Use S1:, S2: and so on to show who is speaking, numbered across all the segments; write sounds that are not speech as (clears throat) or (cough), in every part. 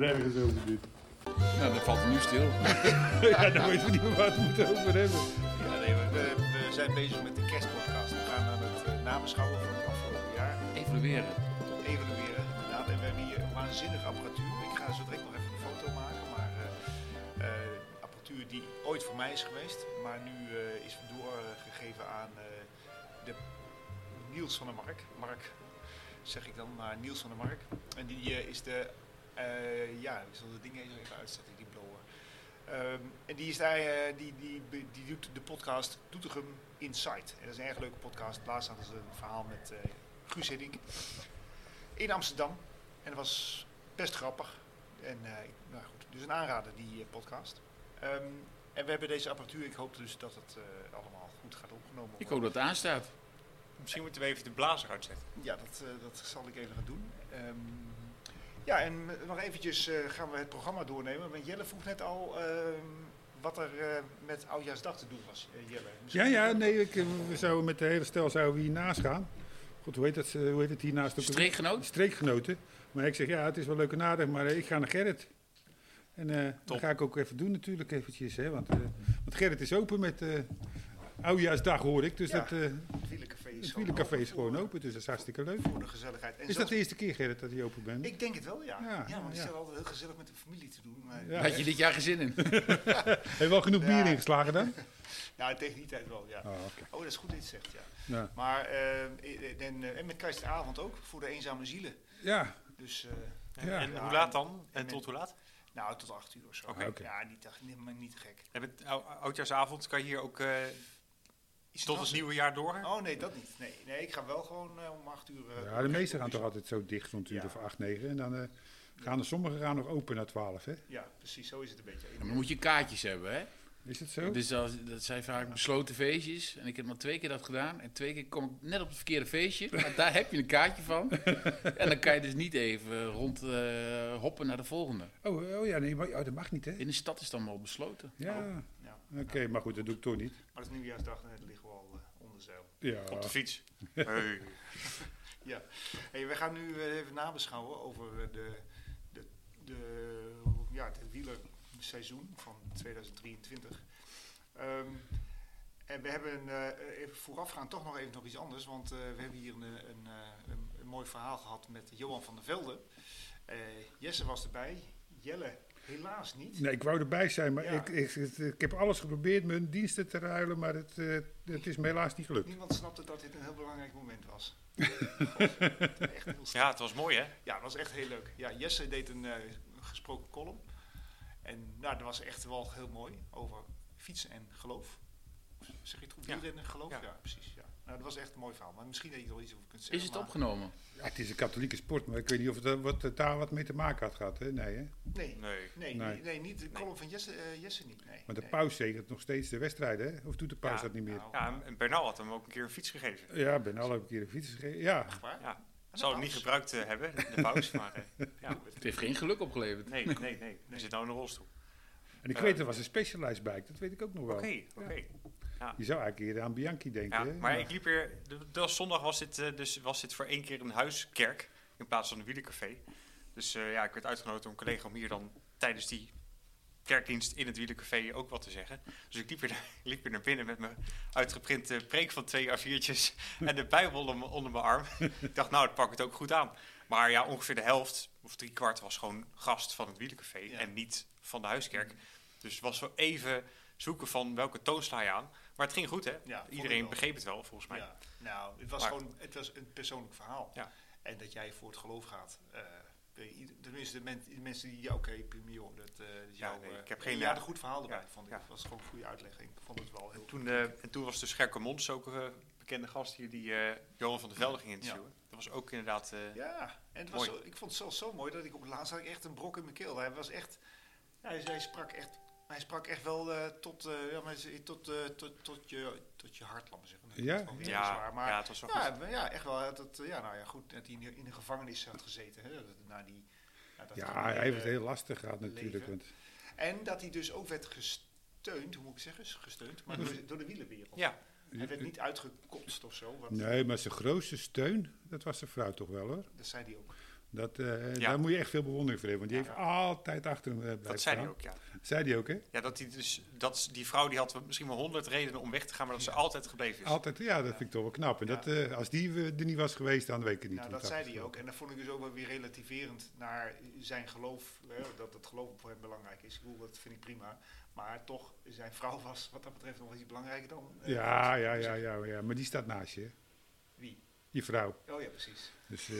S1: ergens over dit.
S2: Nou, dan valt het nu stil.
S1: ja, dan weten we niet meer waar we het moeten over hebben.
S3: Ja, nee, we, we- we zijn bezig met de kerstpodcast. We gaan aan het eh, nabeschouwen van het afgelopen jaar.
S2: Evalueren.
S3: Het evalueren, inderdaad. En we hebben hier een waanzinnige apparatuur. Ik ga zo direct nog even een foto maken. Maar eh, eh, apparatuur die ooit voor mij is geweest. Maar nu eh, is doorgegeven aan eh, de Niels van der Mark. Mark, zeg ik dan, maar Niels van der Mark. En die eh, is de, eh, ja, ik zal de dingen even uitzetten, die blower. Ehm, en die, is daar, eh, die, die, die, doet de podcast Doetinchem Insight. En dat is een erg leuke podcast. Laatst hadden ze een verhaal met eh Guus Hiddink in Amsterdam. En dat was best grappig. En, eh, ik- nou goed, dus een aanrader, die eh, podcast. Ehm, en we hebben deze apparatuur. Ik hoop dus dat het eh, allemaal goed gaat opgenomen worden.
S2: Ik hoop dat het aanstaat.
S4: Misschien moeten we even de blazer uitzetten.
S3: Ja, dat, eh, dat zal ik even gaan doen. Ehm, ja, en m- nog eventjes eh, gaan we het programma doornemen. Want Jelle vroeg net al ehm, wat er eh, met Oudjaarsdag te doen was, eh, Jelle.
S1: Ja, ja, nee, ik, eh, we zouden met de hele stel zouden we hiernaast gaan. Goed, hoe heet, dat, eh, hoe heet het hiernaast? ook alweer?
S2: Streekgenoot?
S1: Streekgenoten. Maar ik zeg, ja, het is wel leuk en aardig, maar eh, ik ga naar Gerrit. En eh, dat
S4: Top.
S1: ga ik ook even doen natuurlijk, eventjes. Hè, want, eh, want Gerrit is open met eh Oudjaarsdag, hoor ik. Dus
S3: Ja.
S1: dat, eh
S3: Het wielencafé is,
S1: het
S3: gewoon
S1: wielencafé is gewoon
S3: voor-
S1: open, dus dat is hartstikke leuk.
S3: Voor de gezelligheid. En
S1: Is dat
S3: zelfs-
S1: de eerste keer, Gerrit, dat je open bent?
S3: Ik denk het wel, ja.
S1: Ja,
S3: Ja,
S1: ja,
S3: want het
S1: ja.
S3: is wel altijd heel gezellig met de familie te doen. Maar
S1: Ja.
S2: Had je dit jaar gezin in?
S1: Heb je wel genoeg bier
S3: Ja.
S1: ingeslagen dan?
S3: ja, tegen die tijd wel, ja.
S1: Oh, oké.
S3: Oh, dat is goed dat je het zegt, ja.
S1: Ja.
S3: Maar, eh, en, eh, en met Kerstavond ook, voor de eenzame zielen.
S1: Ja,
S3: Dus... eh,
S1: Ja.
S4: En
S3: Ja,
S4: hoe laat dan?
S3: en
S4: En tot
S3: met-
S4: hoe laat?
S3: Nou, tot acht uur of zo.
S4: Oké.
S1: Oké.
S3: Ja, niet, niet, maar niet te gek.
S4: En met ou- oudjaarsavond kan je hier ook eh,
S3: Is
S4: tot
S3: dat-
S4: het nieuwe jaar door?
S3: Oh nee, dat niet. Nee, nee ik ga wel gewoon eh, om acht uur. eh,
S1: ja de meesten gaan toch
S3: op-
S1: altijd zo dicht rond een uur
S3: Ja.
S1: of acht, negen. En dan eh, gaan er sommigen gaan nog open naar twaalf, hè?
S3: Ja, precies, zo is het een beetje.
S2: Dan moet je kaartjes hebben, hè?
S1: Is het zo?
S2: Dus als, dat zijn vaak besloten feestjes. En ik heb maar twee keer dat gedaan. En twee keer kom ik net op het verkeerde feestje. Maar daar heb je een kaartje van. En dan kan je dus niet even rond eh, hoppen naar de volgende.
S1: Oh, oh ja, nee, maar, oh, dat mag niet, hè?
S2: In de stad is dan wel besloten.
S1: Ja,
S3: Oh, Ja,
S1: oké, maar goed, dat doe ik toch niet.
S3: maar het is nieuwjaarsdag en het liggen we al eh, onder zeil.
S1: Ja,
S4: Op de fiets. Hey.
S3: Ja. Hey, we gaan nu eh, even nabeschouwen over eh, de, de, de, ja, het wielerseizoen van 2023. Ehm, en we hebben eh, even voorafgaand toch nog even nog iets anders, want eh, we hebben hier een, eh, een, eh, een, een mooi verhaal gehad met Johan van der Velde. Eh, Jesse was erbij, Jelle helaas niet.
S1: nee, ik wou erbij zijn, maar
S3: Ja.
S1: ik, ik, het- ik heb alles geprobeerd mijn diensten te ruilen, maar het, eh, het is me helaas niet gelukt.
S3: Niemand snapte dat dit een heel belangrijk moment (laughs) was. God, echt heel
S4: Ja, het was mooi hè?
S3: Ja, dat was echt heel leuk. Ja, Jesse deed een eh, gesproken column. En nou, dat was echt wel heel mooi over fietsen en geloof. Zeg je het goed?
S4: Ja.
S3: Wielrennen en geloof? Ja,
S4: Ja.
S3: precies. Ja. Nou, dat was echt een mooi verhaal. Maar misschien dat je er wel iets over kunt zeggen.
S2: Is het
S3: maar-
S2: opgenomen?
S1: Ja, het is een katholieke sport, maar ik weet niet of het eh, wat, eh, daar wat mee te maken had gehad, hè? Nee, hè?
S3: Nee, nee,
S4: Nee.
S3: nee,
S1: Nee.
S3: nee, niet de column van Jesse, eh, Jesse niet. Nee,
S1: Maar de
S3: nee.
S1: paus zegent nog steeds de wedstrijden, hè? Of doet de paus
S4: Ja,
S1: dat niet meer?
S3: nou,
S4: Ja, en- en Bernal had hem ook een keer een fiets gegeven.
S1: Ja, ik ben al een keer een fiets gegeven. Ja,
S3: echt waar?
S4: Ja.
S3: de
S4: Zou hem
S3: paus.
S4: niet gebruikt eh, hebben, de pauze, maar
S3: (laughs)
S4: eh, ja.
S2: Het heeft geen geluk opgeleverd.
S4: Nee, nee, nee. Hij zit nou in een rolstoel.
S1: en ik
S4: Ja.
S1: weet, er was een specialized bike, dat weet ik ook nog wel.
S4: Oké, oké.
S1: Je zou eigenlijk eerder aan Bianchi denken,
S4: Ja,
S1: hè?
S4: maar ik liep hier. de- de- zondag was dit, eh, dus was dit voor één keer een huiskerk in plaats van een wielencafé. Dus eh, ja, ik werd uitgenodigd door een collega om hier dan tijdens die kerkdienst in het wielencafé ook wat te zeggen. Dus ik liep hier, naar- (laughs) liep hier naar binnen met mijn uitgeprinte preek van twee
S3: (laughs)
S4: A4'tjes en de Bijbel onder, mijn- onder mijn arm. ik dacht, nou, dat pak ik het ook goed aan. Maar ja, ongeveer de helft of drie kwart was gewoon gast van het wielencafé
S3: Ja.
S4: en niet van de huiskerk. Dus het was wel even zoeken van welke toon sla je aan. Maar het ging goed, hè?
S3: Ja, vond ik
S4: Iedereen
S3: wel.
S4: begreep het wel, volgens mij.
S3: Ja. Nou, het was
S4: Maar-
S3: gewoon het was een persoonlijk verhaal.
S4: Ja.
S3: En dat jij voor het geloof gaat. eh, weet je, ieder- tenminste, de, men- de mensen die... Ja, oké, prima joh. Dat, eh, dat
S4: Ja,
S3: jou,
S4: nee,
S3: eh,
S4: ik heb geen-
S3: Je had een goed verhaal erbij,
S4: Ja,
S3: vond ik.
S4: ja.
S3: Het was gewoon een goede uitleg. Ik vond het wel heel...
S4: Toen, eh, en toen was dus Gerke Mons ook een eh, bekende gast hier die eh, Johan van der Velde ging interviewen. Dat was ook inderdaad. eh,
S3: Ja, en het was
S4: Mooi.
S3: zo- ik vond het zelfs zo mooi dat ik op laatst had ik echt een brok in mijn keel. Hij was echt... Hij, hij sprak echt... Hij sprak echt wel eh, tot, eh, ja, maar hij- tot, eh, tot, tot, je, tot je hart, laat maar zeggen. Dat
S1: Ja.
S3: klinkt wel heel
S4: ja,
S3: zwaar, maar
S4: ja, het was wel goed.
S3: Ja, maar ja, echt wel. hè, Dat, eh, ja, nou ja, goed dat hij in de, in de gevangenis had gezeten. Hè, dat, het na die, ja, dat
S1: Ja,
S3: criminele-
S1: hij heeft het heel lastig gehad natuurlijk.
S3: leven.
S1: Want,
S3: En dat hij dus ook werd gesteund, hoe moet ik zeggen, gesteund, maar door, door de wielenwereld.
S4: Ja,
S3: Hij werd niet uitgekotst of zo, want
S1: nee, maar zijn grootste steun, dat was zijn vrouw toch wel hoor.
S3: dat zei hij ook.
S1: Dat, eh,
S4: Ja.
S1: Daar moet je echt veel bewondering voor hebben. Want die
S4: Ja.
S1: heeft altijd achter hem eh, blijven
S4: Dat zei hij
S1: staan.
S4: ook, ja.
S1: Zei die ook, hè?
S4: ja dat die, dus, dat, is- die vrouw die had misschien wel honderd redenen om weg te gaan, maar dat ze altijd gebleven is.
S1: Altijd, ja, dat vind ik toch wel knap. En
S4: Ja.
S1: dat, eh, als die eh, er niet was geweest, dan weet ik het niet.
S3: Nou,
S1: hoe het
S3: dat zei hij
S1: afgesloten
S3: ook. En dat vond ik dus ook wel weer relativerend naar zijn geloof. Hè, dat het geloof voor hem belangrijk is. Ik bedoel, dat vind ik prima. Maar toch, zijn vrouw was wat dat betreft nog iets belangrijker dan. eh,
S1: Ja, ja,
S3: dus
S1: ja, ja, ja, maar die staat naast je,
S3: Wie?
S1: je vrouw.
S3: Oh ja, precies.
S1: Dus, eh,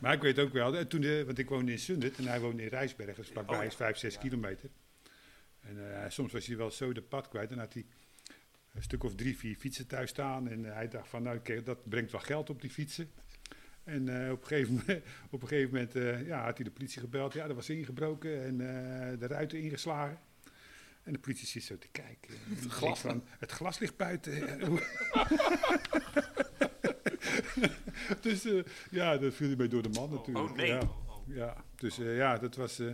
S1: maar ik weet ook wel, eh, toen de, want ik woonde in Sundert en hij woonde in Rijsbergen, dus vlakbij
S4: Oh, ja.
S1: is 5, 6
S3: Ja.
S1: kilometer. En eh, soms was hij wel zo de pad kwijt en had hij een stuk of drie, vier fietsen thuis staan. En hij dacht van, nou, oké, dat brengt wel geld op die fietsen. En eh, op een gegeven (laughs) moment, op een gegeven moment eh, ja, had hij de politie gebeld. Ja, er was ingebroken en eh, de ruiten ingeslagen. En de politie zit zo te kijken. Het
S2: glas.
S1: het glas ligt buiten. (laughs) dus eh, ja, dat viel hij bij door de man natuurlijk.
S4: oh, nee.
S1: Ja, ja. dus eh, ja, dat was... eh,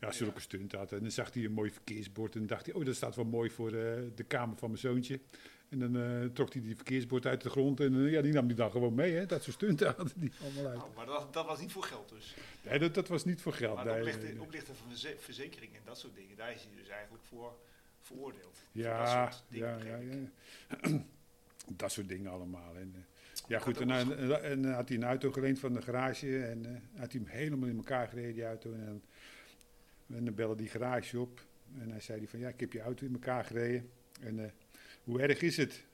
S1: ja, zulke stunt had. En dan zag hij een mooi verkeersbord en dan dacht hij... oh, dat staat wel mooi voor eh, de kamer van mijn zoontje. En dan eh, trok hij die verkeersbord uit de grond. En eh, ja, die nam hij dan gewoon mee, hè. Dat soort stunten hadden die allemaal uit.
S3: Oh, maar dat, dat was niet voor geld dus.
S1: Nee, dat, dat was niet voor geld.
S3: maar
S1: nee,
S3: het oplichten,
S1: nee, nee.
S3: oplichten van verze- verzekeringen en dat soort dingen, daar is hij dus eigenlijk voor veroordeeld. Voor
S1: Ja,
S3: dat soort dingen,
S1: ja, ja,
S3: begreep ik.
S1: ja. (clears throat) Dat soort dingen allemaal. En, eh, ja,
S3: gaat
S1: goed.
S3: ook
S1: En,
S3: wel
S1: en, en, en had hij een auto geleend van de garage. En eh, had hij hem helemaal in elkaar gereden, die auto. En, dan- en dan belde die garage op. En hij zei die van, ja, ik heb je auto in elkaar gereden. En eh, hoe erg is het?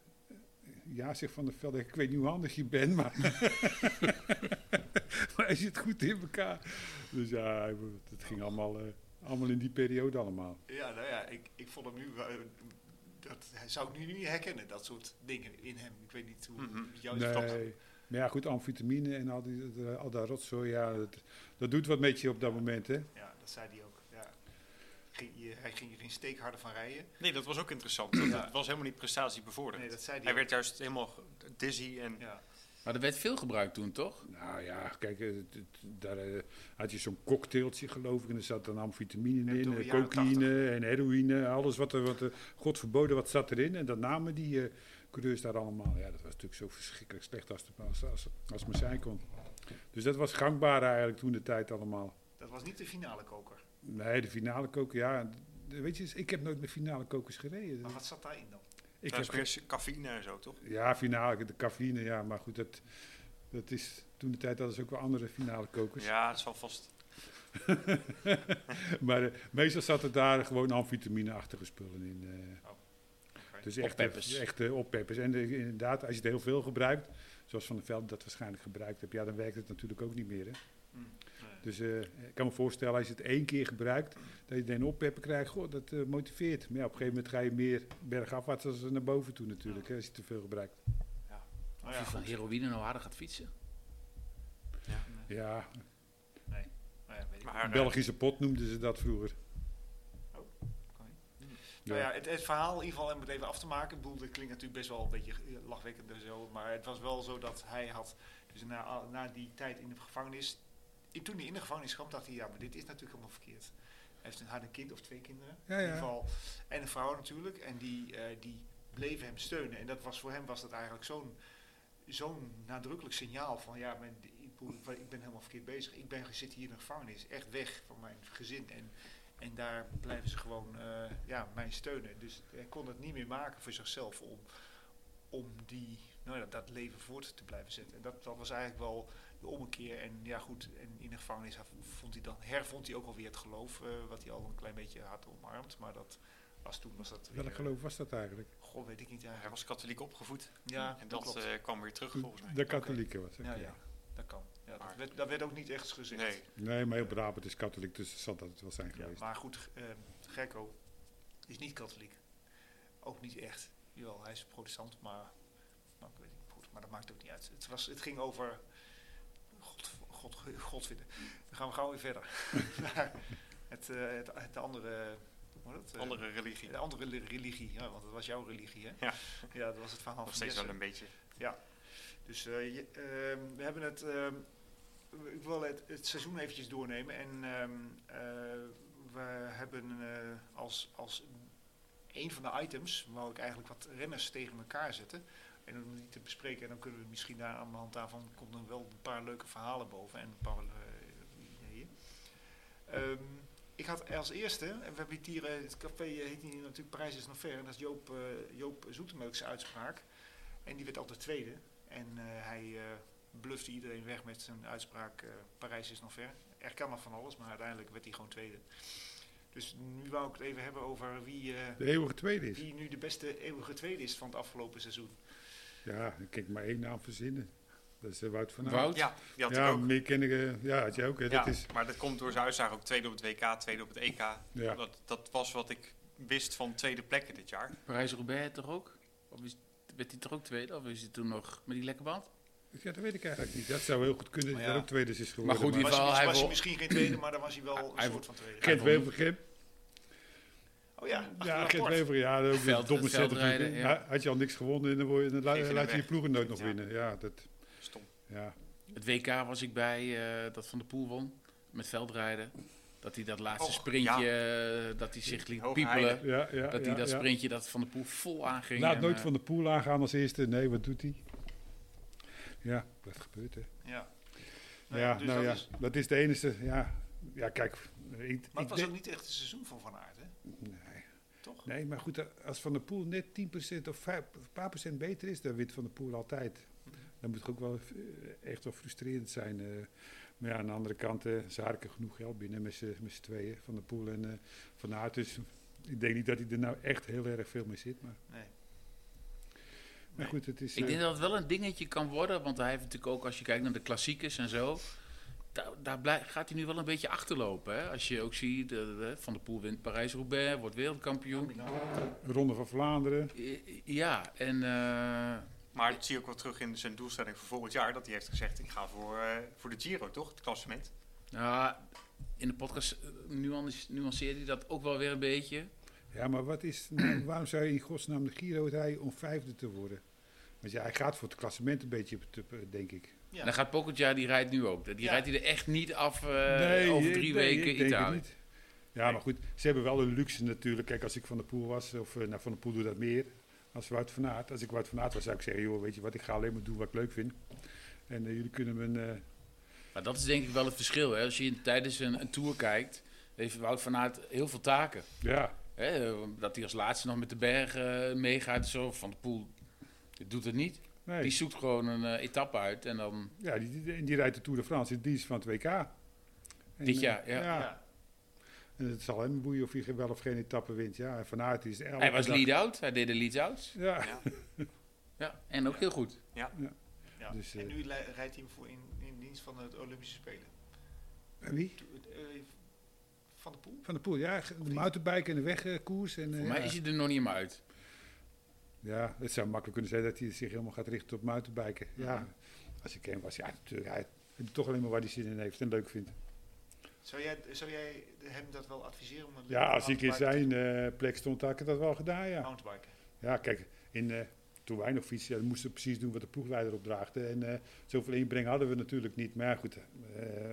S1: Ja, zegt Van der Velde, ik weet niet hoe handig je bent, maar... (laughs) maar hij zit goed in elkaar. Dus ja, het ging allemaal, eh, allemaal in die periode allemaal.
S3: Ja, nou ja, ik, ik vond hem nu. eh, dat hij zou ik nu niet herkennen, dat soort dingen in hem. Ik weet niet hoe
S4: Mhm.
S3: jou is verteld.
S1: Nee. Maar ja, goed, amfetamine en al, die, dat, eh, al dat rotzooi, ja, dat, dat doet wat met je op dat moment, hè?
S3: Ja, dat zei hij ook. Ja. Ging, je- hij ging er geen steek harder van rijden.
S4: Nee, dat was ook interessant. Dat,
S3: Ja.
S4: dat was helemaal niet prestatiebevorderd.
S3: Nee, dat zei hij.
S4: Hij
S3: ook.
S4: werd juist helemaal g- dizzy en...
S3: ja.
S2: Maar er werd veel gebruikt toen, toch?
S1: Nou ja, kijk, eh, het- het- daar eh, had je zo'n cocktailtje, geloof ik, en er zat dan amfetamine
S3: Ja,
S1: in,
S3: door de
S1: eh,
S3: jaren
S1: cocaïne en heroïne, alles wat er, wat er, god verboden, wat zat erin. En dat namen die eh, coureurs daar allemaal. Ja, dat was natuurlijk zo verschrikkelijk slecht als, de, als, als, als het maar zijn kon. Dus dat was gangbaar eigenlijk toen de tijd allemaal.
S3: Dat was niet de finale koker.
S1: Nee, de finale koken, ja, d- weet je, ik heb nooit met finale kokers gereden.
S3: Maar wat zat daarin dan?
S1: Ik
S4: Daar
S1: heb
S4: is weer cafeïne en zo, toch?
S1: Ja, finale, de cafeïne, ja. Maar goed, dat, dat is toen de tijd hadden ze ook wel andere finale kokers.
S4: Ja, dat zal vast...
S1: (laughs) Maar eh, meestal zat er daar gewoon amfetamine-achtige spullen in. eh.
S3: Oh, oké.
S1: Dus echt
S2: Oppeppers.
S1: eh, echt, eh, oppeppers. En eh, inderdaad, als je het heel veel gebruikt, zoals Van der Veld dat waarschijnlijk gebruikt hebt, ja, dan werkt het natuurlijk ook niet meer. Hè?
S3: Mm,
S1: Dus eh, ik kan me voorstellen, als je het één keer gebruikt, dat je dan een oppepper krijgt, goh, dat eh, motiveert. Maar ja, op een gegeven moment ga je meer bergafwaarts als naar boven toe natuurlijk, hè, als je te veel gebruikt.
S3: Nou
S2: Of
S3: ja,
S2: je van
S3: goed.
S2: heroïne nou harder gaat fietsen.
S1: Ja,
S3: Nou ja, weet ik
S4: Maar eh, haar,
S1: Belgische pot noemden ze dat vroeger.
S3: Oh, oké. Nou ja, het, het verhaal in ieder geval, om het even af te maken. Ik bedoel, dat klinkt natuurlijk best wel een beetje eh, lachwekkend en zo. Maar het was wel zo dat hij had, dus na, na die tijd in de gevangenis, in- toen hij in de gevangenis kwam, dacht hij, ja, maar dit is natuurlijk helemaal verkeerd. Hij heeft een, had een kind of twee kinderen,
S1: Ja,
S3: in
S1: ja.
S3: ieder geval. En een vrouw natuurlijk. En die, eh, die bleven hem steunen. En dat was, voor hem was dat eigenlijk zo'n zo'n nadrukkelijk signaal van, ja, mijn, ik bedoel, ik ben helemaal verkeerd bezig. Ik ben, zit hier in de gevangenis, echt weg van mijn gezin. En en daar blijven ze gewoon eh, ja, mij steunen. Dus hij kon het niet meer maken voor zichzelf om, om die, nou ja, dat leven voort te blijven zetten. En dat, dat was eigenlijk wel de ommekeer. En ja goed, en in de gevangenis hij vond hij dan, hervond hij ook alweer het geloof eh, wat hij al een klein beetje had omarmd. Maar dat was toen, was dat weer...
S1: Welk geloof was dat eigenlijk?
S3: God, weet ik niet
S4: hij
S3: eigenlijk.
S4: was katholiek opgevoed.
S3: Ja,
S4: en
S3: dat
S4: dat
S3: klopt.
S4: eh, kwam weer terug, volgens mij.
S1: De katholieken was het.
S3: ja,
S1: oké.
S3: ja, dat kan. Ja, dat,
S4: Maar-
S3: werd, dat werd ook niet echt gezegd.
S4: Nee.
S1: Nee, maar heel Brabant is katholiek, dus het zal dat het wel zijn
S3: Ja,
S1: geweest.
S3: maar goed, eh Gekko is niet katholiek. Ook niet echt. Jawel, hij is protestant, maar, maar, ik weet niet, goed, maar dat maakt ook niet uit. Het, was, het ging over God, God, God vinden. Dan gaan we gauw weer verder. (laughs) Naar het, eh, het, het andere... Hoe heet dat? Eh,
S4: Andere religie.
S3: De andere li- religie, ja, want dat was jouw religie, hè?
S4: Ja.
S3: ja dat was het verhaal
S4: Nog
S3: van
S4: steeds
S3: Jesse.
S4: wel een beetje.
S3: Dus eh, je- ehm, we hebben het. ehm, ik wil het, het seizoen eventjes doornemen. En ehm, eh, we hebben eh, als, als een van de items. wou ik eigenlijk wat renners tegen elkaar zetten. En om die te bespreken. En dan kunnen we misschien daar aan de hand daarvan. komt er wel een paar leuke verhalen boven. En een paar eh, Ehm, ik had als eerste, en we hebben die dieren, het café eh, heet hier natuurlijk Parijs is nog ver, en dat is Joop, eh, Joop Zoetemelk's uitspraak. En die werd altijd tweede. En eh, hij eh blufte iedereen weg met zijn uitspraak eh, Parijs is nog ver. Er kan maar van alles, maar uiteindelijk werd hij gewoon tweede. Dus nu wou ik het even hebben over wie, eh,
S1: De eeuwige tweede is.
S3: wie nu de beste eeuwige tweede is van het afgelopen seizoen.
S1: Ja, ik kan maar één naam verzinnen. Dat is eh, Wout van Aert.
S2: Wout?
S4: Ja, die had ik
S1: Ja,
S4: ook.
S1: meer kennen. eh, Ja, had je ook. Hè.
S4: Ja,
S1: Dat is,
S4: Maar dat komt door zijn uitslag ook tweede op het WK, tweede op het EK.
S1: Ja.
S4: Dat, dat was wat ik wist van tweede plekken dit jaar.
S2: Parijs-Roubaix toch ook? Of is, werd hij toch ook tweede? Of is hij toen nog met die lekke band?
S1: ja, dat weet ik eigenlijk niet. Dat zou heel goed kunnen dat
S3: Maar
S1: hij
S3: ja.
S1: ook tweede is geworden.
S2: goed, die-
S3: Was,
S2: wel,
S3: hij,
S2: hij
S3: was hij
S2: wil-
S3: misschien geen tweede, maar dan was hij wel een
S2: Hij wil-
S3: soort van tweede.
S1: Gert
S2: Hij won.
S1: Wevergem.
S3: Oh ja, achter
S1: Ja,
S3: dat
S1: Gert
S3: bord.
S1: Wever. Ja, dat ook
S2: Veld-
S1: een domme
S2: het
S1: set
S2: veld
S1: natuurlijk.
S2: rijden,
S1: hè.
S2: ja.
S1: Had je al niks gewonnen en dan, word je, dan la-
S4: Geef je
S1: laat
S4: hem
S1: je je
S4: weg.
S1: ploegen nooit nog
S4: Ja.
S1: winnen. Ja, dat...
S4: Stom.
S1: Ja,
S2: Het WK was ik bij, eh, dat Van der Poel won, met veldrijden. Dat hij dat laatste
S4: Och,
S2: sprintje, eh, dat hij zich liet
S4: Hoge
S2: piepelen.
S4: heide.
S1: ja, ja.
S2: Dat
S1: ja,
S2: hij dat
S1: ja.
S2: sprintje dat Van der Poel vol aanging.
S1: Laat
S2: en,
S1: nooit
S2: eh,
S1: van de poel aangaan als eerste. Nee, wat doet hij? Ja, dat gebeurt hè.
S3: Ja.
S1: ja, nou
S3: dus dat
S1: ja,
S3: is-
S1: dat is de enige. Ja, ja kijk. Ik,
S3: maar
S1: ik
S3: het was
S1: denk-
S3: ook niet echt het seizoen van Van Aert, hè?
S1: nee.
S3: Toch?
S1: nee, maar goed, als Van der Poel net 10% of 5, een paar procent beter is, dan wint Van der Poel altijd. Dan moet het ook wel eh, echt wel frustrerend zijn. eh. maar ja, aan de andere kant, eh ze harken genoeg geld binnen met z'n met z'n tweeën, Van der Poel en eh, Van Aert. Dus ik denk niet dat hij er nou echt heel erg veel mee zit. Maar,
S3: Nee.
S1: maar goed, het is...
S2: Ik
S1: eh,
S2: denk dat het wel een dingetje kan worden, want hij heeft natuurlijk ook, als je kijkt naar de klassiekers en zo, daar, daar blij- gaat hij nu wel een beetje achterlopen. Hè? Als je ook ziet, eh, eh, Van der Poel wint Parijs-Roubaix, wordt wereldkampioen.
S1: Ronde van Vlaanderen.
S2: Eh, Ja, en eh,
S4: Maar dat zie je ook wel terug in zijn doelstelling voor volgend jaar. Dat hij heeft gezegd, ik ga voor, eh, voor de Giro, toch? Het klassement.
S2: nou, in de podcast eh, nuance- nuanceert hij dat ook wel weer een beetje.
S1: Ja, maar wat is, nou, (clears throat) waarom zou je in godsnaam de Giro rijden om vijfde te worden? Want ja, hij gaat voor het klassement een beetje, te- denk ik.
S3: Ja.
S2: En dan gaat Pogacar, die rijdt nu ook. Die
S3: Ja.
S2: rijdt hij er echt niet af eh, over drie weken Italië.
S1: Ja, maar goed, ze hebben wel een luxe natuurlijk. Kijk, als ik Van der Poel was, of eh, nou, Van der Poel doet dat meer, als Wout van Aert. Als ik Wout van Aert was, zou ik zeggen, joh, weet je wat, ik ga alleen maar doen wat ik leuk vind. En eh, jullie kunnen mijn... eh,
S2: Maar dat is denk ik wel het verschil. Hè? Als je in- tijdens een, een tour kijkt, heeft Wout van Aert heel veel taken.
S1: ja,
S2: Hè? Dat hij als laatste nog met de bergen eh, meegaat en zo. Van de Poel doet het niet.
S1: nee.
S2: Die zoekt gewoon een eh, etappe uit. En dan,
S1: ja die, die, en die rijdt de Tour de France, die is van het WK. En,
S2: Dit
S1: eh,
S2: jaar, ja.
S3: Ja.
S1: En het zal hem boeien of hij wel of geen etappe wint. Ja, en Van Aert is...
S2: hij was lead-out. Hij deed de lead-outs.
S1: Ja.
S2: Ja, en ook heel goed.
S3: Ja.
S1: Dus, eh,
S3: en nu li- rijdt hij hem voor in, in dienst van het Olympische Spelen.
S1: En Wie?
S3: To- eh, van de Poel?
S1: Van de Poel, ja. ge- De mountainbike en de wegkoers. En, eh,
S2: Voor mij
S1: ja.
S2: is hij er nog niet helemaal uit.
S1: ja, het zou makkelijk kunnen zijn dat hij zich helemaal gaat richten op mountainbiken. Ja, als ik hem was, ja, natuurlijk. Hij hij doet toch alleen maar waar hij zin in heeft en leuk vindt.
S3: Zou jij, zou jij hem dat wel adviseren? Om een
S1: Ja, als ik in
S3: mountainbike
S1: zijn eh, plek stond, had ik dat wel gedaan,
S3: te-
S1: ja.
S3: mountainbiken?
S1: Ja, kijk, in, eh, toen wij nog fietsen, ja, dan moesten we precies doen wat de ploegleider opdraagde. En eh, zoveel inbreng hadden we natuurlijk niet. Maar ja, goed, eh,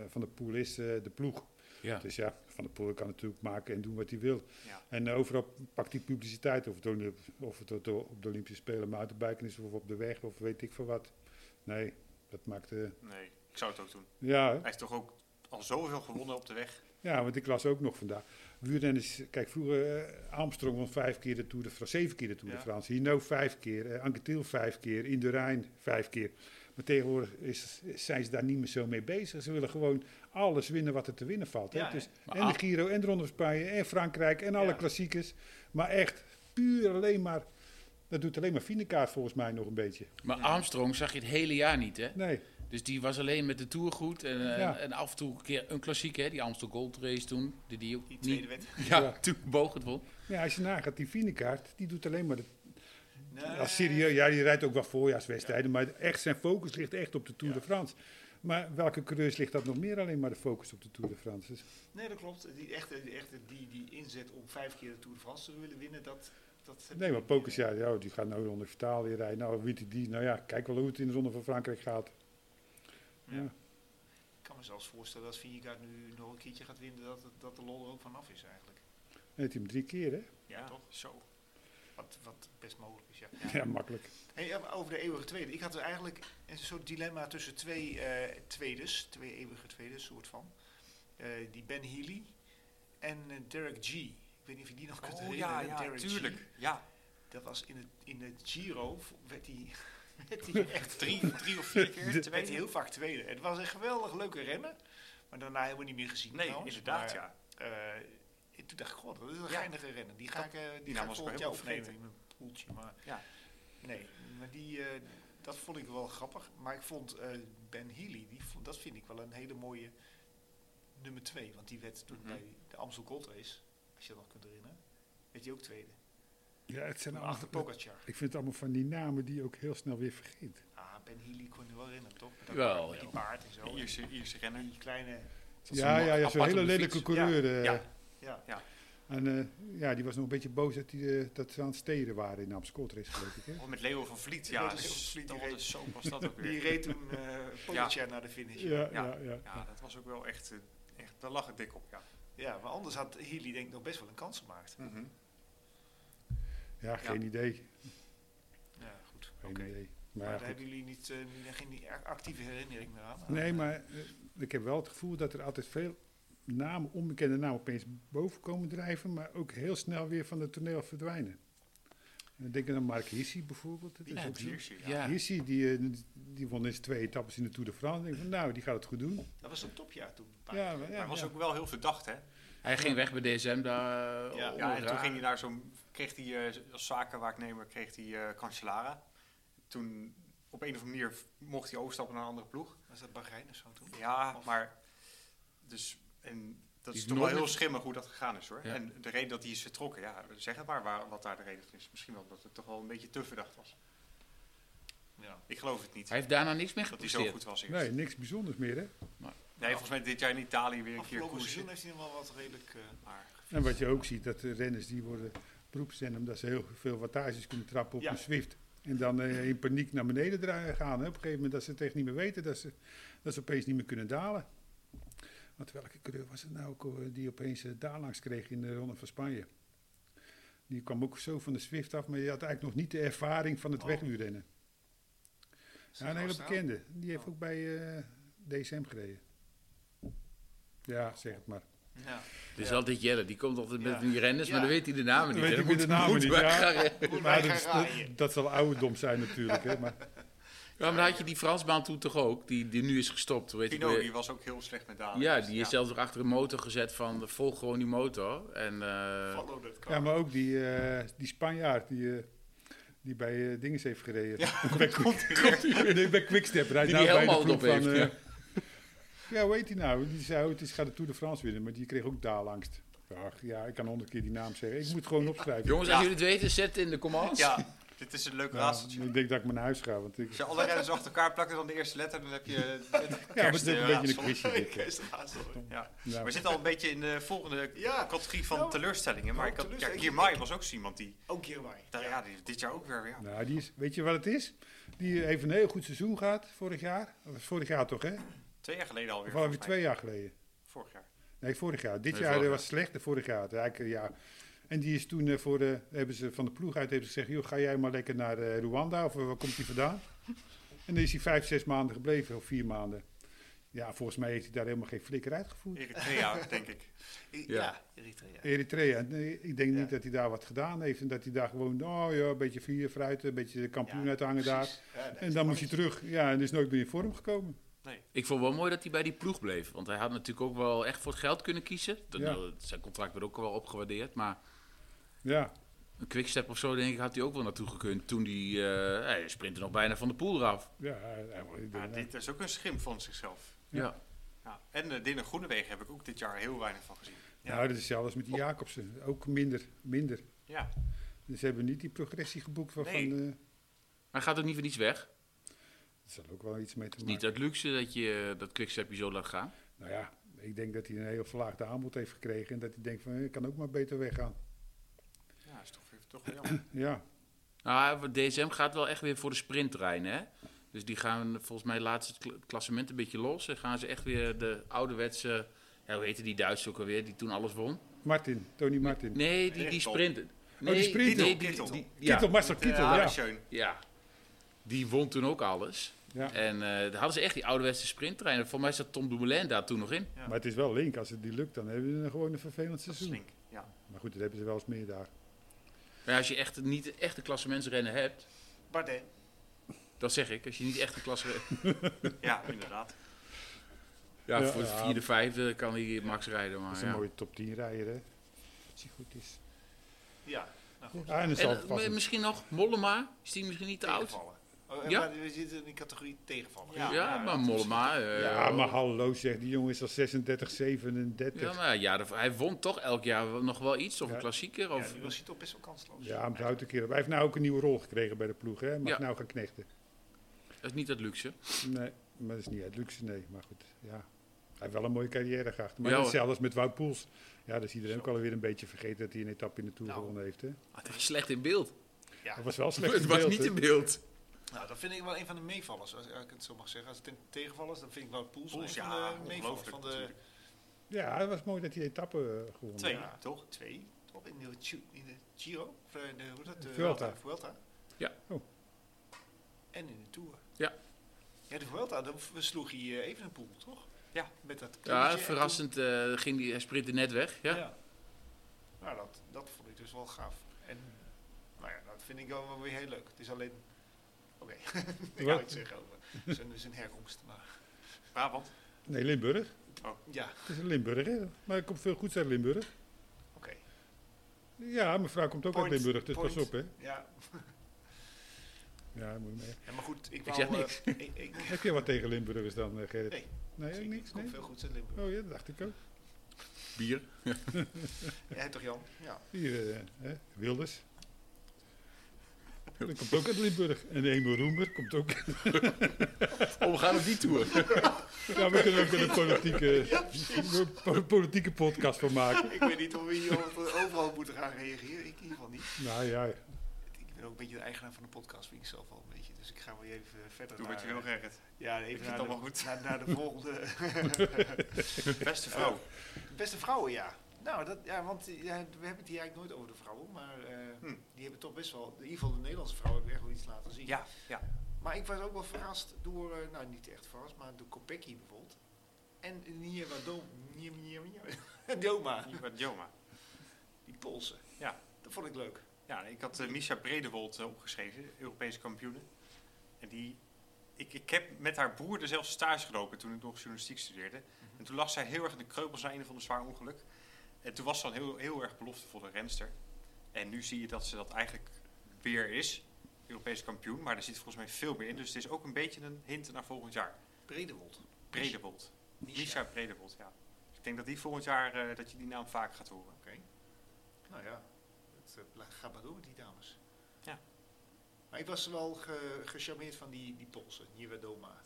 S1: Van de Poel is eh, de ploeg.
S2: Ja.
S1: Dus ja, Van der Poel kan natuurlijk maken en doen wat hij wil.
S4: Ja.
S1: En eh, overal pakt hij publiciteit. Of het, ook de- of het op de- op de Olympische Spelen mountainbiken is of op de weg of weet ik veel wat. Nee, dat maakt... eh,
S4: Nee, ik zou het ook doen.
S1: ja, hè?
S4: Hij heeft toch ook al zoveel gewonnen op de weg.
S1: ja, want ik las ook nog vandaag. Wielrennen is... Kijk, vroeger eh, Armstrong won vijf keer de Tour de France. Zeven keer de Tour de
S3: Ja.
S1: France. Hino vijf keer. eh Anke Thiel vijf keer. Indurain vijf keer. Maar tegenwoordig is, zijn ze daar niet meer zo mee bezig. Ze willen gewoon alles winnen wat er te winnen valt. Hè?
S3: Ja, hè?
S1: dus,
S2: Maar
S1: en de
S2: ah-
S1: Giro en de Ronde van Spanje en Frankrijk en alle
S3: Ja.
S1: klassiekers. Maar echt puur alleen maar... Dat doet alleen maar Vinekaart volgens mij nog een beetje.
S2: Maar Armstrong zag je het hele jaar niet, hè?
S1: Nee,
S2: Dus die was alleen met de Tour goed. En, eh,
S1: Ja.
S2: en af en toe een keer een klassiek, hè? Die Amstel Gold Race toen. Die, die, ook
S3: Die
S2: niet-
S3: tweede wet.
S2: (laughs) Ja,
S1: Ja.
S2: toen boog het wel.
S1: ja, als je nagaat, die Vinekaart, die doet alleen maar... De,
S3: Nee.
S1: als serieus, ja, die rijdt ook wel voorjaarswedstrijden, maar echt zijn focus ligt echt op de Tour de France. Maar welke coureurs ligt dat nog meer alleen maar de focus op de Tour de France? Dus,
S3: Nee, dat klopt. Die, echte, die, echte, die, die inzet om vijf keer de Tour de France te willen winnen, dat... dat
S1: nee, maar
S3: eh,
S1: Pokers, ja, ja, die gaat nou de Ronde van Italië rijden. Nou, wie die- die, nou ja, kijk wel hoe het in de Ronde van Frankrijk gaat.
S3: Ja.
S1: Ja.
S3: Ik kan me zelfs voorstellen dat Vingegaard nu nog een keertje gaat winnen, dat, het- dat de lol er ook vanaf is eigenlijk.
S1: Heeft hij hem drie keer, hè?
S4: Ja, Oh, toch? Zo.
S3: Wat, wat best mogelijk is, ja.
S1: Ja, makkelijk.
S3: Hey, ja, maar over de eeuwige tweede. Ik had er eigenlijk een soort dilemma tussen twee eh tweedes, twee eeuwige tweedes, soort van. eh, die Ben Healy en eh, Derek G. Ik weet niet of je die nog kunt
S4: Oh ja,
S3: herinneren.
S4: ja,
S3: Derek G.
S4: tuurlijk. Ja,
S3: Dat was in het, in het Giro, v- werd hij (laughs) werd die echt
S4: drie, drie of vier (laughs) keer.
S3: werd
S4: Tweede.
S3: die heel vaak tweede. Het was een geweldig leuke renner, maar daarna helemaal niet meer gezien.
S4: Nee,
S3: trouwens.
S4: inderdaad,
S3: Maar,
S4: ja.
S3: eh, en toen dacht ik, god, dat is een
S4: Ja.
S3: geinige renner. Die ga ik,
S4: Dat-
S3: eh, die
S4: die
S3: ga
S4: naam
S3: ik
S4: was ik
S3: volgend jaar
S4: wel helemaal
S3: opnemen in mijn poeltje. Maar
S4: Ja.
S3: Nee, maar die, eh, dat vond ik wel grappig. Maar ik vond eh, Ben Healy, die vond, dat vind ik wel een hele mooie nummer twee. Want die werd toen
S4: Mhm.
S3: bij de Amstel Gold Race, als je dat nog kunt herinneren, werd die ook tweede.
S1: Ja, het zijn allemaal,
S3: Achter Pogacar.
S1: ik vind het allemaal van die namen die je ook heel snel weer vergeet.
S3: Ah, Ben Healy kon je wel herinneren, toch? Met dat
S2: Jawel,
S3: paard, met
S2: ja.
S3: die paard en zo.
S4: Ierse, Ierse
S3: En
S4: renner.
S3: die kleine,
S2: Dat is
S1: Ja,
S2: een
S1: ja, ja, zo'n
S2: apart
S1: hele
S2: op de
S1: lelijke
S2: fiets.
S1: coureur. eh.
S4: Ja.
S3: ja.
S1: En eh, ja, die was nog een beetje boos dat, die, eh, dat ze aan het steden waren in Amsterdam race, geloof ik. Hè?
S4: Oh, met Leo van Vliet, ja.
S3: Leo van Vliet, die
S4: dat
S3: reed-
S4: was, zo was dat ook
S3: (laughs) Die
S4: weer.
S3: reed toen eh Pogacar naar de finish. Ja.
S1: Ja, ja,
S4: Ja.
S1: ja.
S4: Ja, dat was ook wel echt, eh, echt daar lag het dik op, ja.
S3: maar anders had Healy denk ik nog best wel een kans gemaakt.
S4: Mhm.
S1: Ja, geen idee. Geen
S3: Ja, goed. Oké.
S1: idee.
S3: Maar
S1: Maar, ja,
S3: daar
S1: goed.
S3: hebben jullie niet, eh, niet- geen a- actieve herinnering meer aan?
S1: Nee, maar eh, ik heb wel het gevoel dat er altijd veel namen, onbekende namen, opeens boven komen drijven, maar ook heel snel weer van het toneel verdwijnen. En denk aan Mark Hissi bijvoorbeeld. Dat is
S4: Ja,
S1: ook
S4: het
S1: zo.
S4: Ierse, ja.
S2: Ja,
S1: Hissi, die, eh, die won eens twee etappes in de Tour de France. Ik denk van, nou, die gaat het goed doen.
S3: Dat was een topjaar toen. een paar
S1: Ja,
S3: jaar.
S1: ja,
S4: Maar
S1: ja.
S4: hij was ook wel heel verdacht, hè?
S2: hij ging weg bij DSM daar. eh,
S3: Ja,
S2: onder
S4: Ja, en
S2: het
S4: toen
S2: raam.
S4: ging hij naar zo'n, kreeg hij eh, als zakenwaaknemer, kreeg hij eh, Cancellara. Toen, op een of andere manier, v- mocht hij overstappen naar een andere ploeg.
S3: Was dat Bahrein of zo toen?
S4: Ja,
S3: Of-
S4: maar, dus, en dat
S2: Die
S4: is
S2: is
S4: toch wel
S2: nooit
S4: heel
S2: met-
S4: schimmig hoe dat gegaan is, hoor.
S2: Ja.
S4: En de reden dat hij is vertrokken, ja, zeg het maar waar, wat daar de reden van is. Misschien wel dat het toch wel een beetje te verdacht was.
S3: Ja.
S4: Ik geloof het niet.
S2: Hij heeft daarna niks meer
S4: Dat hij zo
S2: gepresteerd.
S4: goed was eerst.
S1: Nee, niks bijzonders meer, hè?
S4: Nee, volgens mij dit jaar in Italië weer een keer
S3: Afgelopen
S4: koersen.
S3: seizoen heeft hij nog wel wat redelijk... eh,
S4: Maar
S1: En wat je ook ziet, dat de renners die worden beroepsrenner omdat ze heel veel wattages kunnen trappen op
S3: Ja.
S1: een Zwift. En dan eh, in paniek naar beneden dra- gaan. Hè. Op een gegeven moment dat ze het echt niet meer weten, dat ze, dat ze opeens niet meer kunnen dalen. Want welke coureur was het nou ook alweer die opeens eh, daar langs kreeg in de Ronde van Spanje? Die kwam ook zo van de Zwift af, maar die had eigenlijk nog niet de ervaring van het
S3: Oh.
S1: wegwielrennen. Ja, een hele
S3: Australië.
S1: bekende. Die heeft
S3: Oh.
S1: ook bij eh, DSM gereden. Ja, zeg het maar.
S3: Ja.
S2: Dus altijd Jelle, die komt altijd
S3: Ja.
S2: met die renners, maar
S3: Ja.
S2: dan weet hij de namen niet.
S1: Weet
S2: hè.
S1: hij
S2: Dan
S1: de
S2: moet-
S1: namen
S2: moet
S1: niet,
S2: maar
S1: ja. dus-
S2: gaan rennen.
S3: Moet
S1: Maar
S3: wij
S1: dat,
S3: gaan
S1: is-
S3: raaien.
S1: dat, dat zal ouderdom zijn natuurlijk. Hè, maar
S2: (laughs) Ja, maar dan had je die Fransbaan toen toch ook, die, die nu is gestopt. Weet je,
S4: Pino,
S2: bij-
S4: die was ook heel slecht met dalen.
S2: ja, die is zelfs nog achter een motor gezet van eh, volg gewoon die motor. En, eh,
S3: Follow that car.
S1: Ja, maar ook die, eh, die Spanjaard die, eh, die bij eh Dinges heeft gereden. (laughs) bij, (laughs) nee, bij Quickstep rijdt nou
S2: Die
S1: bij
S2: die
S1: de
S2: helemaal
S1: ploeg
S2: op
S1: van...
S2: heeft,
S1: eh, (laughs) ja, hoe heet die nou? Die zei, oh, het is, gaat de Tour de France winnen, maar die kreeg ook daalangst. Ach, ja, ik kan honderd keer die naam zeggen. Ik moet het gewoon opschrijven.
S2: jongens, als
S4: Ja.
S2: jullie het weten, zet in de comments.
S4: Ja, dit is een leuk
S1: Ja,
S4: raadseltje.
S1: ik denk dat ik maar naar huis ga. Want ik,
S4: Als je alle renners achter elkaar plakt en dan de eerste letter, dan heb je eh, het kerst,
S1: ja, maar het is
S4: eh,
S1: een beetje een
S4: raadsel.
S1: quizje. dit, hè.
S3: Ik is (laughs) ernaast, hoor.
S4: Ja.
S1: Ja.
S4: We zitten al een beetje in de volgende
S3: Ja.
S4: categorie van
S3: Nou,
S4: teleurstellingen. Maar
S3: nou,
S4: ik had, ja,
S3: teleurstelling.
S4: Girmay was ook zo iemand die,
S3: Ook hier wij.
S4: daar, ja, die dit jaar ook weer weer.
S1: Nou, die is, weet je wat het is? Die heeft een heel goed seizoen gehad vorig jaar. Dat was vorig jaar toch, hè?
S4: Twee jaar geleden alweer.
S1: Of alweer
S4: volgens
S1: twee
S4: mij.
S1: jaar geleden.
S4: Vorig jaar.
S1: Nee, vorig jaar. Dit
S2: Nee,
S1: jaar
S2: vorig
S1: eh,
S2: jaar.
S1: was slecht, de vorig jaar. Eigenlijk, ja. En die is toen eh, voor de, hebben ze van de ploeg uit hebben ze gezegd: joh, ga jij maar lekker naar eh, Rwanda of eh, waar komt hij vandaan? en dan is hij vijf, zes maanden gebleven, of vier maanden. Ja, volgens mij heeft hij daar helemaal geen flikker uitgevoerd.
S4: Eritrea,
S1: (laughs)
S4: denk ik.
S3: I-
S2: Ja.
S3: Ja, Eritrea.
S1: Eritrea, nee, ik denk
S3: Ja.
S1: niet dat hij daar wat gedaan heeft. En dat hij daar gewoon, oh ja, een beetje vier fruit, een beetje de kampioen
S3: Ja,
S1: uit hangen daar.
S3: precies. Ja, dat
S1: En
S3: is
S1: dan
S3: een
S1: moest hij terug. Ja, en is nooit meer in vorm gekomen.
S2: Ik vond wel mooi dat hij bij die ploeg bleef. Want hij had natuurlijk ook wel echt voor het geld kunnen kiezen. Dat,
S1: Ja.
S2: nou, zijn contract werd ook wel opgewaardeerd. Maar
S1: Ja,
S2: een quickstep of zo, denk ik, had hij ook wel naartoe gekund. Toen die, eh, hij sprintte nog bijna van de poel eraf.
S1: ja. eh, ik
S4: Ja,
S1: denk,
S4: dit is ook een schim van zichzelf.
S2: Ja.
S4: Ja. En eh Dinne Groenewegen heb ik ook dit jaar heel weinig van gezien.
S1: Nou, dat is zelfs met die Jacobsen. Ook minder, minder.
S4: Ja,
S1: Dus ze hebben niet die progressie geboekt waarvan...
S4: Nee.
S1: eh,
S2: Hij gaat ook niet voor niets weg.
S1: dat zal ook wel iets mee te
S2: Het is
S1: maken
S2: niet uit luxe dat je eh, dat quickstep je zo laat gaan.
S1: Nou ja, ik denk dat hij een heel verlaagde aanbod heeft gekregen. En dat hij denkt van, eh, ik kan ook maar beter weggaan.
S4: ja is toch, toch wel jammer.
S1: Ja,
S2: Nou, DSM gaat wel echt weer voor de sprinttrein, hè? Dus die gaan volgens mij laatst het kla- klassement een beetje los. En gaan ze echt weer de ouderwetse... Ja, hoe heette die Duits ook alweer, die toen alles won?
S1: Martin, Tony Martin.
S2: Nee, die, die
S4: Kittel.
S2: sprinten. Nee,
S1: die sprinter.
S2: Nee, die,
S4: Kittel.
S2: die- ja.
S1: Kittel, Marcel
S4: Met, eh,
S1: Kittel, ja.
S4: Arendsjoen.
S2: Ja. Die won toen ook alles.
S1: Ja.
S2: En eh, daar hadden ze echt die ouderwetse sprinttreinen. Voor mij zat Tom Dumoulin daar toen nog in.
S4: Ja.
S1: Maar het is wel link. Als het die lukt, dan hebben ze gewoon een vervelend
S4: Dat is
S1: seizoen.
S4: flink. Ja.
S1: Maar goed, dat hebben ze wel eens meer daar.
S2: Maar als je echt niet echte klassementsrennen hebt,
S3: Bardet.
S2: dat zeg ik. Als je niet echt een klasse... (laughs)
S4: ja, inderdaad.
S2: Ja,
S1: Ja,
S2: voor de
S1: ja.
S2: vierde, vijfde kan hij Max rijden.
S1: Dat
S2: Maar,
S1: is een
S2: ja.
S1: mooie top 10 rijder, hè? Als hij goed is.
S3: Ja, nou goed.
S1: Ja, en het zal
S2: En,
S1: vast
S2: eh,
S1: een-
S2: misschien nog Mollema. Is die misschien niet te oud?
S3: Tegenvallen. Oh,
S2: Ja.
S3: ja. Maar we zitten in de categorie tegenvallen.
S2: Ja,
S4: Ja,
S2: maar
S4: nou,
S2: Mollema... eh,
S1: Ja, maar hallo zeg, die jongen is al 36, 37.
S2: Ja,
S1: Ja,
S2: maar ja, dat- hij won toch elk jaar wel- nog wel iets. Of
S1: Ja.
S2: een klassieker. Of,
S3: Ja, nu was hij toch best wel kansloos.
S1: maar het houdt een keer op. Hij heeft nou ook een nieuwe rol gekregen bij de ploeg, hè? Mag
S2: Ja.
S1: nou gaan knechten.
S2: Dat is niet dat luxe.
S1: Nee, maar dat is niet uit luxe, nee. Maar goed, ja. Hij heeft wel een mooie carrière gehad.
S2: Ja,
S1: Maar
S2: hoor.
S1: hetzelfde als met Wout Poels. Ja, dat is iedereen ook alweer een beetje vergeten dat hij een etappe in de Tour
S3: Nou.
S1: gewonnen heeft, hè?
S2: Maar het was slecht in beeld.
S1: Dat was wel slecht
S2: het was
S1: beeld,
S2: niet
S1: hè?
S2: in beeld.
S3: Nou, dat vind ik wel een van de meevallers, als ik het zo mag zeggen. Als het een tegenvallers, dan vind ik Wout Poels,
S4: Poels,
S3: een
S4: ja,
S3: van de meevallers.
S4: ongelooflijk
S3: Van de
S4: natuurlijk.
S1: Ja, het was mooi dat hij de etappe eh, gewonnen
S4: Twee,
S1: heeft.
S4: toch?
S3: twee, toch? In de, Chi- in de Giro, of eh, in de, hoe dat? De
S1: Vuelta.
S3: Vuelta.
S2: Ja.
S1: Oh.
S3: En in de Tour.
S2: Ja.
S3: Ja, de Vuelta, dan v- sloeg hij eh, even een poel, toch?
S4: Ja.
S3: Met dat
S2: Ja,
S3: klimmetje en
S2: verrassend eh, ging die, hij sprintte net weg.
S3: toen-
S2: Ja.
S3: Nou, dat, dat vond ik dus wel gaaf. En, nou ja, dat vind ik wel wel weer heel leuk. Het is alleen... Oké, (laughs) ik
S1: Wat?
S3: ga iets zeggen over zijn, zijn herkomst. Maar,
S4: Brabant.
S1: Nee, Limburg.
S3: ja,
S1: Het is een Limburg, hè? Maar ik kom veel goed uit Limburg.
S3: oké.
S1: Ja, mijn vrouw komt ook
S4: Point,
S1: uit Limburg, dus
S4: point.
S1: pas op, hè?
S3: Ja,
S1: Ja, moet je mee.
S3: Ja, maar goed, ik,
S2: Ik
S3: wou,
S2: zeg
S3: eh,
S2: niks.
S3: ik, ik, ik,
S1: Heb je wat tegen Limburgers dan, eh, Gerrit?
S3: Nee.
S1: Nee, ook niks?
S3: kom
S1: Nee?
S3: veel goed in Limburg.
S1: Oh ja, dat dacht ik ook.
S2: Bier.
S3: Jij toch Jan? Ja.
S1: Hier, eh, hè, Wilders. Dat komt ook uit Limburg. En Emil Roemer komt ook.
S2: Oh, we gaan op die tour.
S1: Ja, we kunnen ook er een politieke, po- politieke podcast van maken.
S3: Ik weet niet of we hier over- overal moeten gaan reageren. Ik in ieder geval niet.
S1: Nou ja,
S3: Ik ben ook een beetje de eigenaar van de podcast, vind ik zelf al een beetje. Dus ik ga wel even verder
S4: Doe
S3: naar...
S4: wat je wil,
S3: eh,
S1: (laughs)
S4: Gerrit.
S3: Ja,
S4: Ik
S3: even
S4: vind het
S3: naar de,
S4: allemaal goed.
S3: naar, naar de volgende.
S4: (laughs) Beste vrouw.
S3: Beste vrouwen, ja. Nou, dat, ja, want eh, ja, we hebben het hier eigenlijk nooit over de vrouwen. Maar eh,
S4: Hm.
S3: die hebben toch best wel... In ieder geval de Nederlandse vrouwen hebben echt wel iets laten zien.
S4: Ja, ja.
S3: Maar ik was ook wel verrast door, eh, nou niet echt verrast, maar door Kopecky bijvoorbeeld. En Niema (laughs) Doma,
S4: Hier met Joma.
S3: die Poolse.
S4: Ja.
S3: Dat vond ik leuk.
S4: Ja, ik had eh, Misha Bredewold eh, opgeschreven, Europese kampioene. En die, ik, ik heb met haar broer er zelfs stage gelopen toen ik nog journalistiek studeerde.
S3: Mhm.
S4: En toen lag zij heel erg in de kreupels na een of ander zwaar ongeluk. En toen was ze al een heel, heel erg beloftevolle renster. En nu zie je dat ze dat eigenlijk weer is, Europese kampioen. Maar er zit volgens mij veel meer in. Dus het is ook een beetje een hint naar volgend jaar.
S3: Bredewold.
S4: Bredewold.
S3: Misha.
S4: Misha Bredewold, ja. Dus ik denk dat die volgend jaar, eh, dat je die naam vaak gaat horen.
S3: Oké. Nou ja, het eh, la- gaat maar door met die dames.
S4: Ja.
S3: Maar ik was wel ge- gecharmeerd van die, die Poolse, Niema Doma.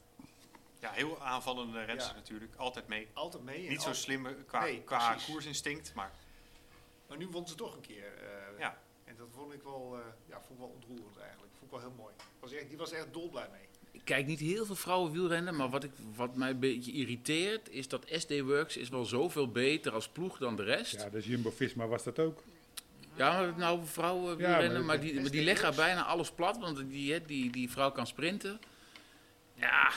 S4: Ja, heel aanvallende renster
S3: Ja.
S4: natuurlijk. Altijd mee.
S3: Altijd mee. en
S4: Niet zo
S3: al-
S4: slim qua,
S3: Oh. Nee,
S4: qua
S3: precies.
S4: koersinstinct, maar
S3: Maar nu won ze toch een keer. eh,
S4: Ja.
S3: En dat vond ik wel, eh, ja, vond ik wel ontroerend eigenlijk. Vond ik wel heel mooi. Was echt, die was echt dolblij mee.
S2: Ik kijk niet heel veel vrouwen wielrennen, maar wat, ik, wat mij een beetje irriteert is dat SD Works is wel zoveel beter als ploeg dan de rest.
S1: ja
S2: Ja,
S1: dus Jumbo-Visma was dat ook.
S2: maar nou vrouwen
S1: Ja, maar
S2: wielrennen,
S1: dat-
S2: maar, die, maar die
S3: SD
S2: leggen haar
S3: Works.
S2: bijna alles plat, want die, hè, die, die vrouw kan sprinten. Ja,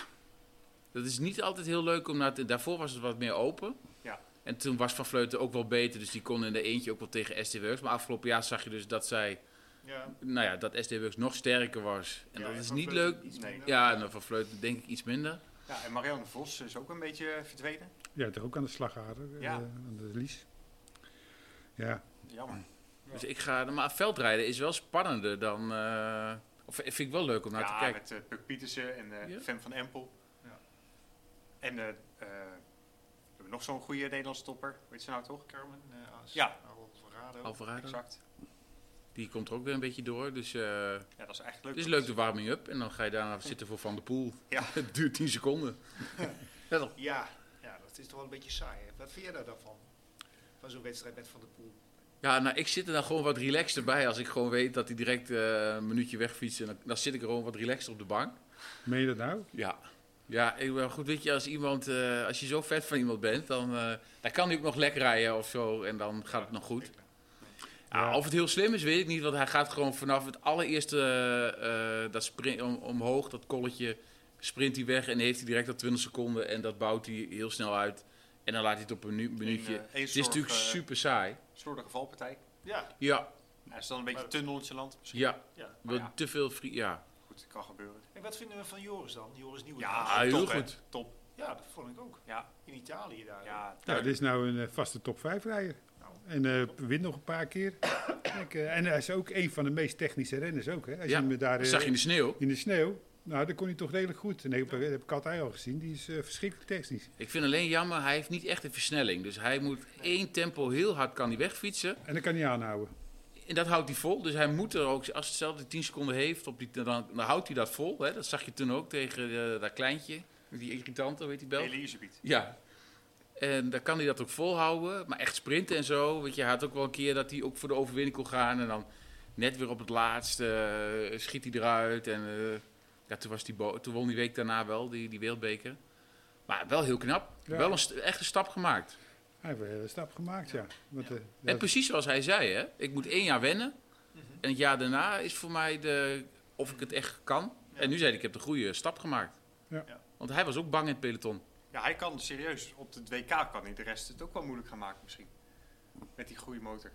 S2: dat is niet altijd heel leuk om naar te... Daarvoor was het wat meer open.
S4: Ja.
S2: En toen was Van Vleuten ook wel beter, dus die kon in de eentje ook wel tegen SD Works. Maar afgelopen jaar zag je dus dat zij...
S3: Ja.
S2: Nou ja, dat SD Works nog sterker was. En
S3: Ja,
S2: dat is
S3: Van
S2: niet
S3: Vleuten
S2: leuk.
S3: iets
S4: Nee.
S3: minder.
S2: Ja, en dan van Vleuten denk ik iets minder.
S4: ja, en Marianne Vos is ook een beetje eh, verdwenen.
S1: Ja, toch ook aan de slagader, eh,
S4: Ja.
S1: aan de Lies. Ja,
S4: Jammer.
S2: Dus ik ga... Maar veldrijden is wel spannender dan... eh, of vind ik wel leuk om naar te
S4: ja,
S2: kijken.
S4: met eh Puk Pietersen en eh
S2: Ja.
S4: Fem van Empel.
S3: Ja.
S4: En eh, eh, we hebben nog zo'n goede Nederlandse topper. Weet ze nou toch?
S3: Carmen eh als
S4: Ja.
S3: Alvarado.
S2: Alvarado,
S4: Exact.
S2: die komt er ook weer een beetje door. Dus eh,
S4: Ja, dat is eigenlijk leuk.
S2: het is leuk de warming-up. En dan ga je daarna zitten voor Van der Poel.
S4: Ja.
S2: (laughs) het duurt 10
S4: (laughs)
S2: seconden. Let op.
S3: Ja. ja, dat is toch wel een beetje saai. Hè? Wat vind jij daar dan van? Van zo'n wedstrijd met Van der Poel.
S2: Ja, nou, ik zit er dan gewoon wat relaxter bij. Als ik gewoon weet dat hij direct eh, een minuutje wegfietst. En dan, dan zit ik er gewoon wat relaxter op de bank.
S1: meen je dat nou?
S2: Ja. Ja, ik ben goed. Weet je, als, iemand, eh, als je zo vet van iemand bent, dan, eh, dan kan hij ook nog lekker rijden of zo. En dan gaat het nog goed. Ja,
S1: Ja.
S2: of het heel slim is, weet ik niet. Want hij gaat gewoon vanaf het allereerste eh, eh, dat spring, om, omhoog, dat kolletje, sprint hij weg en heeft hij direct al 20 seconden. En dat bouwt hij heel snel uit. En dan laat hij het op een minu- minuutje.
S4: één
S2: het is
S4: zorg,
S2: natuurlijk
S4: eh,
S2: super saai.
S4: Slordige valpartij.
S3: Ja,
S2: Ja,
S4: Hij is dan een beetje
S3: Maar-
S4: te nonchalant. Misschien.
S2: ja.
S3: ja.
S2: Wel
S4: ja.
S2: Te veel free. Ja,
S4: Goed, kan gebeuren.
S3: En wat vinden we van Joris dan? Joris Nieuwe.
S4: Ja,
S2: Ah, heel
S4: top, hè.
S2: goed.
S4: Top.
S3: ja, dat vond ik ook.
S4: Ja,
S3: In Italië daar. hè?
S4: ja.
S1: Ja, dit is nou een eh, vaste top 5 rijder.
S2: Nou.
S1: En eh, wint nog een paar keer. Kijk, eh, en hij is ook een van de meest technische renners ook. Hè. Als
S2: Ja,
S1: je hem daar
S2: dat
S1: eh,
S2: zag je in de sneeuw.
S1: in de sneeuw, nou, dan kon hij toch redelijk goed. En dat heb, dat heb ik altijd al gezien. Die is eh, verschrikkelijk technisch.
S2: Ik vind alleen jammer, hij heeft niet echt een versnelling. Dus hij moet één tempo heel hard kan hij wegfietsen.
S1: En dat kan hij aanhouden.
S2: En dat houdt hij vol. Dus hij moet er ook, als het zelf die 10 seconden heeft, op die, dan, dan houdt hij dat vol. Hè. Dat zag je toen ook tegen eh, dat kleintje. Die irritante, weet die bel.
S4: Elisabeth.
S2: Ja. En dan kan hij dat ook volhouden. Maar echt sprinten en zo. Weet je, hij had ook wel een keer dat hij ook voor de overwinning kon gaan. En dan net weer op het laatste eh, schiet hij eruit. En eh, ja, toen, was die bo- toen won die week daarna wel, die, die wereldbeker. Maar wel heel knap.
S1: Ja.
S2: Wel een st- echt een stap gemaakt.
S1: Hij heeft wel een hele stap gemaakt, ja. Want, eh,
S2: En
S1: dat-
S2: precies zoals hij zei, hè. Ik moet één jaar wennen. En het jaar daarna is voor mij de, of ik het echt kan. En nu zei hij, ik heb de goede stap gemaakt.
S1: Ja.
S3: Ja.
S2: Want hij was ook bang in het peloton.
S4: Ja, hij kan serieus. Op het WK kan hij de rest het ook wel moeilijk gaan maken misschien. Met die goede motor.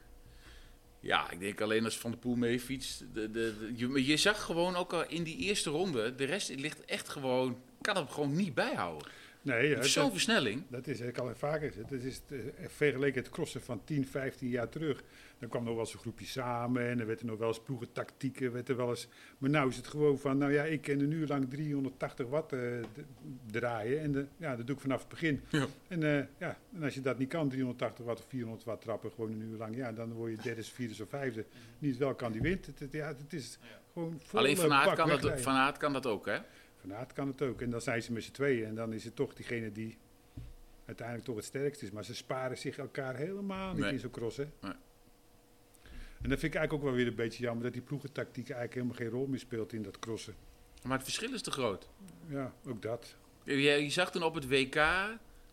S2: Ja, ik denk alleen als Van der Poel mee fietst. De, de, de- je, maar je zag gewoon ook al in die eerste ronde, de rest ligt echt gewoon, kan hem gewoon niet bijhouden.
S1: nee, ja,
S2: Met
S1: dat-
S2: Zo'n versnelling.
S1: Dat is, ik al vaker gezegd, dat is het, eh, vergeleken het crossen van 10, 15 jaar terug. Dan kwam nog wel eens een groepje samen en er werd er nog wel eens ploegentactieken. Werd er wel eens, maar nou is het gewoon van, nou ja, ik kan een uur lang 380 watt eh, d- draaien. En eh, ja, dat doe ik vanaf het begin.
S2: Ja.
S1: En, eh, ja, en als je dat niet kan, 380 watt of 400 watt trappen, gewoon een uur lang. Ja, dan word je derde, vierde of vijfde. Niet wel kan die wint. Het, het- ja, het is gewoon volle
S2: Alleen Van Aert,
S1: bak
S2: kan dat,
S1: wegrijden.
S2: van Aert kan dat ook, hè?
S1: Van Aert kan het ook. En dan zijn ze met z'n tweeën. En dan is het toch diegene die uiteindelijk toch het sterkst is. Maar ze sparen zich elkaar helemaal niet
S2: Nee.
S1: in zo'n cross, hè?
S2: Nee.
S1: En dat vind ik eigenlijk ook wel weer een beetje jammer... dat die ploegentactiek eigenlijk helemaal geen rol meer speelt in dat crossen.
S2: Maar het verschil is te groot.
S1: Ja, ook dat.
S2: Je, je zag toen op het WK,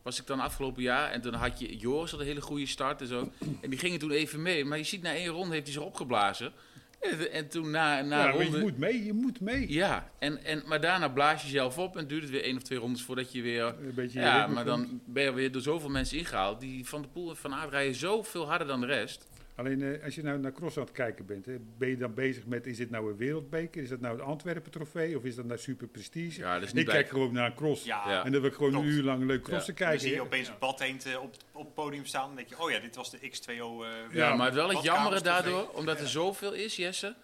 S2: was ik dan afgelopen jaar, en toen had je Joris had een hele goede start en zo. En die gingen toen even mee, maar je ziet na één ronde heeft hij zich opgeblazen. En, en toen na, na
S1: ja, maar
S2: ronde...
S1: je moet mee, je moet mee.
S2: Ja, en, en, maar daarna blaas je zelf op en duurt het weer één of twee rondes voordat je weer...
S1: Een beetje in je
S2: Ja,
S1: ritme
S2: maar
S1: komt.
S2: dan ben je weer door zoveel mensen ingehaald. Die Van de Poel en Van Aert rijden zoveel harder dan de rest.
S1: Alleen eh, als je nou naar cross aan het kijken bent... Hè, ben je dan bezig met... is dit nou een wereldbeker? Is dat nou een Antwerpen-trofee? Of is dat nou super prestige?
S2: Ja, dat is
S1: ik
S2: niet
S1: kijk
S2: bij.
S1: gewoon naar een cross.
S4: Ja,
S2: Ja.
S1: En dan wil ik gewoon
S4: Klopt.
S1: een uur lang leuk crossen
S4: dan
S1: kijken.
S4: zie je
S1: hè.
S4: opeens bad eend eh, op, op het podium staan. Dan denk je, oh ja, dit was de X2O. eh,
S1: Ja,
S2: Ja, maar wel het
S4: wat
S2: jammere
S4: kamers te
S2: daardoor, omdat er zoveel is, Jesse,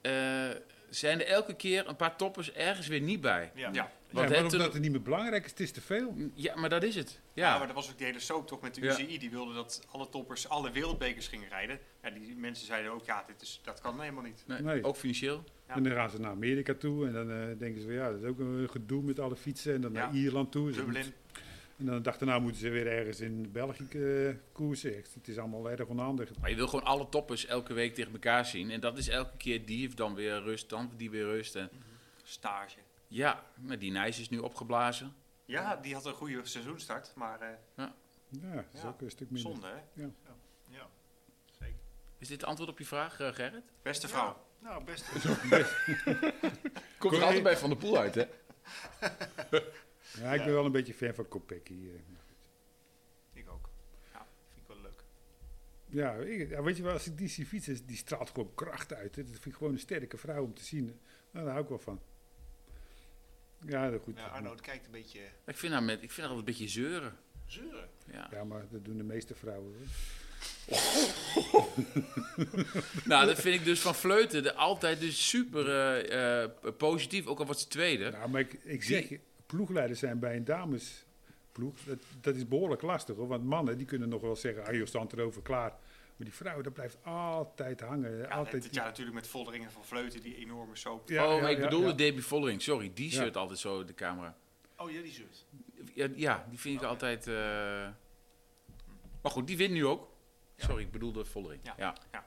S2: eh, zijn er elke keer een paar toppers ergens weer niet bij.
S3: Ja.
S4: ja.
S1: Ja,
S2: Want
S1: maar
S2: hè,
S1: omdat
S2: toen-
S1: het niet meer belangrijk is, het is te veel.
S2: ja, maar dat is het.
S4: Ja.
S2: Ja,
S4: maar dat was ook die hele soap toch met de
S2: Ja.
S4: UCI. Die wilde dat alle toppers alle wereldbekers gingen rijden. Ja, die mensen zeiden ook, ja, dit is, dat kan helemaal niet.
S2: nee,
S1: Nee.
S2: ook financieel.
S4: Ja.
S1: En dan gaan ze naar Amerika toe en dan eh, denken ze van ja, dat is ook een gedoe met alle fietsen. En dan naar
S4: Ja.
S1: Ierland toe. Ze
S4: Dublin.
S1: moeten- En dan de dag daarna moeten ze weer ergens in België eh, koersen. Echt, het is allemaal erg onhandig.
S2: Maar je wil gewoon alle toppers elke week tegen elkaar zien. En dat is elke keer die heeft dan weer rust, dan die weer rust. En
S4: Stage.
S2: ja, maar die Nijs is nu opgeblazen.
S4: Ja, die had een goede seizoenstart, maar eh,
S1: Ja, dat is
S4: Ja,
S1: ook een stuk minder.
S4: zonde, hè?
S3: Ja, zeker.
S2: Is dit antwoord op je vraag, eh, Gerrit?
S4: Beste vrouw.
S3: Ja, nou, best.
S2: Komt er
S1: Corrie-
S2: altijd bij Van der Poel uit, hè?
S1: Ja, ik ben
S3: Ja.
S1: wel een beetje fan van Kopecky. eh.
S3: ik ook. Ja, vind ik wel leuk.
S1: Ja, ik- ja, weet je wel, als ik die zie fietsen, die straalt gewoon kracht uit. hè. Dat vind ik gewoon een sterke vrouw om te zien. Nou, daar hou ik wel van. Ja, dat goed.
S3: Ja, Arnoud kijkt een beetje
S2: Ik vind haar, met, ik vind haar altijd een beetje zeuren.
S3: zeuren.
S2: Ja.
S1: Ja, maar dat doen de meeste vrouwen. hoor.
S2: Nou, dat vind ik dus van Fleuten de, altijd dus super eh, eh, positief, ook al wordt ze tweede.
S1: Nou, maar ik, ik zeg je, ploegleiders zijn bij een damesploeg, dat, dat is behoorlijk lastig hoor. Want mannen die kunnen nog wel zeggen, ah joh, stand erover, klaar. Maar die vrouwen, dat blijft altijd hangen.
S4: Ja,
S1: altijd
S4: dit
S1: die-
S4: jaar natuurlijk met Volderingen van Vleuten, die enorme soap.
S1: Ja,
S2: oh,
S1: ja,
S2: maar ik
S1: ja,
S2: bedoelde
S1: ja.
S2: Debbie Vollering, sorry, die
S1: Ja.
S2: shirt altijd zo de camera.
S3: Oh, ja, die zeurt.
S2: Ja, ja, die vind ik
S3: Oké.
S2: altijd... eh, Maar goed, die wint nu ook. Sorry, ik bedoelde Vollering. Ja.
S4: Ja.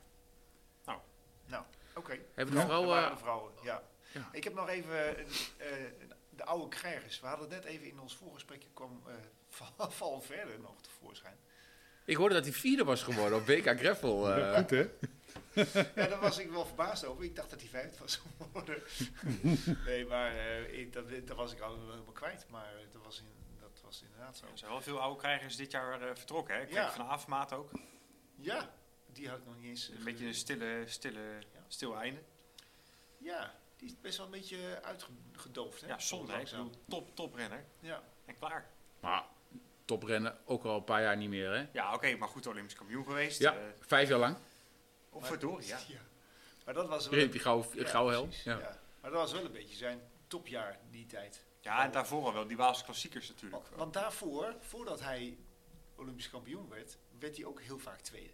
S3: Nou, oké.
S2: Hebben we nog
S3: Dat
S2: wel...
S3: waren
S2: eh,
S3: de vrouwen, ja.
S2: ja.
S3: Ik heb nog even eh, eh, de oude krijgers. We hadden net even in ons voorgesprekje kwam eh, (laughs) Val- Val verder nog tevoorschijn.
S2: ik hoorde dat hij vierde was geworden op WK Greffel. eh.
S1: Ja, goed hè?
S3: ja, daar was ik wel verbaasd over. Ik dacht dat hij vijfde was (laughs)
S2: (laughs)
S3: geworden. nee, maar eh, ik- dat, dat was ik al helemaal kwijt. Maar eh, dat was, in, dat was inderdaad zo.
S4: Er zijn wel veel oude krijgers dit jaar eh, vertrokken. Hè? Ik
S3: Ja.
S4: kreeg van Avermaat ook.
S3: Ja, die had ik nog niet eens. eh,
S4: Een beetje een stille, stille,
S3: Ja.
S4: stil einde.
S3: Ja, die is best wel een beetje uitgedoofd. Hè?
S4: Ja, zonde. hè? Ik
S3: Langzaam.
S4: bedoel, top, toprenner.
S3: Ja.
S4: En klaar.
S2: Maar toprennen ook al een paar jaar niet meer, hè?
S4: Ja, oké, maar goed Olympisch kampioen geweest.
S2: Ja,
S4: eh,
S2: vijf jaar lang.
S4: of
S3: (laughs)
S4: verdorie, ja.
S3: Maar dat was wel.
S2: Rint die gouden,
S3: ja,
S2: gouden hel.
S3: precies,
S2: Ja.
S3: ja. Maar dat was wel een beetje zijn topjaar die tijd.
S4: Ja, en daarvoor al wel. Die Waalse klassiekers natuurlijk.
S3: Want, want daarvoor, voordat hij Olympisch kampioen werd, werd hij ook heel vaak tweede.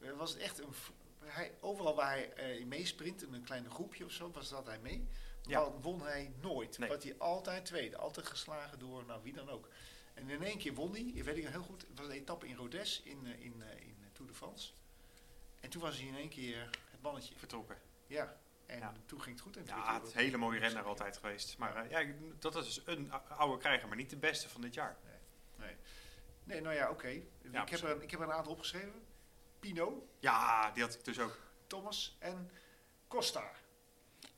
S3: Er was echt een. v- Hij, overal waar hij eh, in meesprint, in een kleine groepje of zo, was dat hij mee.
S4: Ja.
S3: Maar won hij nooit.
S4: Nee.
S3: Werd hij altijd tweede. Altijd geslagen door nou, wie dan ook. En in één keer won hij, ik weet ik nog heel goed, het was een etappe in Rodez in, eh, in, eh, in eh, Tour de France. En toen was hij in één keer het mannetje.
S4: Vertrokken.
S3: Ja, en
S4: Ja.
S3: toen ging het goed. En toen werd
S4: Ja,
S3: hij
S4: het is
S3: ook-
S4: een hele mooie renner altijd geweest. Maar eh, ja, ik- dat is dus een ou- oude krijger, maar niet de beste van dit jaar.
S3: Nee, nou ja, oké. ik, heb
S4: precies.
S3: er een- ik heb er een aantal opgeschreven. Pino,
S4: Ja, die had ik dus ook.
S3: Thomas en Costa.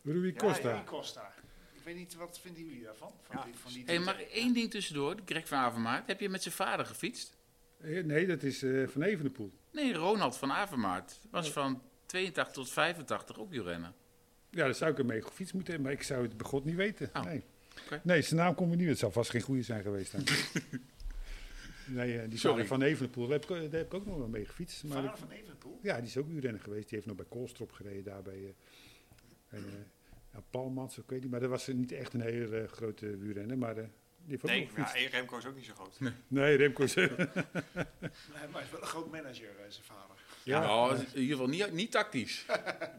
S1: Rui
S4: Ja,
S1: Costa.
S3: Rui Costa. Ik weet niet, wat vinden jullie daarvan? Van
S4: Ja.
S3: die, van die
S2: Hé,
S3: drie?
S2: maar één ding tussendoor. Greg van Avermaat. Heb je met zijn vader gefietst?
S1: Eh, Nee, dat is eh, Van Evenepoel.
S2: Nee, Ronald van Avermaat. Was van 82 tot 85 ook wielrenner.
S1: Ja, daar zou ik ermee gefietst moeten hebben, maar ik zou het bij God niet weten.
S2: Oh.
S1: Nee.
S2: Oké.
S1: nee, zijn naam komt me niet. Het zou vast geen goede zijn geweest. Dan. nee, eh, die
S2: Sorry.
S1: vader Van Evenepoel, daar heb, ik, daar heb ik ook nog wel mee gefietst. Maar
S3: Vader
S1: ik-
S3: van Evenepoel.
S1: ja, die is ook wielrenner geweest. Die heeft nog bij Koolstrop gereden, daar bij eh, en, eh, ja, Palmans, ik weet niet. Maar dat was niet echt een hele eh, grote wielrenner, maar eh, die heeft ook nog
S4: Nee, ja,
S1: gefietst.
S4: Remco is ook niet zo groot.
S1: Nee, Remco is...
S3: Nee, (laughs) maar hij is wel een groot manager, eh, zijn vader.
S1: (laughs) Ja.
S2: Nou, in ieder geval niet, niet tactisch.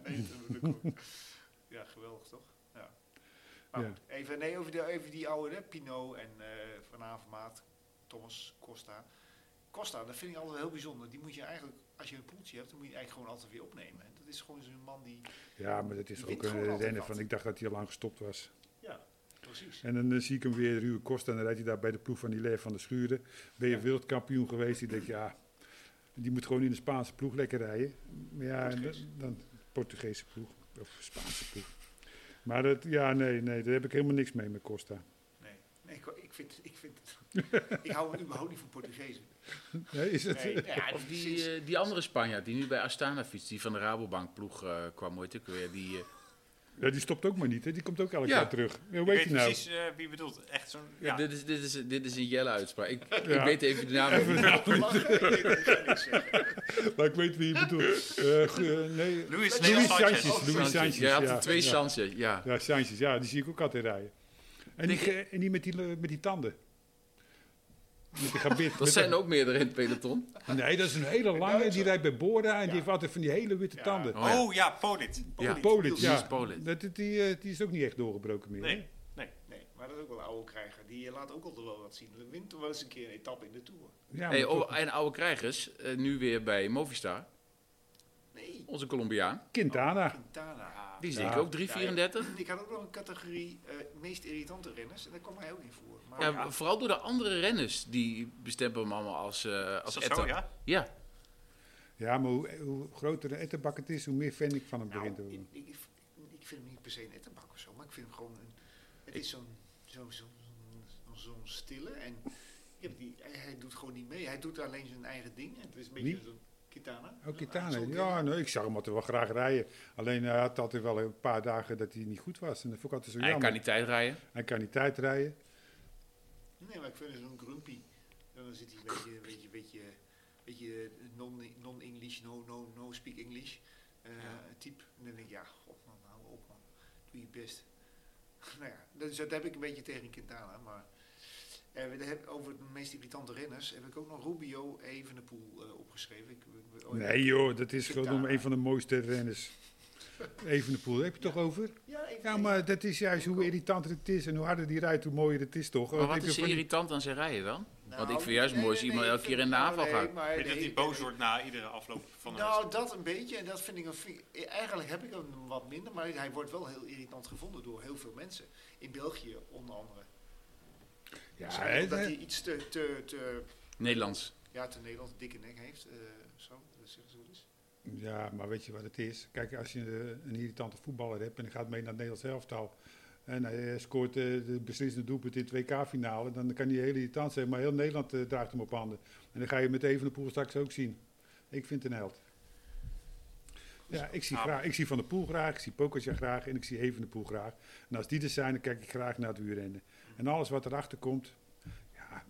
S3: Nee, dat lukt ook. (laughs) ja, geweldig toch? Ja. Maar
S1: Ja.
S3: goed, even, nee, over, de, over die oude, hè, Pino en eh Van Avermaat, Thomas, Costa. Costa, dat vind ik altijd wel heel bijzonder. Die moet je eigenlijk, als je een poeltje hebt, dan moet je eigenlijk gewoon altijd weer opnemen. Dat is gewoon zo'n man die...
S1: ja, maar dat is
S3: Die
S1: ook
S3: wint gewoon
S1: een eh,
S3: altijd
S1: renner
S3: wat.
S1: van. Ik dacht dat hij al lang gestopt was.
S3: Ja, precies.
S1: En dan eh, zie ik hem weer ruwe kost en dan rijdt hij daar bij de ploeg van die Leer van de Schuren. Ben je wereldkampioen geweest? Die denkt, ja, die moet gewoon in de Spaanse ploeg lekker rijden. Maar ja, en
S3: Portugees.
S1: dan, dan Portugese ploeg of Spaanse ploeg. Maar dat, ja, nee, nee, daar heb ik helemaal niks mee met Costa.
S3: Nee, nee ik, ik vind, ik vind (laughs) ik hou überhaupt niet van Portugezen.
S1: Nee, is het?
S3: Nee, nou ja,
S2: Of die,
S3: precies.
S2: eh, die andere Spanjaard die nu bij Astana fietst, die van de Rabobank ploeg eh, kwam ooit ook weer. Die, eh,
S1: Ja, die stopt ook maar niet, hè? Die komt ook elk
S2: Ja.
S1: jaar terug. Hoe
S4: Ik
S1: weet
S4: weet
S1: je nou?
S4: precies eh, wie je bedoelt. Echt zo'n... Ja,
S2: dit, is, dit, is, dit is een jelle uitspraak. Ik, ik
S1: Ja.
S2: weet even de naam niet.
S3: Lachen? Nee, dat ga ik niet zeggen.
S1: Maar ik weet wie je
S4: (laughs)
S1: bedoelt. Eh, g- eh, nee.
S3: Luis
S4: Luis, Leon Sanchez.
S1: Sanchez.
S4: Oh,
S1: Louis Sanchez,
S2: Jij had
S1: ja.
S2: er twee
S1: Ja.
S2: Sanchez, ja.
S1: Ja, Sanchez, ja, die zie ik ook altijd rijden. En die,
S2: Ik-
S1: ge- en die met die, le- met die tanden. Met die
S2: (laughs)
S1: gebit. met
S2: Dat zijn ook meerdere in het peloton.
S1: Nee, dat is een hele lange. Die rijdt bij Bora en die heeft altijd van die hele witte
S3: Ja.
S1: tanden.
S2: Oh, ja.
S4: Oh ja, Polit.
S2: Ja.
S1: Polit,
S2: Die
S1: ja.
S2: is Polit.
S1: Dat, die, eh, die is ook niet echt doorgebroken meer.
S4: Nee,
S1: hè?
S4: nee.
S3: Nee, maar dat is ook wel een oude krijger. Die eh, laat ook altijd wel wat zien. Wint toch wel eens een keer een etappe in de Tour.
S1: Ja,
S2: Hey,
S1: maar toch-
S2: oh, en oude krijgers, eh, nu weer bij Movistar,
S3: Nee,
S2: onze Colombiaan.
S1: Quintana.
S3: Quintana.
S2: Die is
S1: Ja.
S2: denk ik ook 334.
S3: Ik had ook nog een categorie eh, meest irritante renners. En daar kwam hij ook in voor. Maar
S2: Ja, vooral door de andere renners, die bestempelen hem allemaal als, eh
S4: Is
S2: als
S4: dat zo,
S2: etter.
S4: ja?
S2: Ja.
S1: Ja, maar hoe, hoe groter de ettenbak het is, hoe meer fan ik van hem
S3: nou,
S1: begint te
S3: ik,
S1: worden.
S3: ik, ik vind hem niet per se een ettenbak of zo. Maar ik vind hem gewoon een... Het
S2: Ik-
S3: is zo'n zo, zo, zo, zo'n stille. En ja, die, hij, hij doet gewoon niet mee. Hij doet alleen zijn eigen ding. Het is een beetje
S1: Wie?
S3: zo'n Quintana.
S1: Oh, Quintana.
S3: Zo'n
S1: Ja, nee, ik zag hem altijd wel graag rijden. Alleen eh, hij had altijd wel een paar dagen dat hij niet goed was. En dat vond ik altijd zo
S2: Hij
S1: jammer.
S2: kan niet tijdrijden.
S1: Hij kan niet tijdrijden.
S3: Nee, maar ik vind het zo'n grumpy. En dan zit hij een beetje, een beetje, beetje, beetje eh, non- non-English, no, no, no speak English eh, type. En dan denk ik, ja, god man, hou op man. Doe je best. (laughs) nou ja, dus dat heb ik een beetje tegen Quintana. Maar eh, we hebben- over de meest irritante renners heb ik ook nog Rubio Evenepoel eh opgeschreven. Ik, ik- oh,
S1: Nee joh, dat is
S3: Quintana.
S1: gewoon een van de mooiste renners. Evenepoel, heb je het toch over?
S3: Ja, even,
S1: Ja, maar dat is juist hoe irritanter het is. En hoe harder die rijdt, hoe mooier het is toch?
S2: Maar
S1: Want
S2: wat
S1: ik
S2: is
S1: heb van die-
S2: irritant aan zijn rijden dan?
S3: Nou,
S2: Want ik vind juist mooi als iemand elke keer in de
S3: nou,
S2: aanval
S3: nee,
S2: gaat.
S3: maar
S4: Weet je dat
S3: nee,
S4: hij boos
S3: nee.
S4: wordt na iedere afloop van een
S3: Nou, dat een beetje. En dat vind ik een. fi- Eigenlijk heb ik hem wat minder, maar hij wordt wel heel irritant gevonden door heel veel mensen. In België onder andere.
S1: Ja,
S3: Misschien omdat
S1: hè,
S3: hij iets te, te, te,
S2: Nederlands.
S3: ja, te Nederlands dikke nek heeft. eh, zo, dat zeggen ze wel eens.
S1: Ja, maar weet je wat het is? Kijk, als je eh, een irritante voetballer hebt en hij gaat mee naar het Nederlands elftal. En hij eh, scoort eh, de beslissende doelpunt in het WK-finale. Dan kan hij heel irritant zijn, maar heel Nederland eh, draagt hem op handen. En dan ga je met Evenepoel straks ook zien. Ik vind het een held. Ja, ik zie,
S4: Ah.
S1: graag, ik zie Van der Poel graag, ik zie Pokertje graag en ik zie Evenepoel graag. En als die er zijn, dan kijk ik graag naar het wielrennen. En alles wat erachter komt, ja,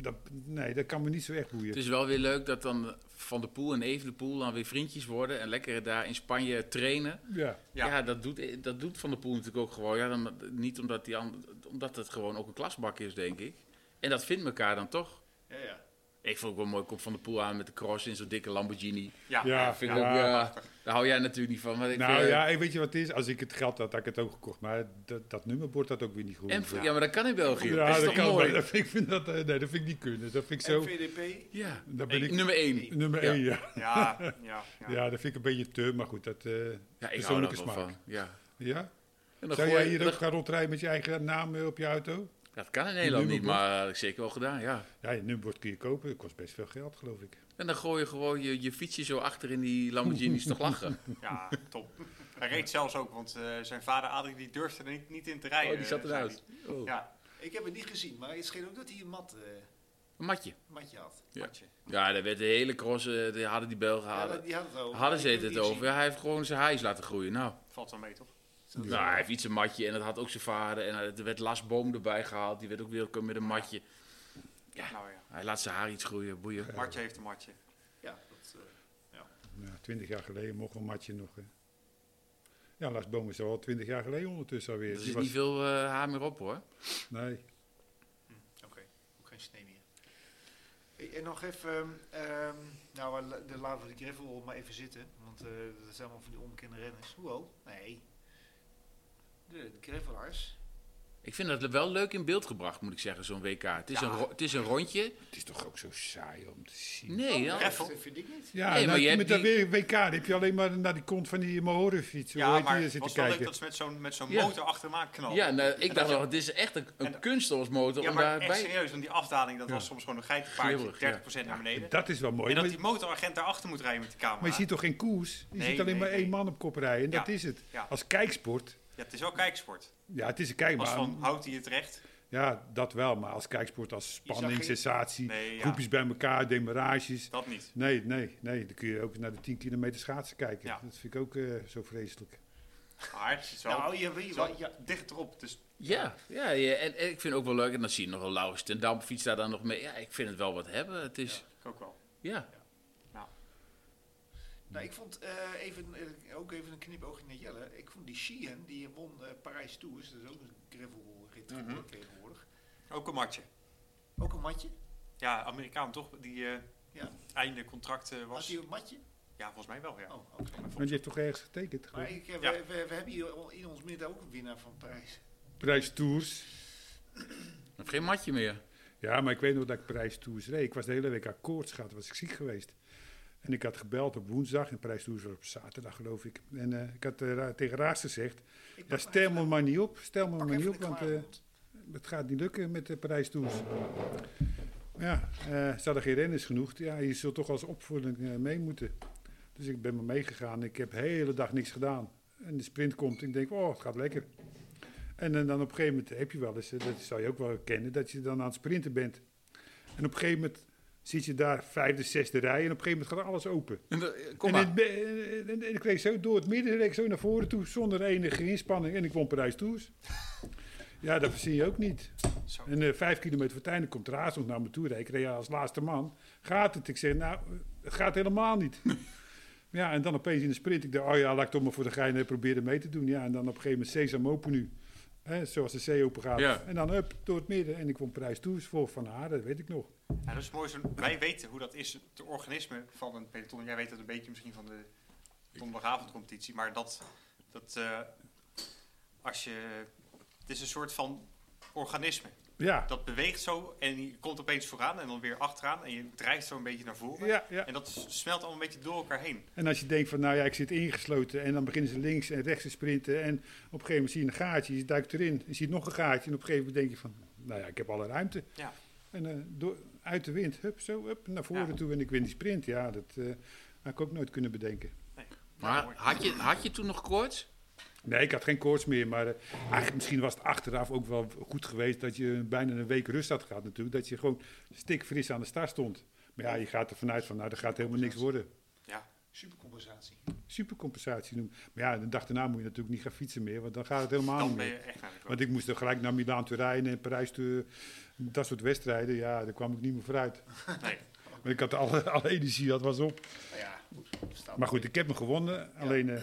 S1: dat, nee, dat kan me niet zo echt boeien.
S2: Het is wel weer leuk dat dan Van de Poel en Even de Poel dan weer vriendjes worden en lekker daar in Spanje trainen.
S1: Ja.
S4: Ja.
S2: Ja, dat, doet, dat doet Van de Poel natuurlijk ook gewoon. Ja, dan, niet omdat, die ander- omdat het gewoon ook een klasbak is, denk ik. En dat vindt elkaar dan toch.
S3: Ja, ja.
S2: Ik vond ook wel mooi, komt Van de Poel aan met de cross in zo'n dikke Lamborghini.
S4: Ja,
S1: Ja,
S2: Vind ik ook, ja, daar hou jij natuurlijk niet van. Maar ik
S1: Nou
S2: vind- eh,
S1: ja, hey, weet je wat het is? Als ik het geld had, had ik het ook gekocht. Maar dat, dat nummerbord had ook weer niet goed.
S2: en, ja. maar dat kan in België.
S1: Ja,
S2: dat is
S1: dat
S2: toch
S1: kan,
S2: mooi?
S1: maar dat vind ik, vind dat, eh, nee, dat vind ik niet kunnen. Dat vind ik zo...
S3: En VDP?
S2: Ja,
S1: Dat ben ik
S2: nummer 1.
S1: nummer
S2: Ja.
S1: één, ja.
S4: Ja, ja, ja.
S1: Ja, dat vind ik een beetje te, maar goed, dat eh
S2: Ja, ik hou
S1: persoonlijke
S2: daar wel
S1: smaak.
S2: van. Ja.
S1: Ja?
S2: En dan
S1: Zou
S2: gooi-
S1: jij hier
S2: dan-
S1: ook gaan rondrijden met je eigen naam eh, op je auto?
S2: Dat kan in Nederland niet,
S1: nummerbord?
S2: maar dat heb ik zeker wel gedaan, ja.
S1: Ja, een nummerbord kun je kopen. Dat kost best veel geld, geloof ik.
S2: En dan gooi je gewoon je, je fietsje zo achter in die Lamborghinis toch (laughs) lachen.
S4: Ja, top. Hij reed zelfs ook, want eh, zijn vader Adrie die durfde er niet, niet in te rijden.
S2: Oh, die zat
S4: eh, zei
S2: eruit.
S4: hij.
S2: Oh.
S4: Ja,
S3: Ik heb het niet gezien, maar het scheen ook dat hij een mat, eh,
S2: Een matje.
S3: matje had.
S2: Ja.
S4: matje.
S2: Ja, daar werd de hele cross, eh, die hadden die Belgen
S3: Ja,
S2: hadden.
S3: dat- die hadden het over.
S2: Hadden ze
S3: Ik heb
S2: het, het
S3: niet
S2: over. Ja, hij heeft gewoon zijn hijs laten groeien. Nou,
S4: Valt wel mee, toch?
S3: gezien.
S2: nou, hij heeft iets een matje en dat had ook zijn vader. En eh, er werd Lasboom erbij gehaald. Die werd ook weer met een matje.
S4: Nou ja.
S2: Hij laat zijn haar iets groeien, boeien.
S4: Martje heeft een matje.
S3: Ja, dat, eh,
S1: Nou, twintig jaar geleden mocht wel matje nog. Hè. Ja, Lars Boom is al twintig jaar geleden ondertussen alweer.
S2: Er
S1: Die
S2: zit
S1: was-
S2: niet veel eh, haar meer op hoor.
S1: Nee.
S3: oké. Ook geen snee meer. Hey, En nog even, ehm, ehm, nou, eh, de, laten we de gravel maar even zitten. Want eh, dat zijn allemaal van die onbekende renners. Hoewel, nee. De, de gravelaars.
S2: Ik vind dat wel leuk in beeld gebracht, moet ik zeggen, zo'n WK. Het is, een, ro- het is een rondje.
S1: Het is toch ook zo saai om te zien.
S2: Nee,
S3: Oh,
S2: dan-
S4: gravel.
S3: Dat vind ik niet.
S1: Ja,
S2: Nee, maar
S1: nou,
S2: je
S1: met
S2: hebt
S1: dat weer WK dan heb je alleen maar naar die kont van die Mahorenfiets. hoe
S4: Ja,
S1: heet die,
S4: maar
S1: eh,
S4: het
S1: zitten
S4: was wel leuk
S1: kijken.
S4: dat ze met zo'n met zo'n
S2: Ja.
S4: motor achter hem aan knalden.
S2: Ja, nou, ik dacht
S4: En dat-
S2: wel, het is echt een, een
S4: en-
S2: kunststorsmotor
S4: Ja,
S2: om
S4: maar echt
S2: daarbij...
S4: serieus, want die afdaling, dat was soms gewoon een geitenpaardje, 30%
S2: Glibberig, ja.
S4: naar beneden.
S1: Dat is wel mooi.
S4: en
S1: Maar,
S4: dat die motoragent daarachter moet rijden met die camera.
S1: maar je ziet toch geen koers? Je
S4: Nee,
S1: ziet alleen
S4: nee,
S1: maar
S4: nee.
S1: één man op kop rijden. En
S4: Ja,
S1: dat is het.
S4: ja.
S1: Als kijksport.
S4: Ja, het is wel kijksport.
S1: Ja, het is een
S4: Als
S1: kijkbaar.
S4: van, houdt hij het recht?
S1: Ja, dat wel. Maar als kijksport, als
S3: zag
S1: spanning,
S3: geen-
S1: sensatie,
S4: Nee, ja.
S1: groepjes bij elkaar, demarages.
S4: Dat niet.
S1: Nee, nee, nee. Dan kun je ook naar de 10 kilometer schaatsen kijken.
S4: Ja.
S1: Dat vind ik ook eh, zo vreselijk.
S4: Maar het is wel
S3: nou, je weet
S4: zo-
S3: wel. Ja,
S4: dicht erop. Dus
S2: Ja, ja, ja. En, en ik vind het ook wel leuk. En dan zie je nog een Laurens ten Dam fiets daar dan nog mee. Ja, ik vind het wel wat hebben. Het is,
S4: ik ook wel.
S2: ja.
S3: Nou, ik vond eh, even, eh, ook even een knipoogje naar Jelle. Ik vond die Sheehan, die won eh, Parijs Tours, dat is ook een gravelrit
S4: Mhm.
S3: tegenwoordig.
S4: Ook een matje.
S3: Ook een matje?
S4: Ja, Amerikaan toch? Die eh,
S3: Ja.
S4: einde contract eh,
S3: Was
S4: was.
S3: hij een matje?
S4: Ja, volgens mij wel, ja.
S3: Oh, oké.
S1: Want je hebt toch ergens getekend?
S3: Maar
S1: gewoon?
S3: ik, eh,
S4: Ja.
S3: we, we- we hebben hier in ons midden ook een winnaar van Parijs.
S1: Prijs Tours.
S2: Ik heb geen matje meer.
S1: Ja, maar ik weet nog dat ik Parijs Tours reed. Ik was de hele week aan koorts gehad, was ik ziek geweest. En ik had gebeld op woensdag en Parijs Tours was op zaterdag, geloof ik. En eh, ik had eh, Ra- tegen Raas gezegd,
S3: Ik
S1: ja,
S3: pak
S1: stel me
S3: even-
S1: maar niet op, stel me
S3: pak
S1: maar niet
S3: even
S1: op,
S3: de
S1: want eh,
S3: kwaadhond.
S1: het gaat niet lukken met de Parijs Tours. Ja, eh ze hadden geen renners genoeg. Ja, je zult toch als opvoeding eh, mee moeten. Dus ik ben maar meegegaan. Ik heb de hele dag niks gedaan. En de sprint komt. Ik denk, oh, het gaat lekker. En, eh, dan op een gegeven moment heb je wel eens, eh, dat zou je ook wel kennen, dat je dan aan het sprinten bent. En op een gegeven moment zit je daar vijfde, zesde rij en op een gegeven moment gaat alles open.
S2: En, eh, Kom
S1: en,
S2: maar.
S1: het be- en- en- en ik reed zo door het midden, reed ik zo naar voren toe, zonder enige inspanning. En ik won Parijs Tours. Ja, dat verzin je ook niet.
S4: Zo.
S1: En eh, vijf kilometer voor het einde komt Raas nog naar me toe. rijden. Ik reed als laatste man. Gaat het? Ik zeg, nou, eh, het gaat helemaal
S2: (laughs)
S1: niet. ja, en dan opeens in de sprint. Ik dacht, oh ja, laat ik toch maar voor de gein eh, proberen mee te doen. Ja, en dan op een gegeven moment Sesam open nu. Hè, zoals de C open gaat.
S2: Ja.
S1: En dan up door het midden. En ik won Parijs Tours voor Van haar, dat weet ik nog.
S4: Ja, dat is mooi. Zo wij weten hoe dat is, het organisme van een peloton. Jij weet dat een beetje misschien van de donderdagavondcompetitie. Maar dat, dat eh, als je... Het is een soort van organisme.
S1: Ja,
S4: Dat beweegt zo en je komt opeens vooraan en dan weer achteraan. En je drijft zo een beetje naar voren.
S1: ja, ja.
S4: En dat s- smelt allemaal een beetje door elkaar heen.
S1: En als je denkt van, nou ja, ik zit ingesloten en dan beginnen ze links en rechts te sprinten en op een gegeven moment zie je een gaatje, je duikt erin, je ziet nog een gaatje en op een gegeven moment denk je van, nou ja, ik heb alle ruimte.
S4: Ja.
S1: En eh, door, uit de wind, hup, zo, hup, naar voren
S4: Ja.
S1: toe en ik win die sprint. Ja, dat, eh, Had ik ook nooit kunnen bedenken.
S2: Maar had je, had je toen nog koorts?
S1: Nee, ik had geen koorts meer. Maar eh, eigenlijk misschien was het achteraf ook wel goed geweest dat je bijna een week rust had gehad natuurlijk. Dat je gewoon stikfris aan de start stond. Maar ja, je gaat er vanuit van, nou, er gaat helemaal niks worden.
S4: Ja.
S3: Supercompensatie.
S1: Supercompensatie noemen. Maar ja, de dag daarna moet je natuurlijk niet gaan fietsen meer, want dan gaat het helemaal
S4: Dan
S1: niet
S4: ben je
S1: meer.
S4: echt aan de
S1: Want
S4: kloot.
S1: ik moest dan gelijk naar Milaan toe rijden en Parijs toe. Dat soort wedstrijden, ja, daar kwam ik niet meer vooruit.
S4: Nee.
S1: Want ik had alle, (laughs) alle energie, dat was op.
S3: Nou ja, staat
S1: Maar goed, ik heb hem gewonnen. Alleen, eh,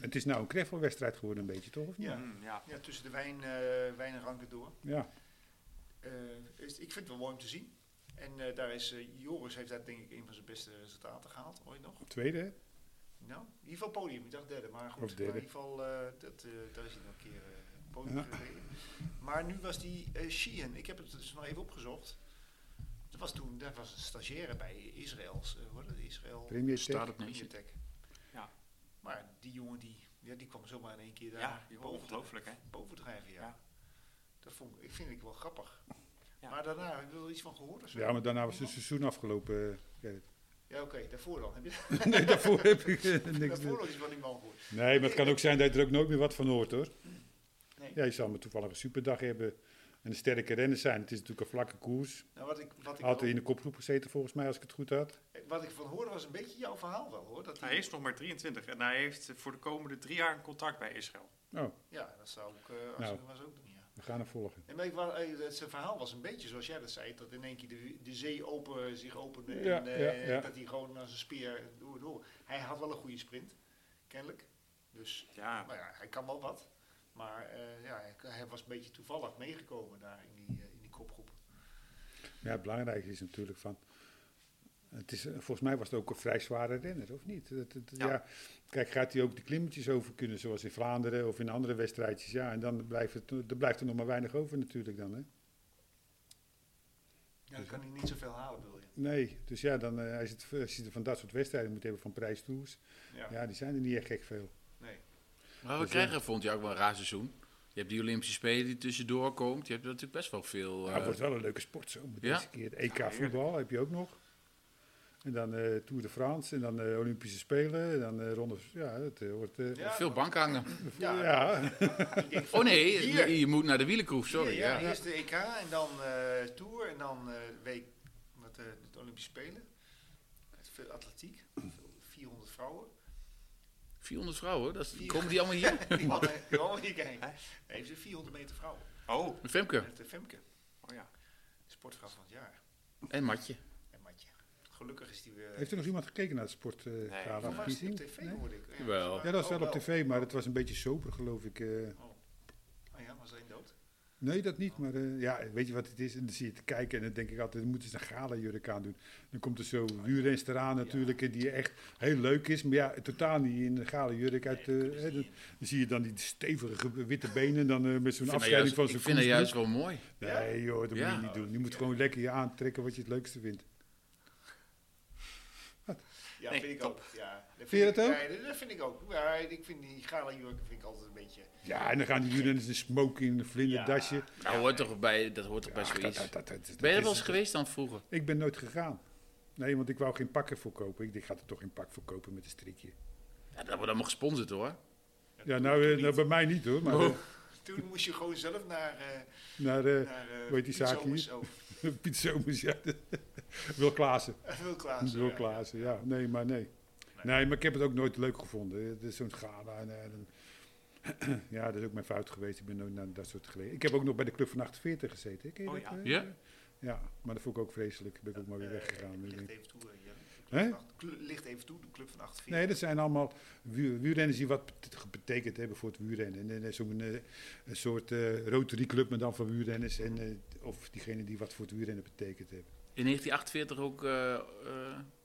S1: het is nou een kreffelwedstrijd geworden een beetje, toch? Of niet?
S3: Ja.
S4: Mm, ja.
S3: Ja, tussen de wijn, eh, wijn en ranken door.
S1: Ja.
S3: Eh, is, ik vind het wel mooi om te zien. En eh, daar is, eh, Joris heeft daar denk ik een van zijn beste resultaten gehaald, ooit nog.
S1: Tweede, hè?
S3: Nou, in ieder geval podium. Ik dacht derde, maar goed.
S1: Of derde.
S3: Maar in ieder geval, eh, dat, eh, daar is hij nog een keer eh podium
S1: Ja.
S3: gereden. Maar nu was die eh Sheehan, ik heb het dus nog even opgezocht. Dat was toen, daar was een stagiaire bij Israëls, eh hoor, dat Israël
S1: Premier Tech.
S2: Staat het niet?
S3: Mediatek.
S4: Ja.
S3: Maar die jongen die, ja, die kwam zomaar in één keer daar
S4: Ja, joh,
S3: boven, te,
S4: ongelooflijk hè.
S3: boven drijven, ja.
S4: Ja.
S3: Dat vond, ik- ik vind ik wel grappig.
S4: Ja.
S3: Maar daarna, heb je er iets van gehoord of zo?
S1: Ja, maar daarna was het seizoen afgelopen. eh, Gerrit. (laughs)
S3: Ja, oké, daarvoor dan. Heb je
S1: nee, daarvoor heb ik eh, niks
S3: daarvoor
S1: meer.
S3: nog iets van die man gehoord?
S1: Nee, maar het kan ook zijn dat je er ook nooit meer wat van hoort, hoor.
S3: Nee.
S1: Ja, je zal maar toevallig een superdag hebben en een sterke renner zijn. Het is natuurlijk een vlakke koers.
S3: Nou, wat ik, wat ik
S1: Had
S3: wel-
S1: in de kopgroep gezeten, volgens mij, als ik het goed had.
S3: Wat ik van hoorde was een beetje jouw verhaal wel hoor. Dat
S4: Hij is nog maar 23 en hij heeft voor de komende drie jaar een contract bij Israël.
S1: Oh,
S3: Ja, dat zou ik eh als
S1: Nou.
S3: ik was ook doen, ja.
S1: we gaan hem volgen.
S3: Nee, maar ik wa- eh, dat zijn verhaal was een beetje zoals jij dat zei, dat in één keer de, de zee open, zich opende
S1: Ja,
S3: en eh,
S1: ja, ja.
S3: dat hij gewoon als een speer door, door. Hij had wel een goede sprint, kennelijk. Dus,
S4: Ja,
S3: nou ja, hij kan wel wat. Maar eh, ja, hij, hij was een beetje toevallig meegekomen daar in die, eh, in die kopgroep.
S1: Ja, het belangrijke is natuurlijk van... Het is, eh, volgens mij was het ook een vrij zware renner, of niet? Dat, dat- ja.
S4: Ja.
S1: Kijk, gaat hij ook de klimmetjes over kunnen, zoals in Vlaanderen of in andere wedstrijdjes? Ja, en dan blijft, het, er blijft er nog maar weinig over natuurlijk dan, hè?
S3: Ja, dan kan hij niet zoveel halen, wil je.
S1: Nee, dus ja, dan, eh, als, je het, als je het van dat soort wedstrijden moet hebben, van prijstoers...
S3: Ja,
S1: Ja, die zijn er niet echt gek veel.
S3: nee.
S2: Maar we
S1: Dus,
S2: krijgen, vond je ook wel een raar seizoen. Je hebt die Olympische Spelen die tussendoor komt. Je hebt natuurlijk best wel veel.
S1: Maar
S2: eh,
S1: het wordt wel een leuke sport zo. Met
S2: ja.
S1: deze keer. Het EK voetbal heb je ook nog. En dan eh, Tour de France en dan eh, Olympische Spelen. En dan eh ronde. Ja, het eh, wordt. eh,
S3: Ja,
S2: veel bankhangen.
S1: ja.
S3: ja. ik denk van-
S2: Oh nee,
S3: Hier.
S2: je moet naar de wielenkoef, sorry.
S3: Ja,
S2: Ja,
S3: ja, eerst de EK en dan eh, Tour en dan eh, week met de Olympische Spelen. Met veel atletiek, veel- 400 vrouwen.
S2: 400 vrouwen, dat is,
S3: Vier.
S2: komen die (laughs) allemaal hier?
S3: Die mannen, die mannen hier kijken. Nee, ze 400 meter vrouwen.
S4: oh,
S2: Femke
S3: Met de Femke,
S4: oh ja.
S3: sportvrouw van het jaar.
S2: en Matje.
S3: En Matje. Gelukkig is die weer.
S1: Heeft er nog iemand gekeken naar de
S4: Nee.
S3: Van waar is die op
S1: sportverkiezing?
S3: tv hoorde ik. Ja,
S2: Jawel.
S1: ja, dat was
S3: oh,
S1: wel op tv, maar het was een beetje sober, geloof ik. eh.
S3: Oh ja, was er één dood?
S1: nee, dat niet. Maar eh, ja, weet je wat het is? En dan zie je te kijken en dan denk ik altijd, dan moeten ze een gala-jurk aan doen. Dan komt er zo Wurens eraan natuurlijk, eh, die echt heel leuk is. Maar ja, totaal niet in een gala-jurk uit... eh, hè, dan- Dan zie je dan die stevige ge- witte benen en dan eh, met zo'n
S2: Ik vind haar
S1: afscheiding
S2: juist-
S1: van
S2: ik
S1: zijn
S2: vind haar juist
S1: koers.
S2: wel mooi.
S1: Nee joh, dat
S2: Ja.
S1: moet je niet doen. Je moet gewoon lekker je aantrekken wat je het leukste vindt.
S3: Ja,
S4: Nee,
S3: vind ik
S4: top.
S3: ook. Ja, dat
S1: je
S3: vind
S1: dat
S3: ik-
S1: ook?
S3: Nee, dat vind ik ook. Ja, ik vind die gala jurken vind ik altijd een beetje.
S1: Ja, en dan gaan die jullie in een smoking, een vlinderdasje.
S3: Ja.
S2: Dat Nou, hoort toch bij, dat hoort toch bij
S1: Ach, dat-
S2: zoiets.
S1: dat- dat- dat- dat
S2: Ben je er
S1: is-
S2: wel eens geweest dan vroeger?
S1: Ik ben nooit gegaan. Nee, want ik wou geen pakken verkopen. Ik dacht, ik ga er toch geen pak verkopen met een strikje.
S2: Ja, dat wordt allemaal gesponsord hoor.
S1: Ja, nou, eh, nou bij mij niet hoor. Maar
S2: Oh.
S1: eh,
S3: Toen moest je gewoon zelf naar. eh
S1: naar eh (laughs)
S3: naar eh,
S1: hoe heet die
S3: Piet
S1: zaak
S3: Somers
S1: hier?
S3: ook.
S1: Piet Somers, ja. (laughs) Wil Klaassen.
S3: (laughs) Wil eh, Klaassen.
S1: Wil
S3: ja.
S1: Klaassen, ja. Nee, maar nee. nee. maar ik heb het ook nooit leuk gevonden. Het is zo'n gala. En, eh, dan- (clears throat) ja, dat is ook mijn fout geweest. Ik ben nooit naar dat soort geleden. Ik heb ook nog bij de Club van 48 gezeten. Ken je
S4: Oh
S1: dat,
S4: ja.
S1: eh?
S2: Ja?
S1: Ja, maar dat vond ik ook vreselijk. Ben ik ook maar weer
S3: Eh,
S1: weggegaan.
S3: Licht even toe, eh, Jelle.
S1: Hè?
S3: Acht- clu- Licht even toe, de club van 48.
S1: Nee, dat zijn allemaal wu- wielrenners die wat bet- betekend hebben voor het wielrennen. En, eh, zo'n eh, een soort eh Rotary Club, maar dan van wielrenners. En, eh, of diegenen die wat voor het wielrennen eh. betekend hebben.
S2: In 1948 ook eh, eh,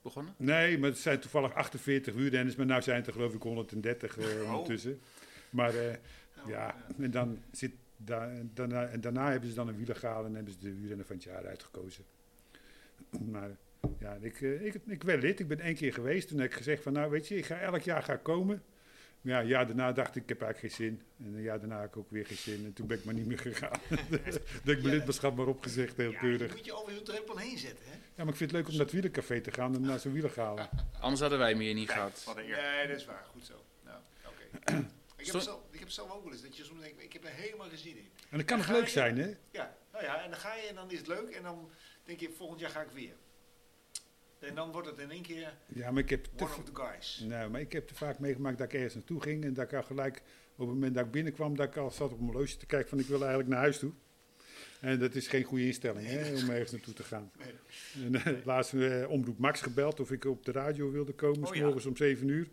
S2: begonnen?
S1: Nee, maar het zijn toevallig 48 wielrenners, maar nu zijn het er geloof ik 130 eh, ondertussen. Maar eh,
S3: Oh,
S1: ja, en dan zit da- daarna, en daarna hebben ze dan een wielergala en hebben ze de wielrenner van het jaar uitgekozen. (clears throat) Maar eh, ja, ik, eh, ik, ik ben lid, ik ben één keer geweest. Toen heb ik gezegd van nou weet je, ik ga elk jaar ga ik komen. Maar ja, een jaar daarna dacht ik, ik heb eigenlijk geen zin. En een jaar daarna heb ik ook weer geen zin. En toen ben ik maar niet meer gegaan. (laughs) dat ik mijn lidmaatschap maar opgezegd, heel
S3: Ja, je
S1: keurig.
S3: moet je over zo'n drempel heen zetten. Hè?
S1: Ja, maar ik vind het leuk om naar het wielercafé te gaan en naar zo'n wieler halen.
S2: Anders hadden wij hem hier niet gehad.
S4: Wat een eer.
S3: Nee, dat is waar. Goed zo. Nou,
S2: (clears throat)
S3: oké. ik, heb
S2: Stond-
S3: het zelf, ik heb het zelf ook wel eens. Dat je soms denkt, ik heb er helemaal geen zin in.
S1: En dat kan nog leuk zijn, hè?
S3: Ja, nou ja, en dan ga je en dan is het leuk. En dan denk je, volgend jaar ga ik weer. En dan wordt het in één keer
S1: Ja, maar ik heb te,
S3: one of the guys.
S1: Nee, maar ik heb te vaak meegemaakt dat ik ergens naartoe ging en dat ik al gelijk op het moment dat ik binnenkwam, dat ik al zat op mijn loosje te kijken van ik wil eigenlijk naar huis toe. En dat is geen goede instelling hè, om ergens naartoe te gaan. En, eh, laatst eh, omroep Max gebeld of ik op de radio wilde komen,
S4: Oh,
S1: s
S4: ja.
S1: morgens om 7 uur.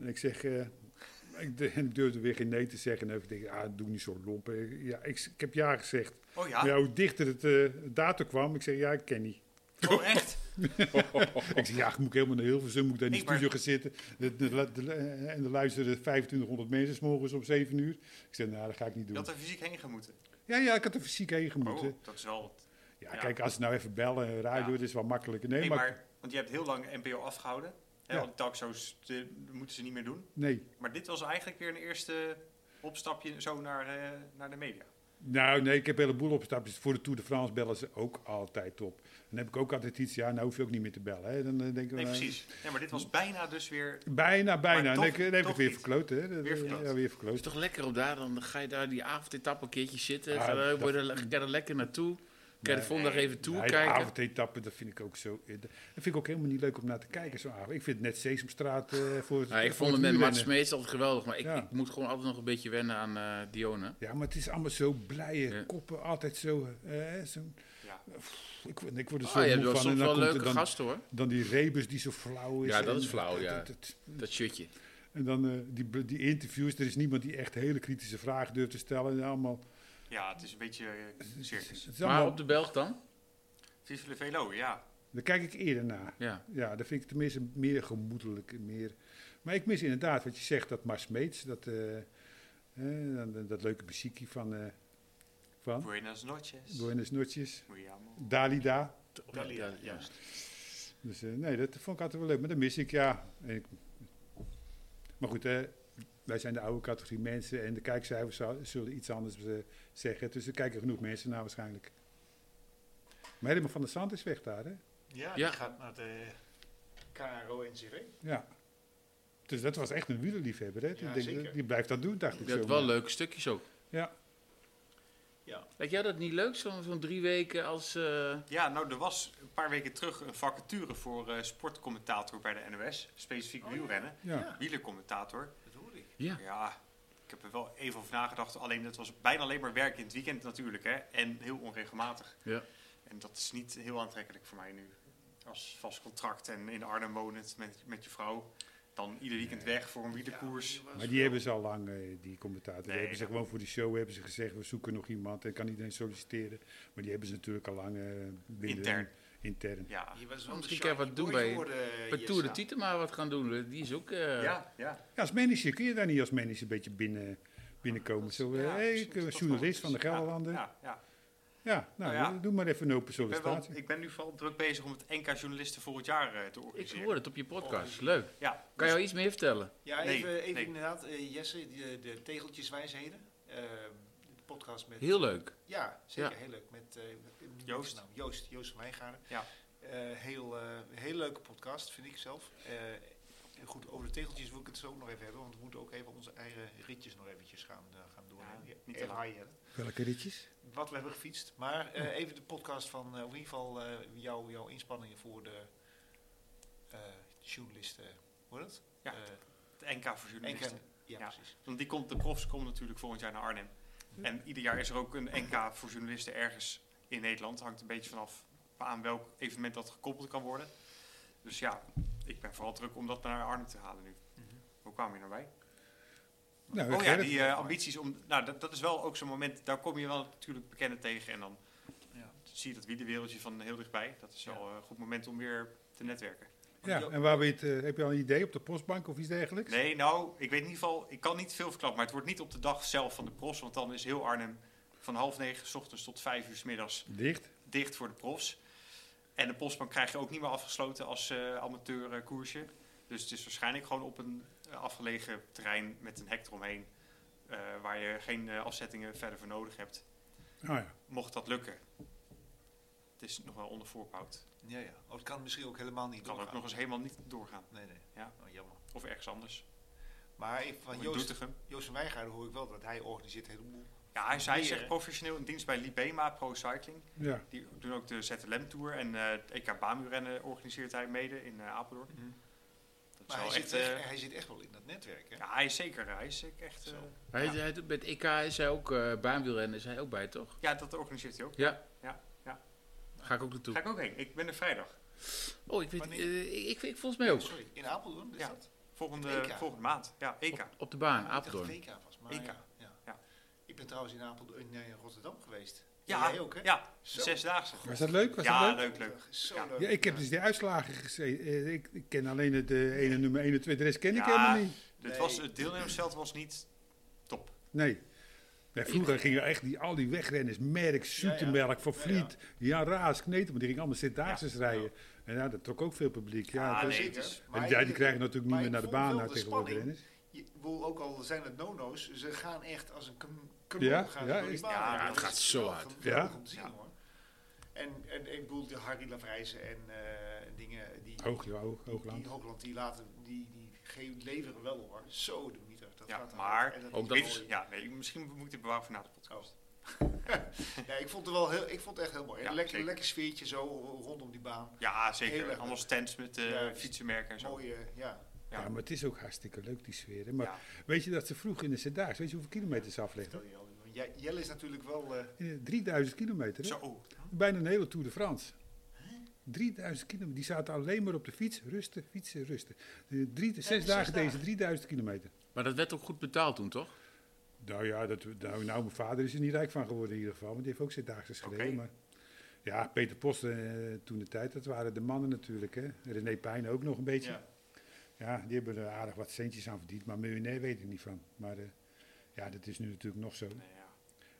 S1: En ik zeg, eh, ik, de- ik durfde weer geen nee te zeggen. En ik denk, ah, doe niet zo lomp. Eh, Ja, ik, ik heb ja gezegd.
S4: Oh ja?
S1: Maar ja, hoe dichter het eh, datum kwam, ik zeg, ja, ik ken niet.
S4: Oh echt?
S1: (laughs) Ik zeg, ja, moet ik helemaal naar Hilversum, moet ik daar in de
S4: Nee, maar-
S1: studio gaan zitten. De- de- de- de- en dan luisteren 2500 mensen 's morgens om 7 uur. Ik zeg, nou, dat ga ik niet
S4: Je
S1: doen.
S4: had er fysiek heen gemoeten.
S1: Ja, ja, ik had er fysiek heen gemoeten.
S4: Oh, dat is wel... wat.
S1: ja,
S4: ja.
S1: kijk, als ze nou even bellen, en radio,
S4: Ja.
S1: dat is wel makkelijker. Nee,
S4: Nee,
S1: maar,
S4: maar... Want je hebt heel lang NPO afgehouden. Hè,
S1: Ja.
S4: want talkshows eh, moeten ze niet meer doen.
S1: nee.
S4: Maar dit was eigenlijk weer een eerste opstapje zo naar, eh, naar de media.
S1: Nou, nee, ik heb een heleboel opstapjes. Voor de Tour de France bellen ze ook altijd op. Dan heb ik ook altijd iets, ja, nou hoef je ook niet meer te bellen. Hè. Dan eh, denk ik,
S4: Nee,
S1: nou,
S4: precies. Ja, maar dit was bijna dus weer...
S1: Bijna, bijna.
S4: Maar
S1: En dan
S4: toch-
S1: heb ik- dan heb ik
S4: toch
S1: weer
S4: niet.
S1: verkloot. Hè. Dat-
S4: Weer verkloot.
S1: Ja, weer
S2: Het
S1: verkloot.
S2: is toch lekker om daar, dan ga je daar die avondetap een keertje zitten.
S1: Ah,
S2: Ga daar,
S1: dat-
S2: word je er- ga er lekker naartoe. Kan je de
S1: Nee.
S2: volgende dag even toe
S1: Nee, de
S2: kijken.
S1: avondetappen, dat vind ik ook zo. eh, Dat vind ik ook helemaal niet leuk om naar te kijken, zo'n avond. Ik vind net Sesamstraat eh voor het.
S2: Nou, ik
S1: voor
S2: vond het met
S1: wielrennen.
S2: Mats Smeets altijd geweldig, maar ik,
S1: Ja.
S2: ik moet gewoon altijd nog een beetje wennen aan eh Dione.
S1: Ja, maar het is allemaal zo blije
S2: Ja.
S1: koppen, altijd zo. eh, zo'n-
S4: Ja.
S1: ik, word- ik word er
S2: Ah,
S1: zo
S2: je hebt
S1: moe
S2: wel
S1: Dus van.
S2: soms
S1: en dan
S2: wel
S1: komt er
S2: leuke
S1: dan,
S2: gasten hoor.
S1: dan die rebus die zo flauw is.
S2: Ja, dat
S1: en-
S2: is flauw, ja.
S1: dat- dat-
S2: Dat shirtje.
S1: en dan eh, die, be- die interviews, er is niemand die echt hele kritische vragen durft te stellen. En allemaal,
S4: Ja, het is een beetje eh, circus.
S1: het is
S2: Maar
S1: allemaal-
S2: op de Belg dan?
S4: Vive le velo, ja.
S1: Daar kijk ik eerder naar.
S2: Ja.
S1: Ja, dat vind ik tenminste meer gemoedelijk. Meer. Maar ik mis inderdaad wat je zegt, dat Mars Meets, dat, eh, eh, dan- dan- dat leuke muziekje van, eh van
S4: Buenas noches.
S1: Buenos Notjes,
S4: Muy amo.
S1: Dalida.
S3: Ja, ja,
S2: ja.
S3: juist.
S1: Dus eh, nee, dat vond ik altijd wel leuk, maar dat mis ik, ja. En ik- maar goed, eh, wij zijn de oude categorie mensen en de kijkcijfers zou- zullen iets anders eh, zeggen. Dus er kijken genoeg mensen naar waarschijnlijk. Maar helemaal van de Zand is weg daar, hè?
S3: Ja,
S2: Ja.
S3: die gaat naar de KRO-NCV.
S1: Ja. Dus dat was echt een wielerliefhebber, hè? Die,
S3: Ja,
S1: denkt,
S3: zeker.
S1: die blijft dat doen, dacht ik
S2: Je had
S1: zo.
S2: wel leuke stukjes ook.
S1: Ja.
S3: Ja.
S2: Lijkt jij dat niet leuk, zo'n zo'n drie weken als... eh,
S4: Ja, nou, er was een paar weken terug een vacature voor eh, sportcommentator bij de NOS. Specifiek
S3: Oh, ja.
S4: wielrennen.
S1: Ja.
S3: Ja.
S4: Wielercommentator.
S3: Dat hoorde ik.
S2: ja.
S4: Ja, ik heb er wel even over nagedacht. Alleen dat was bijna alleen maar werk in het weekend natuurlijk. Hè? En heel onregelmatig.
S2: Ja.
S4: En dat is niet heel aantrekkelijk voor mij nu. Als vast contract en in Arnhem wonend met, met je vrouw. Dan ieder weekend weg voor een wielerkoers.
S3: Ja,
S1: Maar die hebben ze al lang, eh, die commentator. die
S4: Nee,
S1: hebben ze
S4: ja.
S1: gewoon voor die show hebben ze gezegd, we zoeken nog iemand en kan iedereen solliciteren. Maar die hebben ze natuurlijk al lang eh, binnen-
S4: Intern.
S1: intern.
S4: Ja.
S3: Je was wel
S2: Ah, Misschien
S3: een
S2: kan je
S3: shiny
S2: wat doen
S3: boy
S2: bij-
S3: geworden,
S2: Bij Tour de
S3: Jessa.
S2: Tietema wat gaan doen, die is ook... eh,
S4: ja, ja.
S1: Ja, als manager kun je daar niet als manager een beetje binnen, binnenkomen. Zo, eh,
S4: Ja,
S1: hey,
S4: misschien
S1: ik
S4: is
S1: ben
S4: dat wel
S1: journalist
S4: iets.
S1: van de
S4: Ja,
S1: Gelderlanden. Ja,
S4: Ja, ja.
S1: nou,
S4: Nou ja.
S1: doe maar even een open
S4: Ik, ben wel-
S1: sollicitatie.
S4: ik ben nu vooral druk bezig om het NK journalisten volgend jaar eh, te
S2: Ik
S4: organiseren.
S2: hoor het op je
S4: Oh,
S2: podcast, leuk.
S4: Ja,
S2: Kan je al iets meer vertellen?
S3: Ja,
S4: Nee,
S3: even, even
S4: nee.
S3: inderdaad, eh, Jesse, de, de tegeltjeswijsheden. Ehm de podcast met...
S2: Heel leuk.
S3: Ja, zeker
S2: Ja.
S3: heel leuk. Met eh, met- met-
S4: Joost.
S3: nou, Joost, Joost van Wijngaarden.
S4: Ja.
S3: Eh, heel, eh, heel leuke podcast, vind ik zelf. Eh, en goed, over de tegeltjes wil ik het zo ook nog even hebben, want we moeten ook even onze eigen ritjes nog eventjes gaan, eh, gaan doen.
S4: Ja, niet te lang.
S1: Welke ritjes?
S3: Wat we hebben gefietst. Maar
S4: (laughs)
S3: eh, even de podcast van, eh, in ieder geval, eh, jouw- jouw inspanningen voor de eh, journalisten. Hoe heet dat?
S4: Ja,
S3: Eh,
S4: dus het NK voor
S3: en-
S4: journalisten.
S3: ja,
S4: Ja.
S3: precies.
S4: Want die komt, de profs komen natuurlijk volgend jaar naar Arnhem. En ieder jaar is er ook een NK voor journalisten ergens in Nederland. Hangt een beetje vanaf aan welk evenement dat gekoppeld kan worden. Dus ja, ik ben vooral druk om dat naar Arnhem te halen nu.
S3: Mhm.
S4: Hoe kwamen we hier nou bij?
S1: Nou,
S4: Oh ja,
S1: Gerrit.
S4: die eh, ambities om. Nou, dat, dat is wel ook zo'n moment. Daar kom je wel natuurlijk bekenden tegen. En dan
S3: Ja.
S4: zie je dat wielerwereldje van heel dichtbij. Dat is wel eh, een goed moment om weer te netwerken.
S1: ja, en waar ben je het, eh, heb je al een idee op de postbank of iets dergelijks?
S4: Nee, nou, ik weet in ieder geval, ik kan niet veel verklappen, maar het wordt niet op de dag zelf van de profs, want dan is heel Arnhem van half negen 's ochtends tot vijf uur 's middags
S1: Dicht?
S4: dicht voor de profs. En de postbank krijg je ook niet meer afgesloten als eh, amateur eh, koersje. Dus het is waarschijnlijk gewoon op een eh, afgelegen terrein met een hek eromheen. eh, waar je geen eh, afzettingen verder voor nodig hebt.
S1: Oh ja.
S4: Mocht dat lukken. Het is nog wel onder voorbehoud.
S3: Ja, ja. Oh, het kan misschien ook helemaal niet
S4: Het kan ook
S3: doorgaan.
S4: nog eens helemaal niet doorgaan.
S3: Nee, nee.
S4: Ja.
S3: Oh, jammer.
S4: Of ergens anders.
S3: Maar even van
S4: Of in
S3: Joost,
S4: Doetinchem.
S3: Joost van Wijngaarden hoor ik wel dat hij organiseert een heleboel.
S4: Ja, hij, is- hij is
S3: Weer,
S4: echt
S3: hè?
S4: professioneel in dienst bij Libema Pro Cycling.
S1: ja.
S4: Die doen ook de ZLM Tour en eh het EK Baamuurrennen organiseert hij mede in eh, Apeldoorn. Dat is
S3: Mhm. Maar
S4: wel
S3: hij,
S4: echt,
S3: zit echt,
S4: eh,
S3: hij zit echt wel in dat netwerk, hè?
S4: ja, hij is zeker, hij is zeker echt... eh,
S3: Zo.
S2: Hij,
S4: Ja.
S2: hij doet- met EK is hij ook, eh baanwielrennen is hij ook bij, toch?
S4: ja, dat organiseert hij ook.
S2: Ja.
S4: Ja, ja.
S2: Ga ik ook naartoe.
S4: Ga ik ook heen. Ik ben er vrijdag.
S2: Oh, ik weet,
S3: Wanneer?
S2: eh, ik, ik, ik volgens mij ook.
S3: Sorry, in Apeldoorn is
S4: Ja,
S3: dat? Het EK.
S4: Volgende, volgende maand. Ja, E EK.
S2: Op, op de baan,
S3: Ik
S2: Apeldoorn.
S3: dacht dat het WK was, maar
S4: EK.
S3: Ja, ja.
S4: Ja.
S3: Ik ben trouwens in, Apeldoorn, in eh, Rotterdam geweest.
S4: Ja,
S3: Jij E ook, hè?
S4: Ja,
S3: Zo.
S4: zesdaagse.
S1: Was dat leuk? Was
S4: Ja,
S1: dat leuk?
S4: leuk, leuk.
S3: Zo
S4: Ja.
S3: leuk.
S1: Ja, ik heb dus die uitslagen gezien. Eh, ik, ik ken alleen het eh, ene nummer 21, de rest ken ik
S4: Ja.
S1: helemaal niet.
S4: Het,
S3: Nee.
S4: was, het deelnemersveld was niet top.
S1: Nee. Nee, vroeger gingen echt die, al die wegrenners, Merck, Soetemelk, Van
S3: Ja,
S1: Vliet, Jan Raas, Kneten, maar die gingen allemaal Sint-Daagsers
S4: Ja.
S1: rijden. En ja, dat trok ook veel publiek. Ja,
S4: Ah,
S1: dat-
S4: nee,
S3: Zeker.
S4: dus-
S1: en
S3: Maar
S1: ja, die
S3: ik-
S1: krijgen natuurlijk niet
S3: maar
S1: meer
S3: ik
S1: naar de
S3: voel
S1: baan
S3: wel
S1: na
S3: de
S1: tegenwoordig
S3: spanning.
S1: renners.
S3: Je- ik bedoel, ook al zijn het nono's, ze gaan echt als een kanon
S1: Ja,
S3: gaan ze
S1: ja,
S3: door die
S1: is-
S3: baan.
S4: ja,
S3: Dat
S2: het
S3: is
S2: gaat zo
S3: wel
S2: hard.
S3: geweldig
S1: Ja.
S3: om te zien,
S4: Ja.
S3: hoor. En, en ik bedoel, de Harry Lavrijzen en eh, dingen die,
S1: Hoog, ja, hoog, hoogland.
S3: die Hoogland, die, laten, die, die ge- leveren wel hoor. Zo de mieter, dat
S4: Ja,
S3: gaat hard.
S4: maar
S3: En
S2: ook
S3: is
S2: dat-
S4: Dit
S3: mooi.
S4: is- ja, nee, misschien moet ik dit bewaren voor na de podcast.
S3: Oh. Ja, ik vond het wel heel, ik vond het echt heel mooi.
S4: Ja,
S3: een lekker,
S4: zeker.
S3: lekker sfeertje zo ro- rondom die baan.
S4: Ja,
S3: Heel erg
S4: zeker.
S3: leuk.
S4: Allemaal stands met eh,
S3: Ja,
S4: fietsenmerken en zo.
S3: Mooie, ja.
S1: Ja.
S4: Ja.
S1: maar het is ook hartstikke leuk, die sfeer. hè. Maar
S4: Ja.
S1: weet je dat ze vroeg in de Sint-Daags, weet je hoeveel kilometers ze afleggen?
S3: Vertel je al. Want Jij- Jelle is natuurlijk wel. eh,
S1: Eh, 3000 kilometer, hè?
S4: Zo. oh,
S1: Bijna een hele Tour de France. 3000 kilometer. Die zaten alleen maar op de fiets. Rusten, fietsen, rusten. Eh, drie, zes,
S3: zes
S1: dagen deze
S3: dagen.
S1: 3000 kilometer.
S2: Maar dat werd ook goed betaald toen, toch?
S1: Nou ja, dat, nou, nou, mijn vader is er niet rijk van geworden in ieder geval. Want die heeft ook zijn dagen geschreven.
S4: Oké.
S1: Maar ja, Peter Post eh, toen de tijd, dat waren de mannen natuurlijk. Hè? René Pijn ook nog een beetje. Ja.
S3: ja.
S1: die hebben er aardig wat centjes aan verdiend. Maar miljonair weet ik niet van. Maar eh, ja, dat is nu natuurlijk nog zo.
S4: Nee, ja.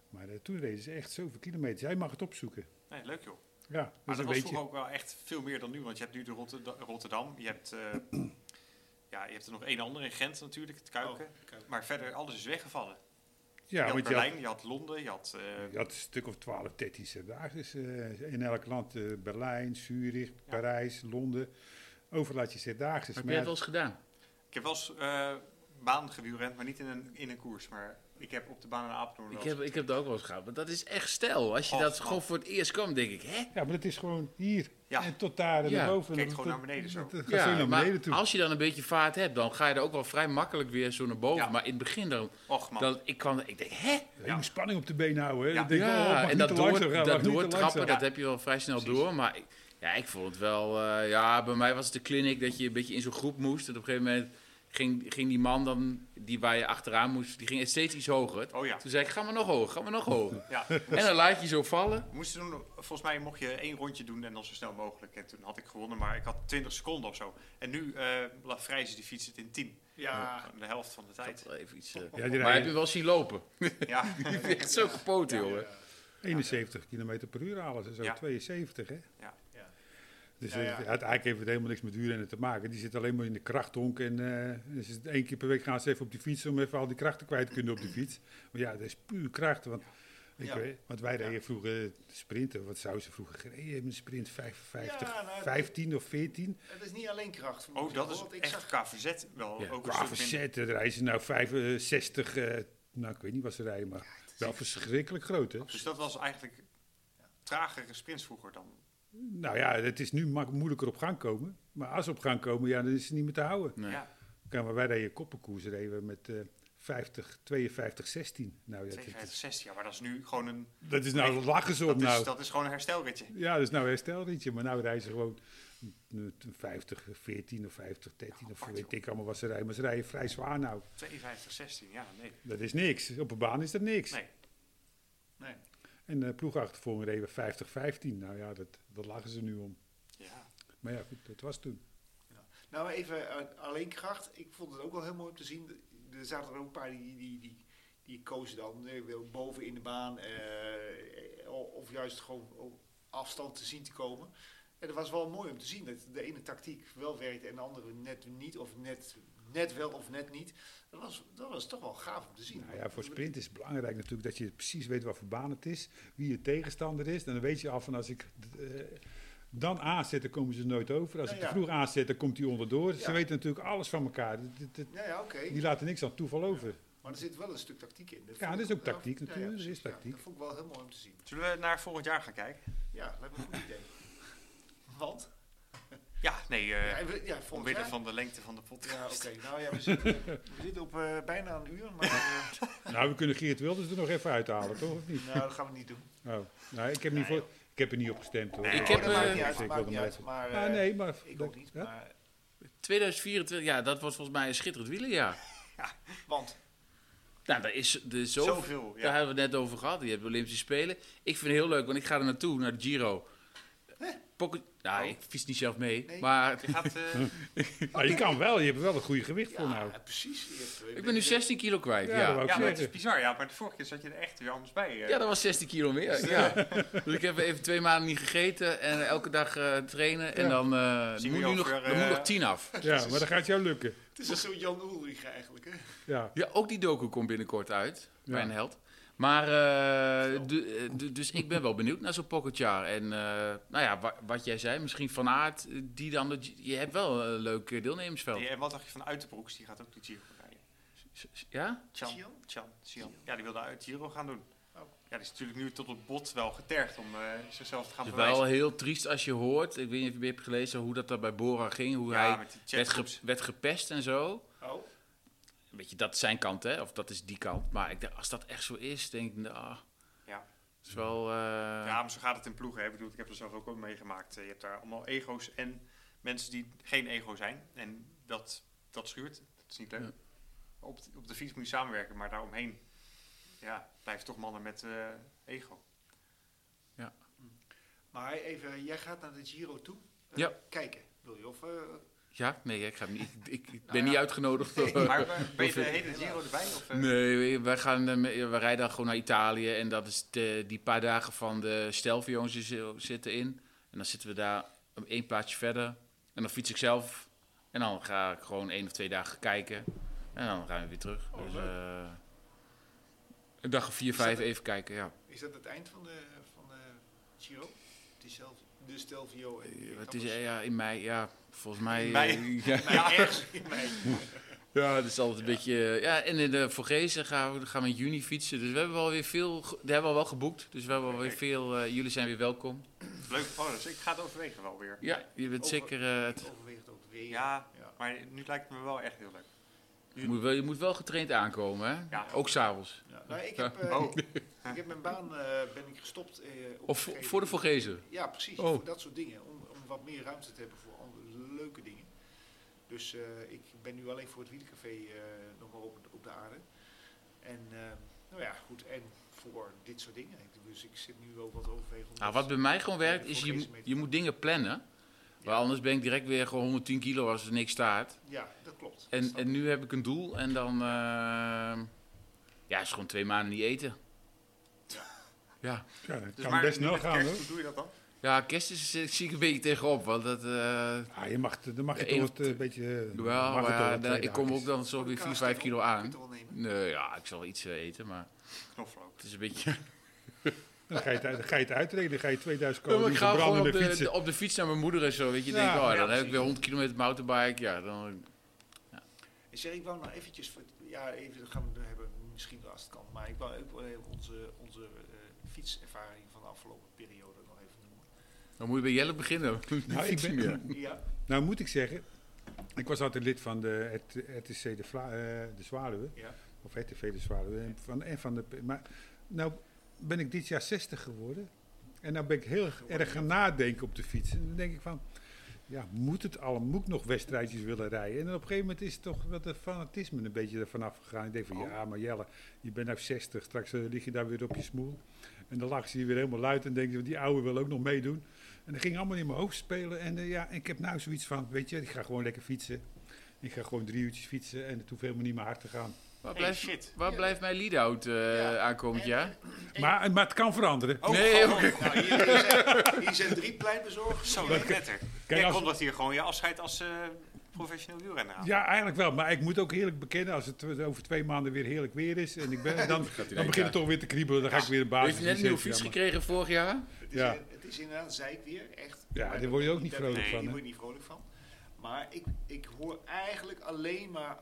S1: Maar eh, toen reden ze echt zoveel kilometers. Jij mag het opzoeken.
S4: nee, leuk joh.
S1: Ja, dat
S4: Maar
S1: is
S4: dat
S1: een
S4: was
S1: beetje.
S4: vroeger ook wel echt veel meer dan nu. Want je hebt nu de Rotterdam, Rotterdam je, hebt, eh, (clears throat) ja, je hebt er nog één ander in Gent natuurlijk, het Kuiken.
S3: Oh, Kuiken.
S4: Maar verder, alles is weggevallen.
S1: Ja,
S4: je had
S1: want je had-
S4: Berlijn, je had Londen, je had... eh,
S1: Je had een stuk of 12, 13 zesdaagse eh, in elk land. eh, Berlijn, Zurich, Parijs, Londen. Overal had je zesdaagse.
S2: Heb jij het wel eens gedaan?
S4: Ik heb wel eens eh, baan gewielrend, maar niet in een, in een koers. Maar ik heb op de baan in Apeldoorn wel
S2: Ik
S4: eens-
S2: heb, ik heb dat ook wel eens gehad. Maar dat is echt stijl. Als je
S4: Och,
S2: dat
S4: man.
S2: gewoon voor het eerst kwam, denk ik, hè?
S1: Ja, maar het is gewoon hier
S4: Ja.
S1: en tot daar en
S2: Ja.
S1: naar boven.
S4: Kijk
S1: Dat-
S4: gewoon
S1: dat-
S4: naar beneden zo.
S1: dat- Dat gaat zo
S2: Ja,
S1: naar
S2: maar
S1: beneden toe.
S2: als je dan een beetje vaart hebt, dan ga je er ook wel vrij makkelijk weer zo naar boven.
S4: Ja.
S2: Maar in het begin dan,
S4: Och man,
S2: dan ik kwam, ik denk, hè?
S1: Je moet spanning op de been houden. Hè.
S4: Ja.
S1: Dan denk je, oh, het mag
S2: en
S1: niet
S2: dat,
S1: te
S2: door,
S1: langzaam gaan, het
S2: dat
S1: mag niet te
S2: doortrappen,
S1: langzaam.
S2: dat heb je wel vrij snel
S4: Precies.
S2: door. Maar ik, ja, ik vond het wel... eh, ja, bij mij was het de clinic dat je een beetje in zo'n groep moest. En op een gegeven moment ging, ging die man dan, die waar je achteraan moest, die ging steeds iets hoger.
S4: oh ja.
S2: Toen zei ik, ga maar nog hoger, ga maar nog hoger.
S1: (laughs)
S2: (laughs)
S4: ja.
S2: en dan laat je zo vallen.
S4: We moesten doen, volgens mij mocht je één rondje doen en dan zo snel mogelijk. En toen had ik gewonnen, maar ik had 20 seconden of zo. En nu eh Lafrijze die fietst het in 10.
S3: Ja.
S4: De helft van de tijd.
S2: Dat even iets, eh,
S1: Ja, die
S2: maar heb je
S1: rijden
S2: wel zien lopen?
S1: (laughs)
S4: Ja,
S2: (laughs) Die heeft echt zo gepoten, jongen.
S1: 71 km per uur halen ze zo,
S4: Ja.
S1: 72 hè.
S4: Ja.
S3: Ja.
S1: Dus
S3: Ja, ja.
S1: eh, uiteindelijk heeft het helemaal niks met huurrennen te maken. Die zit alleen maar in de krachthonk. En eh, dus het- één keer per week gaan ze even op die fiets om even al die krachten kwijt te kunnen op die fiets. Maar ja, dat is puur kracht. Want, ik
S3: Ja.
S1: weet- want wij reden vroeger sprinten. Wat zouden ze vroeger gereden hebben? Een sprint 55,
S3: Ja, nou,
S1: 15 of 14.
S3: Het is niet alleen kracht.
S4: oh dat
S3: Want
S4: is
S3: ik
S4: echt
S3: zag-
S4: KVZ wel.
S2: Ja,
S4: ook een
S1: Qua
S4: stuk minder.
S1: verzetten rijden ze nou 65. eh, nou, ik weet niet wat ze rijden, maar wel verschrikkelijk groot hè.
S4: Dus dat was eigenlijk tragere sprints vroeger dan.
S1: Nou ja, het is nu mak- moeilijker op gang komen. Maar als ze op gang komen, ja, dan is het niet meer te houden.
S2: Nee.
S4: Ja,
S1: Kijk, maar wij reden koppenkoers reden we met eh 50, 52, 16. Nou, ja, dat,
S4: 52,
S1: is,
S4: 60. Ja, maar dat is nu gewoon een.
S1: dat is nou lachen ze
S4: Dat
S1: op
S4: is,
S1: nou.
S4: dat is gewoon een herstelritje.
S1: Ja, dat is nou herstelritje. Maar nou rijden ze gewoon eh, 50, 14 of 50, 13 of
S4: apart,
S1: weet
S4: joh.
S1: ik allemaal wat ze rijden. Maar ze rijden vrij zwaar nou.
S4: 52, 16. Ja, nee.
S1: Dat is niks. Op een baan is dat niks.
S4: Nee.
S3: Nee.
S1: En eh ploegachtervolging reden we 50, 15. Nou ja, dat, dat lachen ze nu om.
S4: Ja.
S1: Maar ja, goed, dat was toen.
S3: Nou, even eh, alleen kracht. Ik vond het ook wel heel mooi om te zien. Er zaten er ook een paar die, die, die, die kozen dan eh, wel boven eh, in de baan. eh, o- of juist gewoon op afstand te zien te komen. En dat was wel mooi om te zien dat de ene tactiek wel werkte en de andere net niet, of net, net wel of net niet. Dat was, dat was toch wel gaaf om te zien.
S1: Nou ja, voor sprint is het belangrijk natuurlijk dat je precies weet wat voor baan het is, wie je tegenstander is. En dan weet je af van als ik eh, dan aanzet, dan komen ze er nooit over. Als
S3: Ja,
S1: ik te
S3: ja.
S1: vroeg aanzet, dan komt hij onderdoor. Ze
S3: Ja.
S1: weten natuurlijk alles van elkaar. Dit- dit- dit-
S3: Ja, ja oké.
S1: Die laten niks aan toeval over.
S3: Maar er zit wel een stuk tactiek in.
S1: Ja,
S3: vond
S1: dat
S3: ik-
S1: is ook tactiek
S3: ja, ja,
S1: natuurlijk, dat
S3: precies,
S1: is
S3: ja.
S1: tactiek.
S3: Dat vond ik wel heel mooi om te zien.
S4: Zullen we naar volgend jaar gaan kijken?
S3: Ja, lijkt me een goed idee. Want?
S4: Ja, nee, eh
S3: Ja, we- ja, volgend
S4: omwille
S3: jaar-
S4: van de lengte van de podcast.
S3: Ja, oké. Nou ja, we
S1: (laughs)
S3: zitten, we zitten op eh, bijna een uur, maar eh,
S1: Nou, we kunnen Geert Wilders er nog even uithalen, toch? Of niet?
S3: nou, dat gaan we niet doen.
S1: Oh, nou, ik, heb niet voor, ik heb er niet op gestemd hoor.
S2: Ik
S3: Oh,
S2: heb,
S3: dat maakt
S2: eh,
S3: niet uit,
S1: Ik
S3: maakt
S1: wilde
S3: niet
S1: maar
S3: uit.
S1: even-
S3: Maar,
S1: Ah,
S3: eh,
S1: nee, maar...
S3: Ik ook niet,
S1: Ja?
S3: maar,
S2: 2024, ja, dat was volgens mij een schitterend wielerjaar.
S3: want
S2: Nou, daar is de zoveel.
S4: Zoveel, ja.
S2: Daar hebben we het net over gehad. Je hebt de Olympische Spelen. Ik vind het heel leuk, want ik ga er naartoe, naar de Giro. Pocket... Nou,
S4: Oh.
S2: ik fiets niet zelf mee.
S3: Nee.
S2: Maar
S4: Je gaat,
S2: (laughs)
S4: eh,
S1: Nou, je kan wel, je hebt er wel een goede gewicht voor nou.
S3: ja, precies. Je hebt-
S2: ik ben nu 16 kilo kwijt.
S1: Ja,
S2: Ja,
S1: dat wou ik
S4: ja, maar het
S1: zeggen.
S4: is bizar. Ja, maar de vorige keer zat je er echt weer anders bij. eh.
S2: Ja, dat was 16 kilo meer. Ja. Dus ik heb even twee maanden niet gegeten en elke dag eh, trainen. En
S1: Ja.
S2: dan eh,
S4: Zien
S2: moet
S4: we
S2: nu
S4: je
S2: nog,
S4: over,
S2: er moet
S4: eh,
S2: nog 10 af.
S1: Ja, maar dat gaat jou lukken.
S3: Het is echt zo'n Jan Ulrich eigenlijk, hè?
S1: Ja.
S2: Ja, ook die docu komt binnenkort uit.
S1: Ja.
S2: Mijn held. Maar, eh, du- eh, du- dus ik ben wel benieuwd naar zo'n pocketjaar. En eh, nou ja, wa- wat jij zei, misschien Van Aert, eh, die dan... de G- je hebt wel een leuk eh, deelnemersveld.
S4: Die- en wat dacht je van Uiterbroeks? Die gaat ook de Giro rijden.
S2: S- s- Ja?
S4: Chan,
S3: Gian?
S4: Chan, Chan. Ja, die wilde uit Giro gaan doen.
S3: Oh.
S4: Ja, die is natuurlijk nu tot op bot wel getergd om eh, zichzelf te gaan
S2: Het is wel
S4: bewijzen.
S2: heel triest als je hoort, ik weet niet of je hebt gelezen hoe dat daar bij Bora ging, hoe
S4: ja,
S2: hij
S4: met die
S2: werd, ge-
S4: chatgroeps.
S2: werd gepest en zo.
S3: Oh,
S2: Weet je, dat is zijn kant, hè? Of dat is die kant. Maar ik dacht, als dat echt zo is, denk ik, nou,
S4: Ja.
S2: is wel... eh,
S4: Ja, maar zo gaat het in ploegen. Hè. Ik bedoel, ik heb er zelf ook al meegemaakt. Eh, Je hebt daar allemaal ego's en mensen die geen ego zijn. En dat, dat schuurt. Dat is niet leuk.
S2: Ja.
S4: Op, de- op de fiets moet je samenwerken, maar daaromheen ja, blijven toch mannen met eh,
S2: (laughs)
S4: ego.
S3: maar even, jij gaat naar de Giro toe. eh,
S2: Ja.
S3: Kijken, wil je? Of, eh,
S2: ja? Nee, ik, ga hem niet, ik, ik ben
S3: Nou ja.
S2: niet
S4: (laughs)
S2: uitgenodigd. door-
S4: Maar eh, ben je de hele
S3: Helaas.
S4: Giro erbij? Of, eh?
S2: Nee, wij, gaan, eh, me- wij rijden dan gewoon naar Italië. En dat is de- die paar dagen van de Stelvio zi- zitten in. En dan zitten we daar om één plaatsje verder. En dan fiets ik zelf. En dan ga ik gewoon één of twee dagen kijken. En dan gaan we weer terug.
S3: Oh,
S2: dus,
S3: leuk.
S2: eh, een dag of vier,
S3: dat
S2: vijf
S3: het?
S2: even kijken, ja.
S3: is dat het eind van de, van de Giro? Die zelf, de Stelvio. en die
S2: Eh, Het
S3: etappes?
S2: is eh, ja, in mei, ja. Volgens mij...
S4: In mei?
S2: eh, (laughs) ja.
S4: Ja, ergens.
S2: Ja, het is altijd een beetje. eh, Ja, en in de Vorgezen gaan we, gaan we in juni fietsen. Dus we hebben wel weer veel. ge- Die hebben we al wel geboekt. Dus we hebben alweer
S4: Kijk.
S2: veel. eh, jullie zijn weer welkom.
S4: Leuk, oh, dus ik ga het overwegen wel weer.
S2: Ja, je bent
S3: Over-
S2: zeker. eh,
S3: Ik
S2: het-
S3: overweeg het ook weer.
S4: Ja,
S3: ja.
S4: maar nu lijkt het me wel echt heel leuk.
S2: je, moet wel, je moet wel getraind aankomen, hè?
S4: Ja.
S2: Ook s'avonds.
S3: Ja, nou, ik, heb, eh,
S4: Oh.
S3: ik, ik heb mijn baan eh, ben ik gestopt. eh,
S2: Of
S3: op
S2: voor,
S3: een gegeven
S2: voor de
S3: moment.
S2: Vorgezen.
S3: Ja, precies.
S2: Oh.
S3: Voor dat soort dingen. Om, om wat meer ruimte te hebben voor andere leuke dingen. Dus eh, ik ben nu alleen voor het wielercafé eh, nog maar op, op de aarde. En eh, nou ja, goed. En voor dit soort dingen. Ik- Dus ik zit nu wel wat overwegen. om
S2: Nou,
S3: dat-
S2: wat bij mij gewoon werkt,
S3: Ja,
S2: is je,
S3: Vorgezen
S2: moet-
S3: mee te
S2: je
S3: gaan.
S2: moet dingen plannen.
S3: Ja.
S2: Maar anders ben ik direct weer gewoon 110 kilo als er niks staat.
S3: Ja, dat klopt.
S2: En,
S3: Snap ik.
S2: en nu heb ik een doel en dan. eh, ja, is gewoon twee maanden niet eten.
S3: Ja.
S2: Ja.
S1: Ja, dat
S4: Dus
S1: kan
S4: maar
S1: best
S4: nu
S1: snel
S4: met
S1: gaan
S4: kerst,
S1: hoor.
S4: Hoe doe je dat dan?
S2: Ja, kerst is, eh, zie ik een beetje tegenop, want dat... eh
S1: Ah, je mag, dan mag je
S2: De een
S1: toch
S2: of
S1: wat, eh, een beetje... eh,
S2: wel,
S1: mag
S2: maar
S1: het toch
S2: ja,
S1: wat
S2: dan-
S1: twee
S2: ik kom
S1: dagjes.
S2: ook dan zo
S3: Voor de
S2: weer 4,
S3: kaas
S2: 5
S3: toch?
S2: kilo
S3: Kun
S2: aan.
S3: je het wel nemen?
S2: Nee, ja, ik zal iets eh, eten, maar
S4: Knoflook.
S2: het is een beetje...
S1: Dan ga je het, uit- dan ga je het uitreden, dan ga je 2000
S2: Ja, maar
S1: calorieën
S2: ik ga
S1: verbranden
S2: gewoon
S1: in de
S2: op de,
S1: fietsen.
S2: de- op de fiets naar mijn moeder en zo, weet je.
S1: Ja,
S2: denk, oh,
S4: ja,
S2: dan heb ik
S4: precies.
S2: weer 100 kilometer mountainbike, ja, dan...
S3: Ik zeg, ik wou nou eventjes, voor- ja, even gaan we het hebben, misschien als het kan, maar ik wou ook wel even onze, onze eh, fietservaring van de afgelopen periode nog even noemen.
S2: (laughs) Dan moet je bij Jelle beginnen. (laughs)
S1: Nou, ik ben- (laughs)
S3: Ja,
S1: Nou moet ik zeggen, ik was altijd lid van de RT- RTC de, Vla, eh, de Zwaluwe,
S3: ja.
S1: of RTV de Zwaluwe, en van, en van de... Maar nou ben ik dit jaar 60 geworden en nou ben ik heel erg gaan nadenken op de fiets. En dan denk ik van, ja, moet het allemaal, moet ik nog wedstrijdjes willen rijden? En op een gegeven moment is toch wat de fanatisme een beetje ervan afgegaan. Ik denk van, ja, maar Jelle, je bent nou 60, straks eh, lig je daar weer op je smoel. En dan lachen ze je weer helemaal luid en denken ze, die oude wil ook nog meedoen. En dat ging allemaal in mijn hoofd spelen. En eh, ja, ik heb nou zoiets van, weet je, ik ga gewoon lekker fietsen. Ik ga gewoon drie uurtjes fietsen en het hoeft helemaal niet meer hard te gaan.
S2: Waar
S4: Hey,
S2: blijft,
S4: shit.
S2: Waar blijft mijn lead-out eh,
S5: Ja.
S2: aankomend jaar?
S1: Maar, maar het kan veranderen.
S4: Oh,
S2: Nee,
S4: god.
S3: Nou, hier, hier zijn, hier zijn drie pleinbezorgers.
S4: Zo,
S3: Hier.
S4: dat netter.
S1: Kijk,
S4: Jij
S1: als-
S4: kondigt hier gewoon je afscheid als eh, professioneel wielrenner aan.
S1: Ja, eigenlijk wel. Maar ik moet ook eerlijk bekennen, als het over twee maanden weer heerlijk weer is en ik ben, dan, dan begint het toch weer te kriebelen. Dan ga ik weer een basis.
S2: Heeft je net een nieuwe fiets
S1: Ja, maar-
S2: gekregen vorig jaar?
S3: Het, is,
S1: Ja.
S3: het is inderdaad zeikweer, echt.
S1: Ja,
S3: Maar
S1: daar
S3: dat-
S1: word je ook niet
S3: dat-
S1: vrolijk
S3: nee,
S1: van,
S3: Daar
S1: hè?
S3: word je niet vrolijk van. Maar ik, ik hoor eigenlijk alleen maar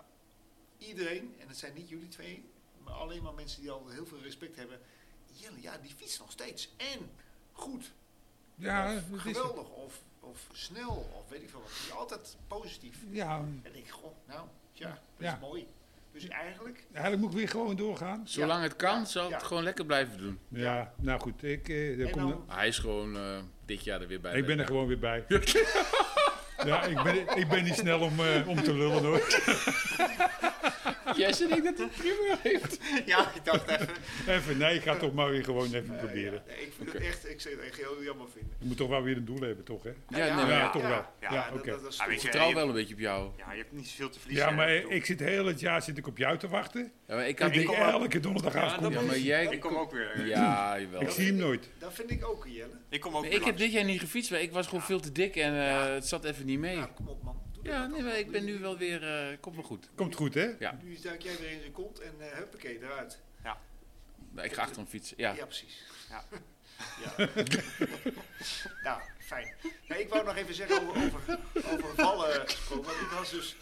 S3: iedereen, en dat zijn niet jullie twee, maar alleen maar mensen die al heel veel respect hebben. Jelle, ja, die fiets nog steeds. En goed.
S1: Ja,
S3: of
S1: dat is
S3: geweldig. Of, of snel. Of weet ik veel wat. Die altijd positief.
S1: ja,
S3: En ik denk, goh, nou, ja, dat
S1: Ja.
S3: is mooi. Dus eigenlijk,
S1: eigenlijk moet ik weer gewoon doorgaan.
S2: Zolang het kan,
S3: Ja.
S2: zal ik het
S3: Ja.
S2: gewoon lekker blijven doen.
S1: Ja, nou goed, ik, eh, daar
S3: en
S1: kom-
S3: dan,
S2: Hij is gewoon eh, dit jaar er weer bij.
S1: ik ben er gewoon weer bij. ja, ik ben, ik ben niet snel om, eh, om te lullen hoor. (laughs)
S2: Jij zegt niet dat hij prima heeft.
S3: (laughs) ja, ik dacht even.
S1: Even, nee, ik ga het toch maar weer gewoon even proberen.
S3: Nee, ik vind het echt, ik zou het echt heel jammer vinden.
S1: Je moet toch wel weer een doel hebben, toch hè?
S2: Ja, nee,
S1: Ja,
S2: maar
S1: toch wel. Ja,
S4: Ja,
S3: dat-
S1: oké.
S3: dat- dat is goed.
S4: Ja, Ah, weet je,
S2: vertrouw wel een beetje op jou.
S4: Ja, je hebt niet zoveel te verliezen.
S1: Ja, maar
S4: hè,
S1: eh,
S4: bedoel.
S1: ik zit heel het jaar zit ik op jou te wachten.
S2: Ja, maar ik
S1: Ik
S2: had
S1: denk
S4: kom ook-
S1: elke donderdagavond
S4: Ja,
S1: kom
S4: dat
S1: je.
S2: Ja, maar jij...
S4: Ik kom ook weer. eh,
S2: Ja, jawel.
S1: Ik zie hem nooit.
S3: Dat vind ik ook, Jelle.
S4: Ik kom ook
S2: Nee,
S4: weer
S2: ik heb dit
S4: langs.
S2: jaar niet gefietst, maar ik was gewoon veel te dik en eh, het zat even niet mee.
S3: Ja, Nou, kom op man. Doe
S2: Ja,
S3: dat
S2: nee,
S3: dan.
S2: maar ik ben nu wel weer... eh komt wel goed.
S1: Komt goed hè?
S3: Nu duik jij weer in zijn kont en eh huppakee, eruit.
S2: Nou, Ik ga achter hem fietsen. Ja.
S3: Ja, precies.
S4: Ja.
S3: (laughs) Ja. nou, fijn. Nee, ik wou nog even zeggen over, over, over vallen gesproken. Want ik was dus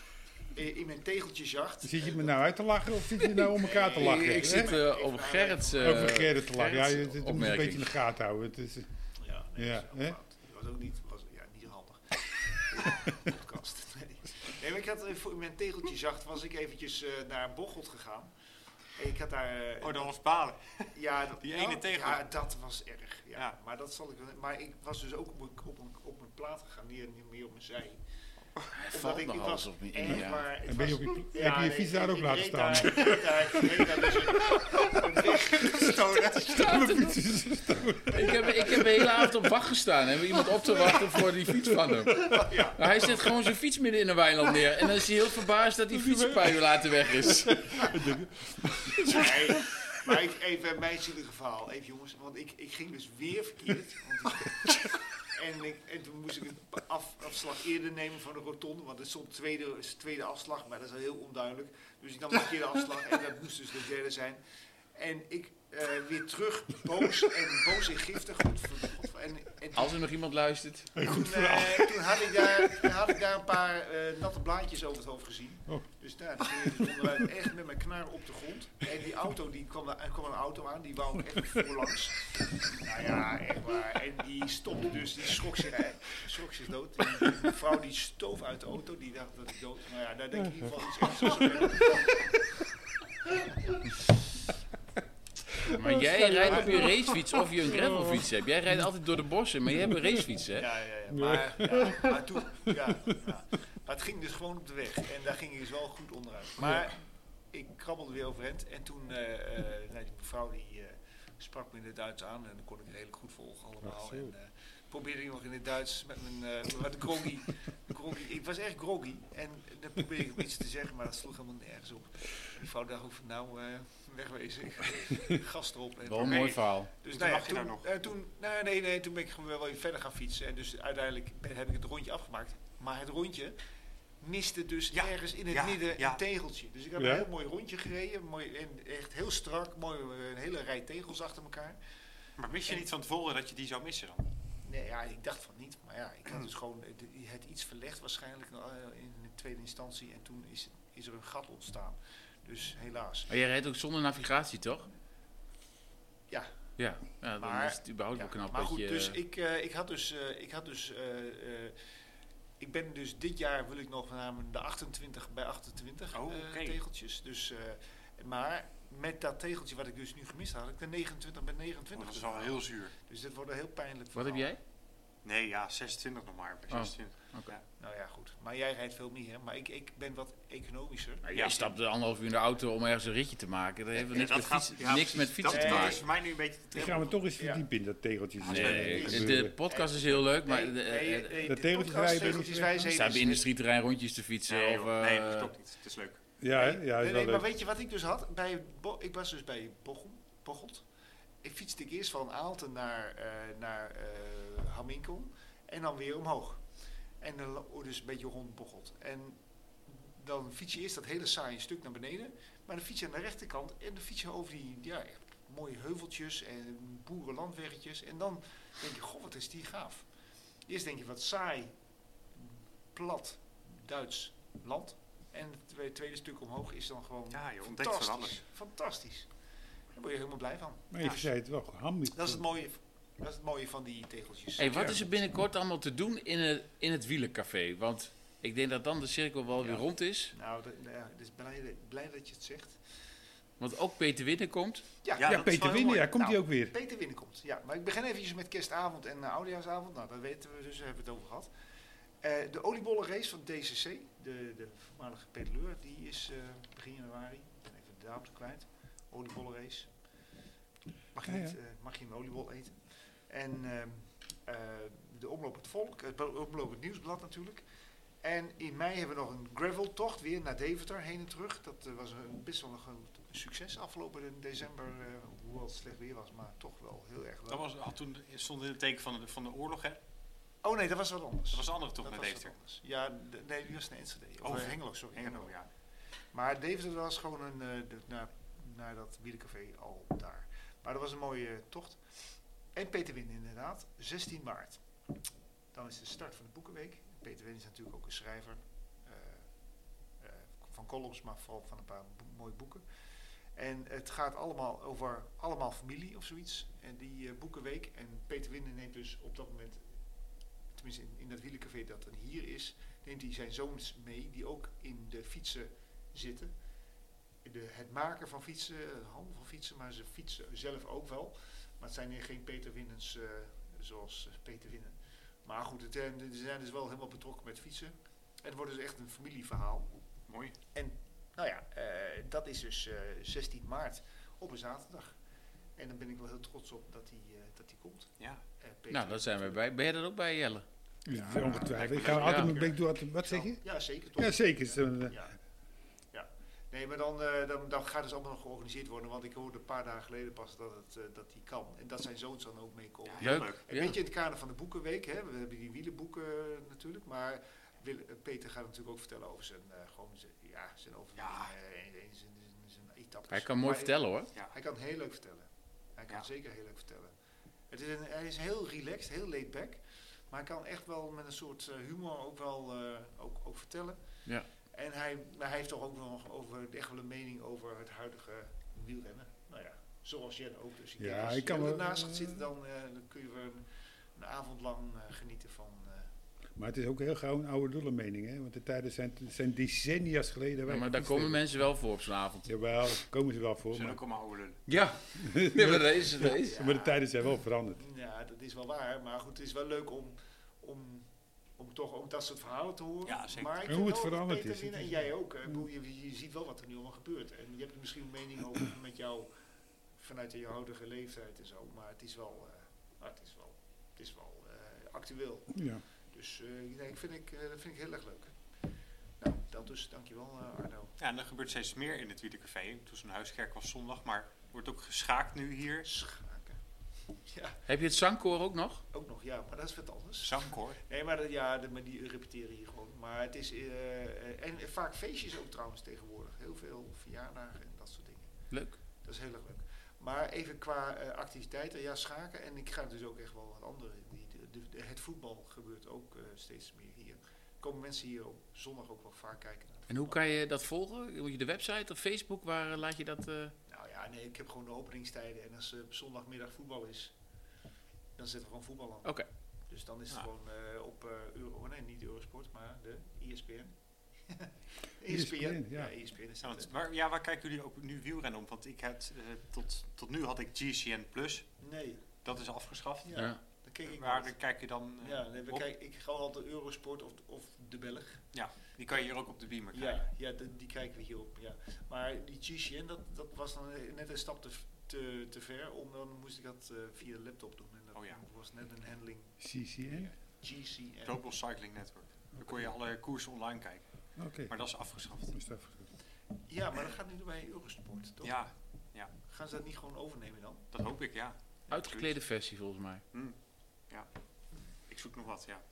S3: eh, in mijn tegeltjesjacht.
S1: Zit je me nou uit te lachen of zit je nou om elkaar te lachen?
S2: Ik, ik zit
S1: hè?
S2: eh, op Gerrits... eh,
S1: Over Gerrit te lachen. Ja, je, het
S2: Gerrits
S1: moet je een
S2: opmerking.
S1: beetje in de gaten houden. Het
S2: (laughs)
S1: is,
S3: Ja, nee,
S1: Ja,
S3: dat is
S1: hè?
S3: heel fout. Dat was ook niet, was, ja, niet handig. (laughs) podcast. Nee. nee, maar ik had eh, voor mijn tegeltje zacht was ik eventjes eh, naar Bocholt gegaan. En ik had daar... eh,
S4: Oh, dat was balen.
S3: ja, dat-
S4: die ene
S3: nou,
S4: tegel.
S3: Ja, dat was erg. Ja.
S4: Ja.
S3: Maar dat zal ik wel... Maar ik was dus ook op mijn, op mijn, op mijn plaat gegaan, niet niet meer op mijn zij.
S2: Hij
S3: Omdat
S2: valt
S3: ik-
S2: nog
S3: ik
S2: alles
S3: was
S2: op me in,
S3: erg
S2: ja.
S3: (laughs)
S1: (laughs)
S3: waar- ik
S1: en ben je
S3: was-
S1: op je,
S3: ja,
S1: heb je je
S3: nee,
S1: fiets daar
S3: ik-
S1: ook
S3: ik
S1: laten
S3: reed
S1: staan?
S3: daar- ik reed daar- ik reed daar dus
S1: (laughs)
S3: een- een weg-
S1: Mijn fiets is-
S2: Ik heb, ik heb de hele avond op wacht gestaan. Hebben iemand op te wachten voor die fiets van hem.
S3: Ja.
S2: Maar hij zet gewoon zijn fiets midden in een weiland neer. En dan is hij heel verbaasd dat die fiets een paar uur later weg is.
S3: Nee, maar even, even mijn zielige verhaal. Even jongens, want ik, ik ging dus weer verkeerd. Want ik- en, ik, en toen moest ik een pa- af, afslag eerder nemen van de rotonde. Want het stond tweede, is tweede afslag, maar dat is al heel onduidelijk. Dus ik nam de verkeerde afslag en dat moest dus de derde zijn. En ik eh, weer terug, boos en boos en giftig. Goed, voor- God, en, en
S2: Als er nog iemand luistert.
S3: toen, eh, toen, had ik daar, toen had ik daar een paar eh, natte blaadjes over het hoofd gezien.
S1: Oh.
S3: Dus daar ging ik dus onderuit echt met mijn knar op de grond. En die auto, die kwam, er kwam een auto aan, die wou ik echt voorlangs. Nou ja, echt waar. En die stopte dus, die schrok zich, eh, schrok zich dood. Die vrouw die stoof uit de auto, die dacht dat ik dood was. Nou ja, daar denk ik in ieder geval iets anders aan.
S2: Maar jij rijdt op je racefiets of je een gravelfiets hebt. Jij rijdt altijd door de bossen, maar je hebt een racefiets, hè?
S3: Ja, ja, ja. Maar, ja, maar toen, ja, ja. Maar het ging dus gewoon op de weg. En daar ging ik dus wel goed onderuit. Maar ik krabbelde weer overeind. En toen, eh eh, nou, die mevrouw die eh, sprak me in het Duits aan. En dan kon ik redelijk goed volgen allemaal.
S1: Ach, zo.
S3: En eh, probeerde ik nog in het Duits met mijn, eh met de groggy, groggy. Ik was echt groggy. En dan probeerde ik nog iets te zeggen, maar dat sloeg helemaal nergens op. Die vrouw dacht ook van, nou, eh, wegwezen. Gas erop. En
S2: Wel een mooi verhaal.
S3: dus
S4: Toen
S3: nou ja,
S4: lag je
S3: toen,
S4: daar nog.
S3: eh, toen, nou, nee, nee, toen ben ik gewoon wel weer verder gaan fietsen. En dus uiteindelijk ben- heb ik het rondje afgemaakt. Maar het rondje miste dus
S4: Ja,
S3: ergens in het
S4: ja,
S3: midden
S4: ja.
S3: een tegeltje. Dus ik heb
S1: Ja?
S3: een heel mooi rondje gereden. Mooi, en echt heel strak. Mooi, eh, een hele rij tegels achter elkaar.
S4: Maar wist je niet van tevoren dat je die zou missen dan?
S3: Nee, ja, ik dacht van niet. Maar ja, ik had dus gewoon eh, de- het iets verlegd waarschijnlijk eh, in de tweede instantie. En toen is, is er een gat ontstaan. Dus helaas.
S2: Maar jij rijdt ook zonder navigatie, toch?
S3: Ja.
S2: Ja, ja dan
S3: Maar-
S2: is het überhaupt wel
S3: Ja,
S2: knap
S3: maar
S2: dat
S3: goed,
S2: je...
S3: dus ik, eh, ik had dus, eh, ik had dus, eh, eh, ik ben dus dit jaar wil ik nog naar mijn- de 28 bij 28
S4: Oh,
S3: eh,
S4: oké.
S3: tegeltjes. Dus, eh, maar met dat tegeltje wat ik dus nu gemist had, had ik de 29 bij 29.
S2: Oh,
S4: Dat is
S3: dus
S4: wel heel zuur.
S3: Dus dit wordt een heel pijnlijk.
S2: Wat heb
S3: verhaal.
S2: jij?
S4: Nee, ja, 26 nog maar. bij
S2: Oh.
S4: 26.
S3: Nou ja, goed. Maar jij rijdt veel meer, hè? Maar ik, ik ben wat economischer.
S2: Nou,
S4: Ja.
S2: jij stapt een anderhalf uur in de auto om ergens een ritje te maken. Dat heeft wel
S4: Ja,
S2: niks,
S4: dat
S2: met,
S4: gaat-
S2: fietsen-
S4: ja,
S2: niks met
S4: Dat,
S2: fietsen te
S4: dat is
S2: maken.
S4: voor mij nu een beetje te
S1: Ik
S4: trippen.
S1: ga me toch eens verdiepen in dat tegeltje.
S2: Nee,
S1: Dat
S2: de,
S1: gebeurde.
S2: podcast is heel leuk, maar...
S3: Nee,
S2: de-
S3: nee,
S2: eh,
S3: nee,
S1: de
S3: de
S1: tegeltjes rijden ben ik niet
S3: podcasttegeltjes, wij
S1: meer.
S3: zijn
S2: Staan bij
S3: dus-
S2: industrieterrein rondjes te fietsen
S4: Nee,
S2: of...
S4: joh, nee, dat
S2: eh,
S4: klopt niet. Het is leuk.
S1: Ja, hè? ja, is
S3: nee,
S1: wel
S3: nee, maar
S1: leuk.
S3: weet je wat ik dus had? Bij Bo- ik was dus bij Bochum, Bocholt. Ik fietste ik eerst van Aalten naar, eh naar eh, Hamminkel en dan weer omhoog. En dan lo- dus een beetje rond Bocholt. En dan fiets je eerst dat hele saaie stuk naar beneden. Maar dan fiets je aan de rechterkant en dan fiets je over die ja, echt mooie heuveltjes en boerenlandweggetjes. En dan denk je, goh, wat is die gaaf. Eerst denk je, wat saai, plat, Duits land. En het twe- tweede stuk omhoog is dan gewoon
S4: Ja, je ontdekt van
S3: fantastisch.
S4: alles.
S3: Fantastisch. Daar word je helemaal blij van.
S1: Maar je
S3: Ja.
S1: zei het wel, ham.
S3: Dat is het mooie, dat is het mooie van die tegeltjes.
S2: Hey, wat is er binnenkort allemaal te doen in het, in het wielencafé? Want ik denk dat dan de cirkel wel weer
S3: Ja.
S2: rond is.
S3: Nou, dat, nou ja, dus blij, blij dat je het zegt.
S2: Want ook Peter Winnen komt.
S4: Ja,
S1: Ja,
S4: dat is wel
S1: Peter
S4: heel
S1: Winnen,
S4: mooi.
S1: ja, komt hij
S3: Nou,
S1: ook weer.
S3: Peter binnenkomt. Ja, maar ik begin eventjes met kerstavond en eh, oudejaarsavond. Nou, dat weten we dus, daar hebben we het over gehad. Eh, de oliebollenrace van DCC, de, de voormalige pedaleur, die is eh, begin januari. Ik ben even de datum kwijt. Oliebollenrace. Mag je,
S1: Ja,
S3: niet,
S1: ja.
S3: eh, mag je een oliebol eten? En ehm, eh, de Omloop het Volk, het Bo- Omloop het Nieuwsblad natuurlijk. En in mei hebben we nog een graveltocht weer naar Deventer heen en terug. Dat eh, was een, best wel nog een succes afgelopen december, eh, hoewel het slecht weer was, maar toch wel heel erg
S4: Dat
S3: leuk.
S4: was, had toen stond in het teken van de, van de oorlog, hè?
S3: Oh nee, dat was wat anders.
S4: Dat was de andere toch
S3: Dat
S4: naar
S3: was wat
S4: Deventer.
S3: anders. Ja, d- nee, die was naar Enschede. Of
S4: Oh,
S3: eh, Hengelo, sorry.
S4: Hengelo, ja.
S3: Maar Deventer was gewoon een, eh, de- naar, naar dat biedencafé al daar. Maar dat was een mooie eh, tocht. En Peter Win inderdaad, 16 maart. Dan is de start van de Boekenweek. Peter Win is natuurlijk ook een schrijver eh, eh, van columns, maar vooral van een paar bo- mooie boeken. En het gaat allemaal over allemaal familie of zoiets. En die eh, Boekenweek. En Peter Winnen neemt dus op dat moment, tenminste in, in dat wielencafé dat dan hier is, neemt hij zijn zoons mee, die ook in de fietsen zitten. De, het maken van fietsen, het handel van fietsen, maar ze fietsen zelf ook wel. Maar het zijn hier geen Peter Winnens eh, zoals eh, Peter Winnen. Maar goed, het, eh, ze zijn dus wel helemaal betrokken met fietsen. En het wordt dus echt een familieverhaal.
S4: Mooi.
S3: Nou ja, eh, dat is dus eh, 16 maart op een zaterdag. En daar ben ik wel heel trots op dat die, eh, dat die komt.
S4: Ja.
S3: Eh, Peter
S2: nou, daar zijn we bij. Ben jij dat ook bij, Jelle? Nou,
S1: Ja, ongetwijfeld. Ik
S3: Ja.
S1: ga altijd mijn blik doen. altijd- Wat zeg je?
S3: Ja, zeker toch?
S1: Ja, zeker. is het een, eh,
S3: Ja. ja. Nee, maar dan, eh, dan, dan gaat het allemaal nog georganiseerd worden. Want ik hoorde een paar dagen geleden pas dat, het, eh, dat die kan. En dat zijn zoons dan ook meekomen.
S4: Ja, heel
S2: Leuk.
S4: leuk.
S3: Een
S2: Ja.
S3: beetje in het kader van de Boekenweek. Hè? We hebben die wielenboeken eh, natuurlijk. Maar Wil- eh, Peter gaat natuurlijk ook vertellen over zijn, eh, gewoon zijn, ja, zijn overwinning.
S4: Ja.
S3: eh, en- en zijn, zijn, zijn etappes.
S2: Hij kan mooi
S3: Maar
S2: vertellen hoor.
S3: Hij kan heel leuk vertellen. Hij kan
S4: Ja.
S3: zeker heel leuk vertellen. Het is een, hij is heel relaxed, heel laid back. Maar hij kan echt wel met een soort eh, humor ook wel eh, ook, ook vertellen.
S2: Ja.
S3: En hij, maar hij heeft toch ook nog over, echt wel een mening over het huidige wielrennen. Nou ja, zoals Jen ook. Dus ik
S1: Ja,
S3: denk als
S1: ik kan
S3: Jen
S1: wel-
S3: ernaast gaat zitten, dan, eh, dan kun je er een, een avond lang eh, genieten van... eh,
S1: Maar het is ook heel gauw een oude doelen mening, hè? Want de tijden zijn, zijn decennia's geleden.
S2: Ja,
S1: wij
S2: maar daar
S1: gefietst
S2: komen
S1: hebben.
S2: mensen wel voor op zo'n avond.
S1: Jawel, daar komen ze wel
S4: We
S1: voor.
S4: zijn
S1: Maar,
S4: ook allemaal oude lullen.
S2: Ja, (laughs) nee, maar dat is het. dat is-
S3: Ja.
S1: maar de tijden zijn wel veranderd.
S3: Ja, dat is wel waar. Maar goed, het is wel leuk om, om, om toch ook dat soort verhalen te horen.
S4: Ja, zeker.
S3: Maar ik
S1: En
S3: vind
S1: hoe het
S3: wel dat
S1: veranderd
S3: Peter
S1: is, het
S3: Winnen
S1: is- Mm.
S3: En jij ook. hè. Ik bedoel, Je, je ziet wel wat er nu allemaal gebeurt. En je hebt er misschien een mening over
S1: Mm.
S3: met jou vanuit je huidige leeftijd en zo. Maar het is wel, eh, maar het is wel, het is wel eh, actueel.
S1: Ja.
S3: Dus eh, nee, ik vind ik, eh, dat vind ik heel erg leuk. Nou, dat dus. Dankjewel eh, Arno.
S4: Ja, en er gebeurt steeds meer in het Wiedencafé. Toen zo'n huiskerk was zondag, maar wordt ook geschaakt nu hier.
S3: Schaken. Ja,
S2: Heb je het zangkoor ook nog?
S3: ook nog. Ja, maar dat is wat anders.
S4: Zangkoor.
S3: Nee, maar dat, ja, de, maar die repeteren hier gewoon. Maar het is, eh, eh, en vaak feestjes ook trouwens tegenwoordig. Heel veel verjaardagen en dat soort dingen.
S2: Leuk.
S3: Dat is heel erg leuk. Maar even qua eh, activiteiten, ja, schaken. En ik ga dus ook echt wel wat andere. Die, de, de- de- het voetbal gebeurt ook eh, steeds meer hier. Komen mensen hier op zondag ook wel vaak kijken. Naar
S2: En hoe kan je dat volgen? Moet je de website of Facebook, waar eh, laat je dat... eh,
S3: Nou ja, nee, ik heb gewoon de openingstijden. En als eh, op zondagmiddag voetbal is, dan zetten we gewoon voetbal aan.
S2: Oké.
S3: Dus dan is het
S4: Ah.
S3: gewoon eh, op eh, Euro, nee, niet Eurosport, maar de E ESPN. (laughs) E
S1: ESPN, ja.
S3: ESPN is
S4: Ja,
S3: dat.
S4: want
S3: hè?
S4: waar, ja, waar kijken jullie ook nu wielrennen om? Want ik had, eh, tot, tot nu had ik GCN Plus.
S3: Nee,
S4: Dat is afgeschaft.
S3: ja,
S2: ja.
S3: dan kijk ik
S4: Waar
S3: naar.
S4: kijk je dan eh,
S3: Ja, nee, we
S4: op?
S3: kijk, ik ga altijd Eurosport of, of de Belg.
S4: Die kan je hier ook op de beamer kijken.
S3: Ja, ja de- die kijken we hierop. Ja. Maar die GCN, dat, dat was dan eh, net een stap te, v- te, te ver. Om, dan moest ik dat eh, via de laptop doen. En dat
S4: Oh ja.
S3: was net een handling
S1: CCN?
S3: GCN.
S4: Global Cycling Network. Daar kon je alle koersen online kijken.
S1: Oké.
S4: Maar dat is afgeschaft.
S1: Is dat goed?
S3: Ja, maar dat gaat nu bij Eurosport, toch?
S4: Ja,
S3: Gaan ze dat niet gewoon overnemen dan?
S4: dat hoop ik, ja.
S2: Uitgeklede versie volgens mij.
S4: Ik zoek nog wat, ja.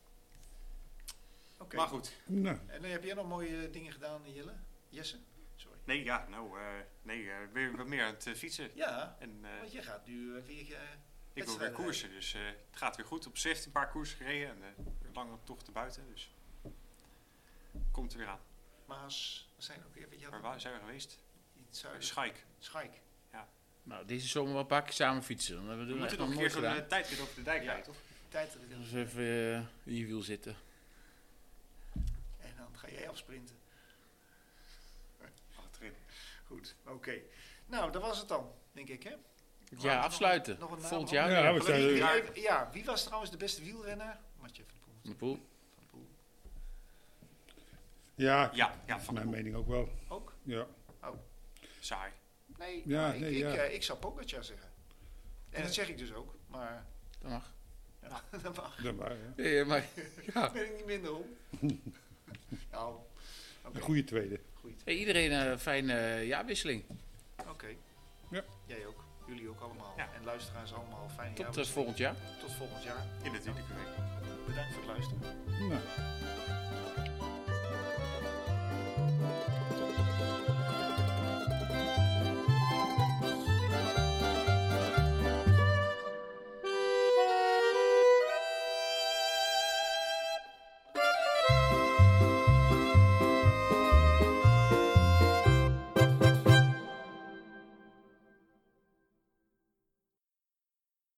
S3: Oké.
S4: Maar goed.
S1: Nou,
S3: En eh, heb jij nog mooie dingen gedaan, Jelle? Jesse? Sorry.
S4: Nee, ja, nou, eh, nee, eh, ik ben wat meer aan het eh, fietsen.
S3: Ja,
S4: En eh,
S3: want je gaat nu eh, weer... eh,
S4: ik wil weer
S3: wedstrijden
S4: koersen, dus eh, het gaat weer goed. Op zicht een paar koersen gereden en eh, een lange tochten buiten, dus komt er weer aan.
S3: Maas, wat zijn er ook weer? Weet je,
S4: Maar
S3: had
S4: waar zijn we geweest? Eh,
S3: iets zuiden.
S4: Schaik.
S3: Schaik.
S2: Nou, deze zomer wel een paar keer samen fietsen. Dan hebben we er
S4: We moeten
S2: echt
S4: nog een keer
S2: nooit
S4: zo'n
S2: gedaan.
S4: eh, tijdrit over de dijk
S3: Ja.
S4: rijden, toch?
S3: Tijd.
S2: Dus even eh, in je wiel zitten.
S3: En dan ga jij afsprinten.
S4: Achterin.
S3: Goed, oké. Nou, dat was het dan, denk ik,
S1: Oh,
S3: hè?
S2: Het
S3: Ja,
S2: jaar
S3: nog-
S2: afsluiten.
S3: nog een naam?
S2: Volgend jaar
S1: Ja,
S2: weer.
S1: we zijn er.
S4: Ja.
S3: Even- Ja, wie was trouwens de beste wielrenner? Mathieu van der Poel.
S2: Van de Poel.
S3: Van der Poel.
S1: Ja,
S4: Ja, ja,
S1: is
S4: van
S1: mijn
S4: Poel.
S1: mening ook wel.
S3: Ook?
S1: Ja.
S4: Saai.
S3: Nee,
S1: Ja,
S3: maar ik,
S1: nee,
S3: ik,
S1: ja.
S3: eh, ik zou Pogacar zeggen. En dat zeg ik dus ook, maar
S2: Dat mag.
S3: ja, (laughs) dat mag.
S1: Dat waren, ja.
S2: Nee, maar ja.
S3: ben ik niet minder om. nou, oké.
S1: Een goede tweede.
S3: Goed.
S2: Hey, iedereen eh, een fijne eh, jaarwisseling.
S3: Oké.
S1: Ja.
S3: Jij ook. Jullie ook allemaal.
S4: Ja.
S3: En luisteraars allemaal. Fijn
S2: Tot eh, volgend jaar.
S3: jaar. Tot volgend jaar.
S4: In de tweede week.
S3: Bedankt voor het luisteren.
S1: Nou.